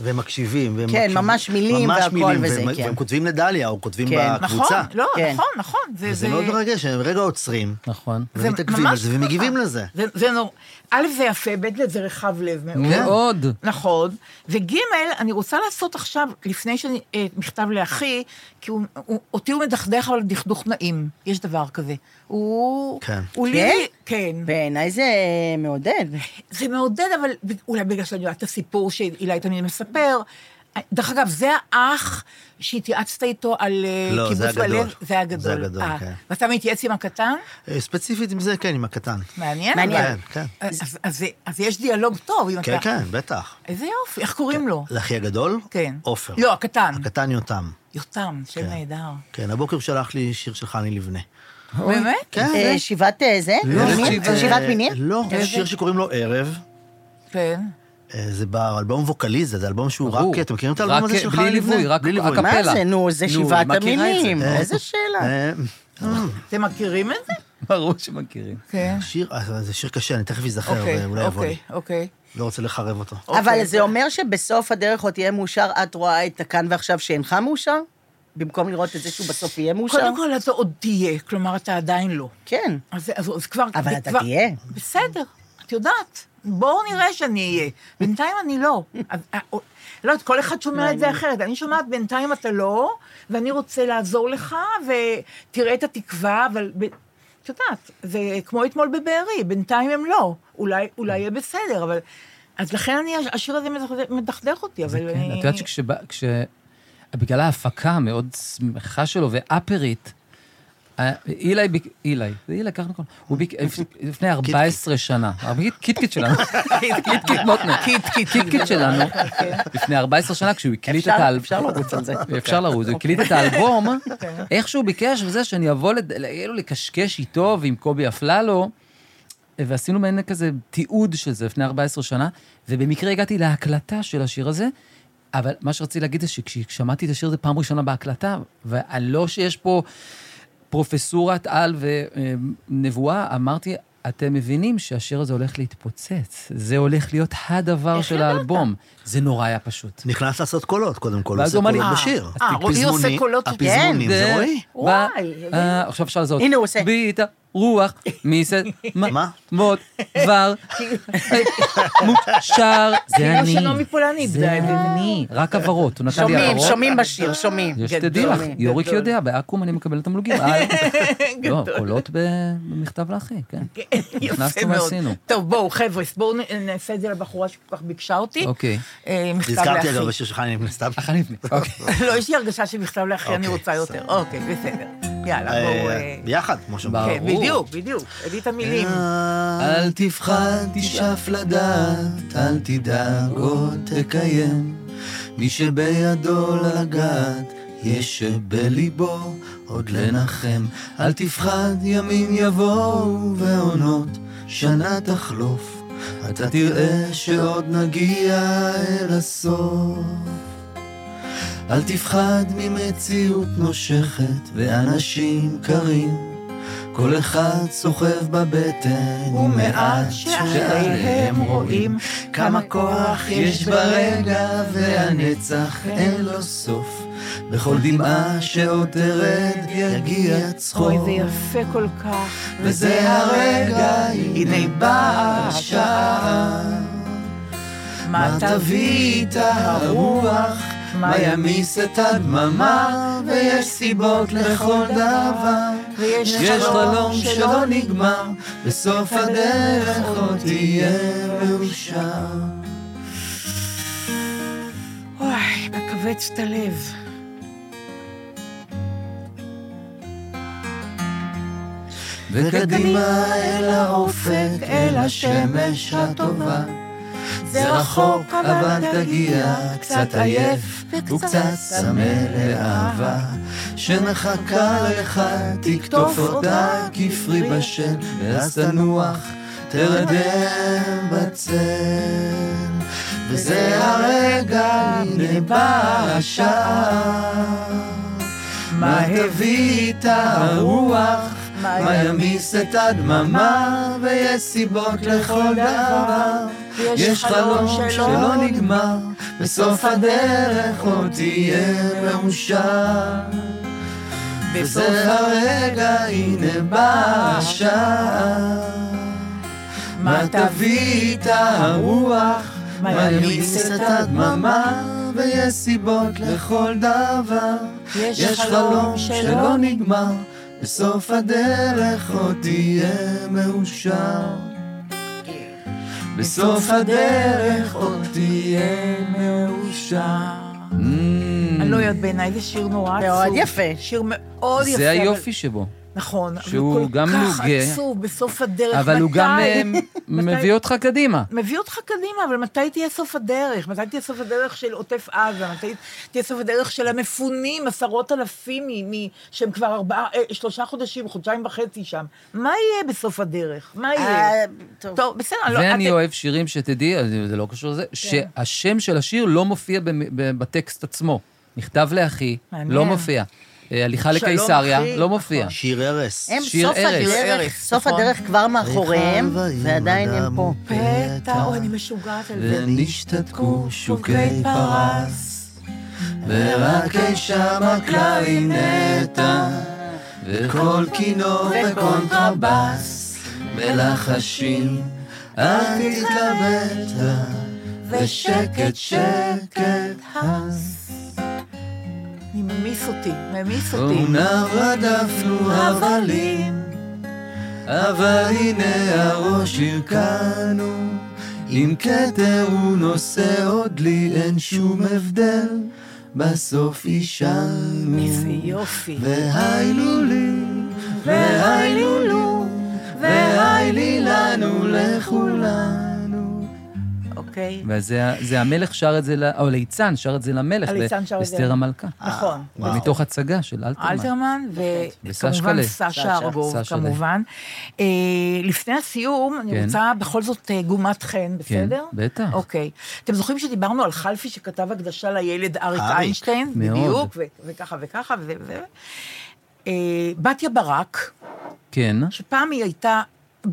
Speaker 4: והם מקשיבים, והם
Speaker 5: כן,
Speaker 4: מקשיבים.
Speaker 5: ממש מילים
Speaker 4: ממש
Speaker 5: והכל
Speaker 4: מילים,
Speaker 5: וזה,
Speaker 4: והם-
Speaker 5: כן.
Speaker 4: והם כותבים לדליה, או כותבים
Speaker 5: כן.
Speaker 2: נכון,
Speaker 4: בקבוצה.
Speaker 2: לא,
Speaker 5: כן. לא
Speaker 2: נכון, נכון. זה-
Speaker 4: וזה
Speaker 2: זה-
Speaker 4: מאוד מרגש, הם רגע עוצרים,
Speaker 3: נכון.
Speaker 2: זה
Speaker 4: ומתעכבים
Speaker 2: ממש
Speaker 4: על זה,
Speaker 2: ככה.
Speaker 4: ומגיבים לזה.
Speaker 2: זה- זה נורא. א', זה יפה, ב', זה רחב לב
Speaker 3: כן?
Speaker 2: מאוד.
Speaker 3: מאוד.
Speaker 2: נכון. וג', אני רוצה לעשות עכשיו, לפני שאני... אה, מכתב לאחי, כי הוא, הוא, אותי הוא מדכדך, אבל דכדוך נעים. יש דבר כזה. הוא...
Speaker 4: כן.
Speaker 2: הוא לי... כן.
Speaker 5: בעיניי זה מעודד.
Speaker 2: זה מעודד, אבל ב- אולי בגלל שאני יודעת את הסיפור שאילי תמיד מספר. דרך אגב, זה האח שהתייעצת איתו על אה,
Speaker 4: לא,
Speaker 2: קיבוץ
Speaker 4: זה הגדול.
Speaker 2: בלב. זה הגדול.
Speaker 4: זה הגדול,
Speaker 2: אה,
Speaker 4: כן.
Speaker 2: ואתה מתייעץ עם הקטן?
Speaker 4: אה, ספציפית עם זה, כן, עם הקטן.
Speaker 2: מעניין.
Speaker 5: מעניין.
Speaker 2: אבל-
Speaker 4: כן, כן.
Speaker 2: אז, אז, אז, אז יש דיאלוג טוב, אם
Speaker 4: כן,
Speaker 2: אתה...
Speaker 4: כן, בטח.
Speaker 2: איזה יופי, איך קוראים לו?
Speaker 4: לאחי הגדול?
Speaker 2: כן.
Speaker 4: עופר.
Speaker 2: לא, הקטן.
Speaker 4: הקטן יותם.
Speaker 2: יותם, שם נהדר.
Speaker 4: כן, הבוקר הוא שלח לי שיר של חני לבנה.
Speaker 2: באמת?
Speaker 4: כן.
Speaker 5: אה, שיבת אה, זה?
Speaker 2: לא,
Speaker 5: מינים?
Speaker 4: אה,
Speaker 5: שיבת מינים?
Speaker 4: לא, זה שיר שקוראים לו ערב.
Speaker 2: כן.
Speaker 4: אה, זה באלבום ווקליזה, זה אלבום שהוא רק,
Speaker 3: ברור.
Speaker 4: אתם מכירים את האלבום
Speaker 3: רק
Speaker 4: הזה של
Speaker 3: בלי
Speaker 4: חני לבנה?
Speaker 3: ליווי, רק הקפלה.
Speaker 5: מה זה, נו, זה
Speaker 3: נו,
Speaker 5: שיבת
Speaker 3: היא מכירה את זה.
Speaker 5: המינים.
Speaker 4: אה,
Speaker 5: איזה שאלה.
Speaker 4: אה,
Speaker 2: אתם מכירים את זה?
Speaker 3: ברור שמכירים.
Speaker 2: כן.
Speaker 4: שיר, אה, זה שיר קשה, אני תכף אזכר,
Speaker 2: אוקיי,
Speaker 4: ואולי יבוא לי.
Speaker 2: אוקיי, אוקיי.
Speaker 4: לא רוצה לחרב אותו.
Speaker 5: אבל
Speaker 2: אוקיי.
Speaker 5: זה אומר שבסוף הדרך עוד תהיה מאושר, את רואה את הכאן ועכשיו שאינך מאושר? במקום לראות את זה שהוא בסוף יהיה מאושר?
Speaker 2: קודם כל, אתה עוד תהיה, כלומר, אתה עדיין לא.
Speaker 5: כן.
Speaker 2: אז, אז, אז כבר...
Speaker 5: אבל
Speaker 2: זה
Speaker 5: אתה
Speaker 2: כבר-
Speaker 5: תהיה.
Speaker 2: בסדר. את יודעת, בואו נראה שאני אהיה. בינתיים אני לא. אז, אה, אה, לא יודעת, כל אחד שומע את זה אחרת. אני שומעת, בינתיים אתה לא, ואני רוצה לעזור לך, ותראה את התקווה, אבל... ב- את יודעת, זה כמו אתמול בבארי, בינתיים הם לא. אולי, אולי יהיה בסדר, אבל... אז לכן אני, השיר הזה מדכדך- מדכדך אותי, אבל...
Speaker 3: כן,
Speaker 2: אני-
Speaker 3: את יודעת שכשבא, כש... בגלל ההפקה המאוד שמחה שלו ואפרית, אה, אילי, ביק- אילי, זה אילי, ככה נכון, הוא ביק... לפני 14 שנה, הקיט- קיטקיט שלנו, קיטקיט מוטנר, קיטקיט שלנו, לפני 14 שנה, כשהוא הקליט את
Speaker 5: אפשר-
Speaker 3: האלבום,
Speaker 5: אפשר לרוץ על זה.
Speaker 3: אוקיי. אפשר לרוץ, הוא הקליט את האלבום, איך שהוא ביקש וזה, שאני אבוא לד- כאילו לקשקש איתו ועם קובי אפללו, ועשינו מעין כזה תיעוד של זה לפני 14 שנה, ובמקרה הגעתי להקלטה של השיר הזה, אבל מה שרציתי להגיד זה שכששמעתי את השיר הזה פעם ראשונה בהקלטה, ולא שיש פה פרופסורת על ונבואה, אמרתי, אתם מבינים שהשיר הזה הולך להתפוצץ. זה הולך להיות הדבר של האלבום. זה נורא היה פשוט.
Speaker 4: נכנס לעשות קולות, קודם כל. הוא
Speaker 3: ואז
Speaker 4: עושה
Speaker 3: הוא אמר לי,
Speaker 4: קולות
Speaker 3: אה,
Speaker 4: בשיר.
Speaker 2: אה, רועי עושה
Speaker 4: הפזמוני-
Speaker 2: קולות,
Speaker 4: הפזמונים, זה רועי.
Speaker 2: וואי,
Speaker 3: ב-
Speaker 2: איזה-
Speaker 3: אה, עכשיו אפשר לזהות.
Speaker 5: הנה, הוא עושה.
Speaker 3: בעיטה, רוח, מיסד,
Speaker 4: מה?
Speaker 3: מות, בר, מושר. זה
Speaker 2: כאילו
Speaker 3: אני.
Speaker 2: שנעמי פולני איבדה
Speaker 3: זה
Speaker 2: את זה.
Speaker 3: אני. רק הברות, הוא נתן לי
Speaker 5: שומעים,
Speaker 3: הברות.
Speaker 5: שומעים בשיר, שומעים.
Speaker 3: יש,
Speaker 2: גדול,
Speaker 3: תדעי לך,
Speaker 2: גדול.
Speaker 3: יוריק יודע, בעכו"ם אני מקבל תמלוגים. אה, לא, קולות ב- במכתב לאחי, כן.
Speaker 2: יפה
Speaker 3: נכנסנו
Speaker 2: מאוד.
Speaker 3: ועשינו.
Speaker 2: טוב, בואו, חבר'ה, בואו נ- נעשה את זה לבחורה שכל כך ביקשה אותי.
Speaker 3: אוקיי.
Speaker 2: אה, מכתב
Speaker 4: נזכרתי
Speaker 2: לאחי.
Speaker 4: אגב בשיר שלך, אני סתם.
Speaker 3: אחרי לפני. אוקיי.
Speaker 2: לא, יש לי הרגשה שמכתב לאחי אני
Speaker 4: אוקיי,
Speaker 2: רוצה יותר. אוקיי, בסדר. יאללה, בואו... אה,
Speaker 4: אה, ביחד, כמו שאומרים.
Speaker 2: כן,
Speaker 3: ברור. אה,
Speaker 2: בדיוק, בדיוק. הביא את המילים.
Speaker 3: אל תפחד, תשאף לדעת, אל תדאג עוד תקיים. מי שבידו לגעת, יש שבליבו עוד לנחם. אל תפחד, ימים יבואו ועונות, שנה תחלוף. אתה תראה שעוד נגיע אל הסוף. אל תפחד ממציאות נושכת ואנשים קרים. כל אחד סוחב בבטן, ומעט שאחריהם רואים כמה כוח יש ברגע, והנצח אין לו סוף. בכל דמעה שעוד תרד יגיע
Speaker 2: אוי,
Speaker 3: צחוק,
Speaker 2: זה יפה כל כך.
Speaker 3: אה. וזה הרגע, הנה באה השעה. מה תביא איתה הרוח? מה ימיס את הדממה? ויש סיבות לכל דבר. יש חלום שלא נגמר, בסוף הדרך עוד תהיה מאושר.
Speaker 2: אוי, מכווץ את הלב.
Speaker 3: וקדימה אל האופק, אל השמש הטובה. זה רחוק, אבל תגיע, קצת עייף וקצת צמא לאהבה. שמחכה לך, תקטוף אותה כפרי בשל, ואז תנוח, תרדם בצל. וזה הרגע, הנה באה השעה. מה הביא איתה הרוח? מה ימיס את הדממה? ויש סיבות לכל דבר. יש חלום שלא נגמר, בסוף הדרך עוד תהיה מאושר. וזה הרגע, הנה באה השעה. מה תביא איתה הרוח? מה ימיס את הדממה? ויש סיבות לכל דבר. יש חלום שלא נגמר, בסוף הדרך עוד תהיה מאושר. בסוף הדרך עוד תהיה מאושר.
Speaker 2: אני לא יודעת בעיניי, זה שיר נורא עצוב.
Speaker 5: מאוד יפה.
Speaker 2: שיר מאוד יפה.
Speaker 3: זה
Speaker 2: אבל-
Speaker 3: היופי שבו,
Speaker 2: נכון. אבל
Speaker 3: שהוא
Speaker 2: הוא כל
Speaker 3: גם
Speaker 2: כך
Speaker 3: נוגה,
Speaker 2: עצוב, בסוף הדרך.
Speaker 3: אבל הוא גם
Speaker 2: מתי-
Speaker 3: אה,
Speaker 2: מתי-
Speaker 3: מביא אותך קדימה.
Speaker 2: מביא אותך קדימה, אבל מתי תהיה סוף הדרך? מתי תהיה סוף הדרך של עוטף עזה? מתי תהיה סוף הדרך של המפונים, עשרות אלפים, מ- מ- שהם כבר ארבעה, אה, שלושה חודשים, חודשיים וחצי שם? מה יהיה בסוף הדרך? מה יהיה?
Speaker 5: אה, טוב.
Speaker 2: טוב, בסדר, לא,
Speaker 3: ואני
Speaker 2: אתם- כן.
Speaker 3: אוהב שירים שתדעי, אז זה לא קשור לזה, שהשם של השיר לא מופיע במ- ב- בטקסט עצמו. נכתב לאחי,
Speaker 2: מעניין.
Speaker 3: לא מופיע. אה, הליכה
Speaker 2: שלום,
Speaker 3: לקיסריה,
Speaker 2: אחי,
Speaker 3: לא מופיע.
Speaker 4: שיר ארס.
Speaker 5: הם
Speaker 3: שיר
Speaker 5: סוף
Speaker 3: ארץ.
Speaker 5: הדרך,
Speaker 2: ארץ,
Speaker 5: סוף
Speaker 2: נכון.
Speaker 5: הדרך כבר מאחוריהם,
Speaker 4: ריחל ועם
Speaker 5: ועדיין הם
Speaker 4: אדם
Speaker 5: פה.
Speaker 2: פתע, אוי, אני משוגעת על זה.
Speaker 3: ונשתתקו
Speaker 2: שוקי פרס,
Speaker 3: ורק אי שם הקלרינטה, וכל כינור וקונטרבס, מלחשים אל תתלבט לה, ושקט שקט
Speaker 2: אני ממיס אותי, ממיס אותי.
Speaker 3: אומנם רדפנו הבלים, אבל הנה הראש הרכנו. עם כתר הוא נושא עוד לי, אין שום הבדל, בסוף
Speaker 2: איזה
Speaker 3: אישנו.
Speaker 2: יופי.
Speaker 3: והי לו לי, והי לו לו, והי לי לנו לכולנו.
Speaker 2: אוקיי.
Speaker 3: וזה המלך שר את זה, ל- או ליצן שר את זה למלך,
Speaker 2: הליצן שר את זה.
Speaker 3: לאסתר המלכה.
Speaker 2: נכון.
Speaker 4: וואו.
Speaker 3: ומתוך הצגה של אלתרמן.
Speaker 2: אלתרמן, וכמובן
Speaker 3: וסשקלה.
Speaker 2: סשה
Speaker 5: סשה.
Speaker 2: ארגוב,
Speaker 3: אוקיי. סשה
Speaker 2: כמובן. אה, לפני הסיום, אני
Speaker 3: כן.
Speaker 2: רוצה בכל זאת אה, גומת חן, בסדר?
Speaker 3: בטח.
Speaker 2: אוקיי. אתם זוכרים שדיברנו על חלפי שכתב הקדשה לילד אריק
Speaker 4: אריק,
Speaker 2: איינשטיין?
Speaker 3: מאוד.
Speaker 2: בדיוק, ו- וככה וככה, ו... ו- אה, בתיה ברק,
Speaker 3: כן,
Speaker 2: שפעם היא הייתה...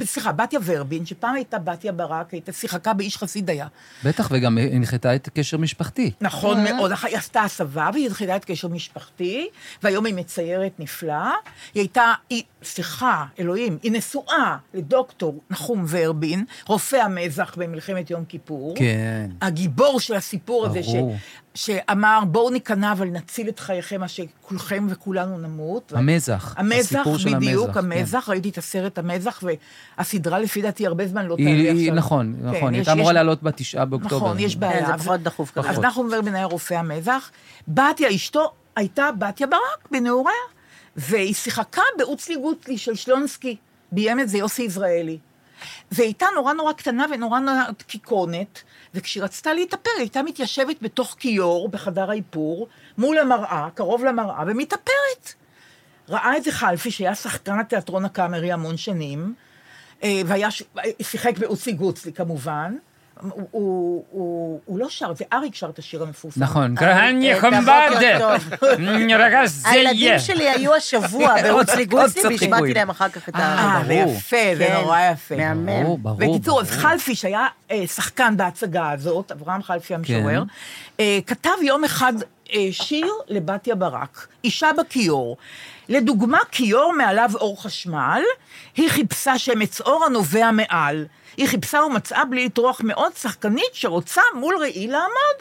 Speaker 2: סליחה, בתיה ורבין, שפעם הייתה בתיה ברק, הייתה שיחקה באיש חסידיה.
Speaker 3: בטח, וגם הנחתה את קשר משפחתי.
Speaker 2: נכון
Speaker 3: אה.
Speaker 2: מאוד, אח- היא עשתה הסבה והיא התחילה את קשר משפחתי, והיום היא מציירת נפלאה. היא הייתה, היא, סליחה, אלוהים, היא נשואה לדוקטור נחום ורבין, רופא המזח במלחמת יום כיפור.
Speaker 3: כן.
Speaker 2: הגיבור של הסיפור הזה, ש,
Speaker 3: ברור.
Speaker 2: שאמר, בואו ניכנע אבל נציל את חייכם, מה שכולכם וכולנו נמות.
Speaker 3: המזח.
Speaker 2: המזח,
Speaker 3: הסיפור של
Speaker 2: בדיוק,
Speaker 3: כן.
Speaker 2: המזח, ראיתי את הסרט המזח, והסדרה לפי דעתי הרבה זמן
Speaker 5: אוקיי,
Speaker 2: לא תעלה
Speaker 3: היא- היא-
Speaker 2: עכשיו.
Speaker 3: נכון,
Speaker 2: כן,
Speaker 3: נכון, היא
Speaker 2: יש-
Speaker 3: הייתה אמורה
Speaker 2: יש-
Speaker 3: לעלות בתשעה באוקטובר.
Speaker 2: נכון, יש בעיה.
Speaker 5: כן, זה פחות דחוף
Speaker 2: אז
Speaker 5: כרגע.
Speaker 2: נחום ורבין היה רופא המזח. בתיה, אשתו הייתה בתיה ברק בנעוריה, והיא שיחקה באוצלי גוצלי של שלונסקי, ביים את זה יוסי יזרעאלי. והיא הייתה נורא נורא קטנה ונורא נורא קיקיונת, וכשהיא רצתה להתאפר, היא הייתה מתיישבת בתוך כיור בחדר האיפור, מול המראה, קרוב למראה, ומתאפרת. ראה את זה חלפי, שהיה שחקן התיאטרון הקאמרי המון שנים, אה, והיה, ש- שיחק באוצי גוצלי כמובן. הוא, הוא, הוא, הוא לא שר, זה אריק שר את השיר המפורסם.
Speaker 3: נכון.
Speaker 5: אה,
Speaker 3: גרניה
Speaker 5: אה,
Speaker 3: חמבדה.
Speaker 5: בוקר
Speaker 3: רגז
Speaker 5: הילדים שלי היו השבוע באוצלי
Speaker 3: עוד- עוד
Speaker 5: גוצלי,
Speaker 3: קצת חיקוי.
Speaker 5: והשמעתי להם אחר כך את ה...
Speaker 2: אה, זה
Speaker 3: ברור.
Speaker 2: יפה, זה
Speaker 5: כן.
Speaker 2: נורא יפה.
Speaker 5: מהמם.
Speaker 3: ברור, ברור.
Speaker 2: בקיצור, אז
Speaker 3: ברור.
Speaker 2: חלפי, שהיה אה, שחקן בהצגה הזאת, אברהם חלפי
Speaker 3: כן.
Speaker 2: המשורר, אה, כתב יום אחד אה, שיר לבתיה ברק, אישה בכיור. לדוגמה, כיור מעליו אור חשמל, היא חיפשה שמץ אור הנובע מעל. היא חיפשה ומצאה בלי לטרוח מאוד שחקנית שרוצה מול ראי לעמוד,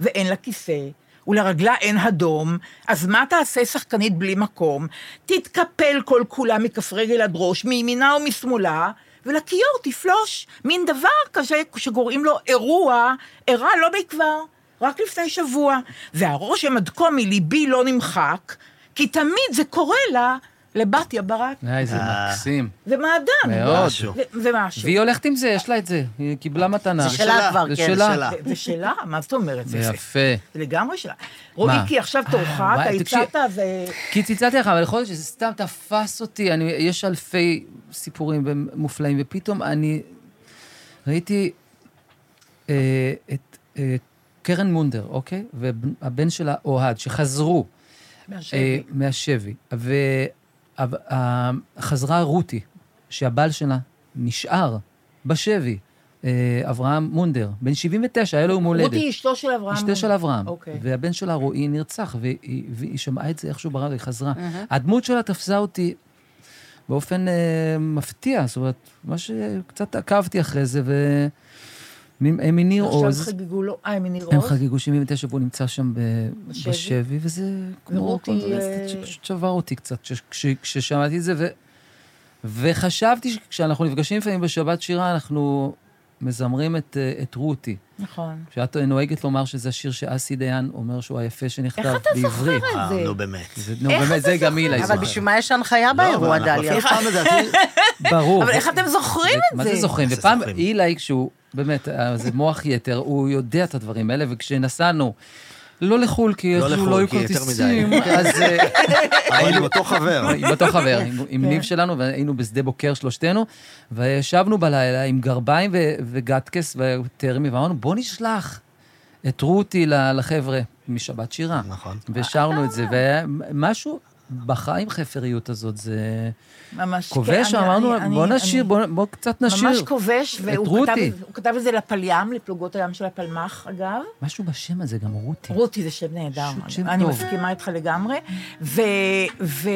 Speaker 2: ואין לה כיסא. ולרגלה אין הדום, אז מה תעשה שחקנית בלי מקום? תתקפל כל כולה מכף רגל עד ראש, מימינה ומשמאלה, ולכיור תפלוש. מין דבר כזה שקוראים לו אירוע, אירע לא מכבר, רק לפני שבוע. והרושם עד כה מליבי לא נמחק, כי תמיד זה קורה לה, לבתיה ברק.
Speaker 3: איזה
Speaker 5: אה.
Speaker 3: מקסים.
Speaker 2: זה מעדן.
Speaker 3: מאוד.
Speaker 4: משהו.
Speaker 2: זה- זה משהו.
Speaker 3: והיא הולכת עם זה, יש לה את זה. היא קיבלה מתנה.
Speaker 5: זה שלה כבר,
Speaker 3: זה
Speaker 5: כן,
Speaker 3: שלה.
Speaker 5: זה שלה.
Speaker 2: זה- זה שלה, מה זאת אומרת? זה- זה-
Speaker 3: יפה.
Speaker 2: זה לגמרי שלה. רועי, כי עכשיו תורך,
Speaker 3: אה,
Speaker 2: אתה
Speaker 3: וואי, תקשיב.
Speaker 2: הצעת, זה...
Speaker 3: כי צלצלתי לך, אבל יכול להיות שזה סתם תפס אותי. אני, יש אלפי סיפורים מופלאים, ופתאום אני ראיתי אה, את אה, קרן מונדר, אוקיי? והבן שלה, אוהד, שחזרו אה,
Speaker 2: מהשבי.
Speaker 3: מהשבי. וחזרה רותי, שהבעל שלה נשאר בשבי, אה, אברהם מונדר, בן 79, היה לו יום הולדת.
Speaker 2: רותי אשתו של אברהם.
Speaker 3: אשתו של אברהם.
Speaker 2: אוקיי.
Speaker 3: והבן שלה רועי נרצח, והיא, והיא שמעה את זה איכשהו ברדיו, היא חזרה. הדמות שלה תפסה אותי באופן אה, מפתיע, זאת אומרת, מה שקצת עקבתי אחרי זה, ו... מ- הם מניר
Speaker 2: עכשיו
Speaker 3: עוז,
Speaker 2: חגגו לו, אה, מניר
Speaker 3: הם
Speaker 2: עוז.
Speaker 3: חגגו 79 והוא נמצא שם ב-
Speaker 2: בשבי?
Speaker 3: בשבי, וזה כמו
Speaker 2: ורותי,
Speaker 3: קונטרסט
Speaker 2: אה,
Speaker 3: שפשוט שבר אותי קצת כש- כש- כששמעתי את זה, ו- וחשבתי שכשאנחנו נפגשים לפעמים בשבת שירה, אנחנו מזמרים את אה, את רותי.
Speaker 2: נכון.
Speaker 3: שאת נוהגת לומר שזה השיר שאסי דיין אומר שהוא היפה שנכתב
Speaker 2: איך אתה זוכר
Speaker 3: בעברית.
Speaker 2: את
Speaker 4: אה,
Speaker 2: זה?
Speaker 4: נו באמת.
Speaker 3: זה, נו,
Speaker 2: איך
Speaker 3: באמת,
Speaker 2: אתה
Speaker 3: זה גם היא
Speaker 5: אבל
Speaker 3: להיזוכר.
Speaker 5: בשביל מה יש הנחיה באירוע, דליה?
Speaker 3: ברור.
Speaker 2: אבל איך אתם זוכרים את זה?
Speaker 3: מה זה זוכרים?
Speaker 4: זה
Speaker 3: ופעם
Speaker 4: זוכרים.
Speaker 3: אילי, כשהוא, באמת, אה, זה מוח יתר, הוא יודע את הדברים האלה, וכשנסענו, לא לחו"ל, כי
Speaker 4: לא
Speaker 3: איכשהו
Speaker 4: לחו"ל,
Speaker 3: לא היו
Speaker 4: כי יותר
Speaker 3: כרטיסים,
Speaker 4: מדי. כן.
Speaker 3: אז... אה,
Speaker 4: אבל עם אותו חבר.
Speaker 3: עם אותו חבר, עם-
Speaker 2: כן.
Speaker 3: עם ניב שלנו, והיינו בשדה בוקר שלושתנו, וישבנו בלילה עם גרביים ו- וגטקס וטרמי, ואמרנו, בוא נשלח את רותי ל- לחבר'ה משבת שירה.
Speaker 4: נכון.
Speaker 2: אה.
Speaker 3: ושרנו את זה, ומשהו בכה עם חפריות הזאת, זה...
Speaker 2: ממש.
Speaker 3: כובש,
Speaker 2: כן, אני-
Speaker 3: אמרנו,
Speaker 2: אני-
Speaker 3: בוא
Speaker 2: אני-
Speaker 3: נשיר, בוא- בוא קצת נשיר.
Speaker 2: ממש כובש,
Speaker 3: את
Speaker 2: והוא כתב,
Speaker 3: רותי.
Speaker 2: הוא כתב את זה לפליים, לפלוגות הים של הפלמ"ח, אגב.
Speaker 3: משהו בשם הזה, גם רותי.
Speaker 2: רותי זה שם נהדר,
Speaker 3: פשוט שם
Speaker 2: אני
Speaker 3: טוב.
Speaker 2: מסכימה איתך לגמרי. ו, ו,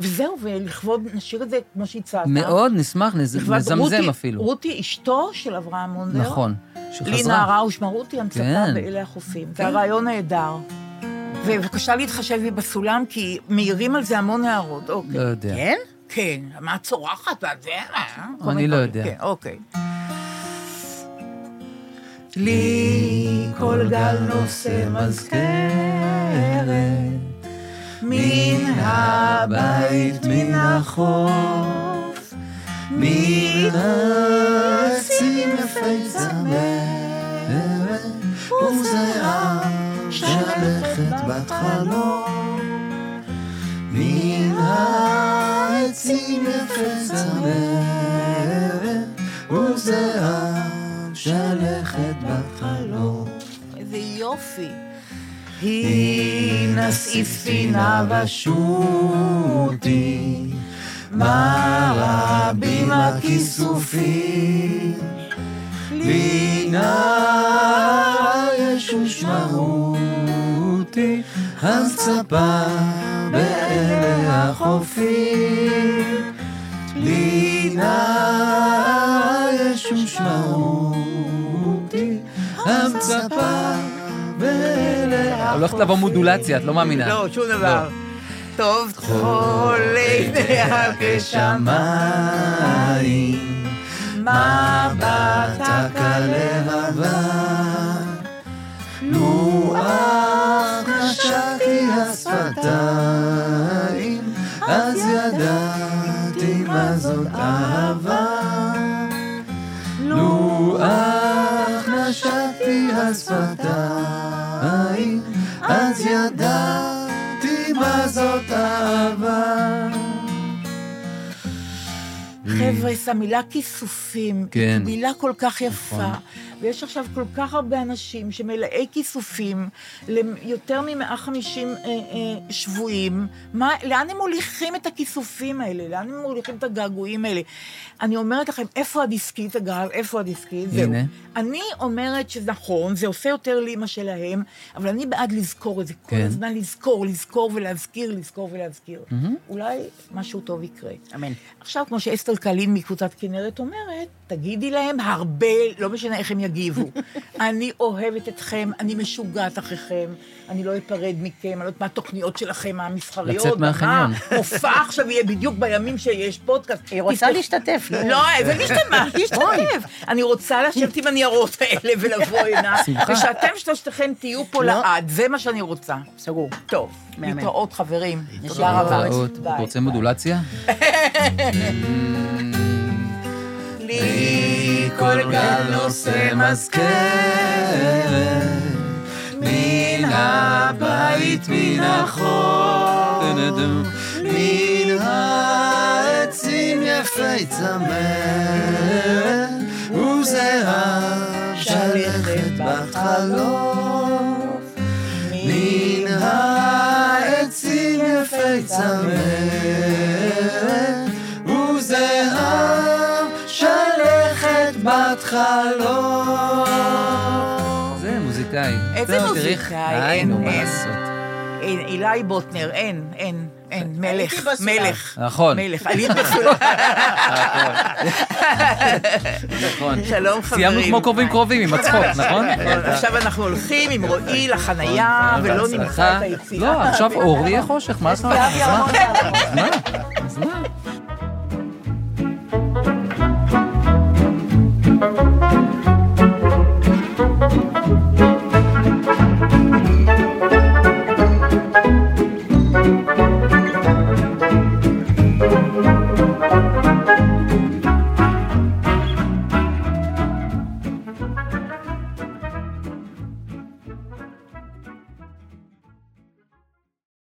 Speaker 2: וזהו, ולכבוד, נשאיר את זה כמו שהצעת.
Speaker 3: מאוד, נשמח, נז-
Speaker 2: לכבוד
Speaker 3: נזמזם
Speaker 2: רותי-
Speaker 3: אפילו.
Speaker 2: רותי אשתו של אברהם מונדר.
Speaker 3: נכון.
Speaker 2: לי
Speaker 3: שחזרה.
Speaker 2: נערה ושמה רותי, המצפה
Speaker 3: כן.
Speaker 2: באלה החופים.
Speaker 3: כן.
Speaker 2: זה הרעיון נהדר. ובבקשה להתחשב בי בסולם, כי מעירים על זה המון הערות.
Speaker 3: לא
Speaker 2: אוקיי.
Speaker 3: יודע.
Speaker 5: כן?
Speaker 2: כן, מה את צורחת? מה זה? מה? כל
Speaker 3: אני
Speaker 2: מיני
Speaker 3: לא
Speaker 2: דברים.
Speaker 3: יודע.
Speaker 2: כן, אוקיי. לי כל גל נושא מזכרת, מן הבית, מן החוף, מן העצים יפי צמרת,
Speaker 3: um
Speaker 2: וזרעה שלכת בת חלום. מן העצים יפי צמרת,
Speaker 3: um
Speaker 2: וזרעה שלכת בת חלום. איזה יופי. היא נשאי ספינה ושוטי, מה רבים הכיסופים, לי נא ישוש מהותי, אז צפה באלה החופים, לי נא ישוש מהותי, אז צפה באלה
Speaker 3: הולכת לבוא מודולציה, את לא מאמינה.
Speaker 2: לא, שום דבר. טוב, כל עיניה כשמיים, מבט הכלב לבן, לוח נשקתי השפתיים, אז ידעתי מה זאת אהבה. לוח נשקתי השפתיים, אז ידעתי מה זאת אהבה. חבר'ה, את המילה כיסופים,
Speaker 3: כן.
Speaker 2: היא מילה כל כך יפה, ויש עכשיו כל כך הרבה אנשים שמלאי כיסופים ליותר מ-150 אה, אה, שבויים. מה, לאן הם מוליכים את הכיסופים האלה? לאן הם מוליכים את הגעגועים האלה? אני אומרת לכם, איפה הדיסקית, הגל? איפה הדיסקית? זהו.
Speaker 3: הנה.
Speaker 2: אני אומרת שנכון, זה עושה יותר לאימא שלהם, אבל אני בעד לזכור את זה. כל
Speaker 3: כן.
Speaker 2: הזמן לזכור, לזכור ולהזכיר, לזכור ולהזכיר. אולי משהו טוב יקרה.
Speaker 5: אמן.
Speaker 2: עכשיו, כמו שאסתר קלין מקבוצת כנרת אומרת, תגידי להם הרבה, לא משנה איך הם יגיבו. אני אוהבת אתכם, אני משוגעת אחריכם, אני לא אפרד מכם, אני לא יודעת מה התוכניות שלכם, המסחריות.
Speaker 3: לצאת
Speaker 2: ומה
Speaker 3: מהחניון.
Speaker 2: הופעה עכשיו יהיה בדיוק בימים שיש פודקאסט.
Speaker 5: היא רוצה
Speaker 2: תפתחו-
Speaker 5: להשתתף. נו.
Speaker 2: לא, איזה משתמע, תשתתף. אני רוצה לשבת עם הניירות האלה ולבוא הנה,
Speaker 3: שמחה. לא.
Speaker 2: ושאתם שלושתכם תהיו פה לעד, זה מה שאני רוצה.
Speaker 5: סגור.
Speaker 2: טוב,
Speaker 5: מהמם.
Speaker 2: להתראות חברים. תודה רבה.
Speaker 3: להתראות. אתה רוצה מודולציה?
Speaker 2: לי כל גל נושא מזכרת, מן הבית, מן החור, מן העצים יפי צמרת, וזהה שלכת בחלוף, מן העצים יפי צמרת, וזהה שלכת לא. בת חלום.
Speaker 3: זה מוזיקאי.
Speaker 2: איזה
Speaker 3: טוב, תראי,
Speaker 2: מוזיקאי?
Speaker 3: היי,
Speaker 2: אין,
Speaker 3: נו, מה
Speaker 2: אין.
Speaker 3: לעשות.
Speaker 2: אין, אילי בוטנר, אין, אין, אין,
Speaker 5: הייתי
Speaker 2: מלך,
Speaker 5: בסולם.
Speaker 2: מלך.
Speaker 3: נכון.
Speaker 2: מלך, עלית בסולם.
Speaker 3: נכון.
Speaker 2: שלום חברים. כן.
Speaker 3: סיימנו כמו קרובים קרובים עם הצחוק, נכון?
Speaker 2: עכשיו אנחנו הולכים עם רועי לחנייה, ולא נמצא
Speaker 3: בהצלחה.
Speaker 2: את היציאה.
Speaker 3: לא, עכשיו אור יהיה חושך, מה זאת אומרת? אז מה? אז מה? אז מה?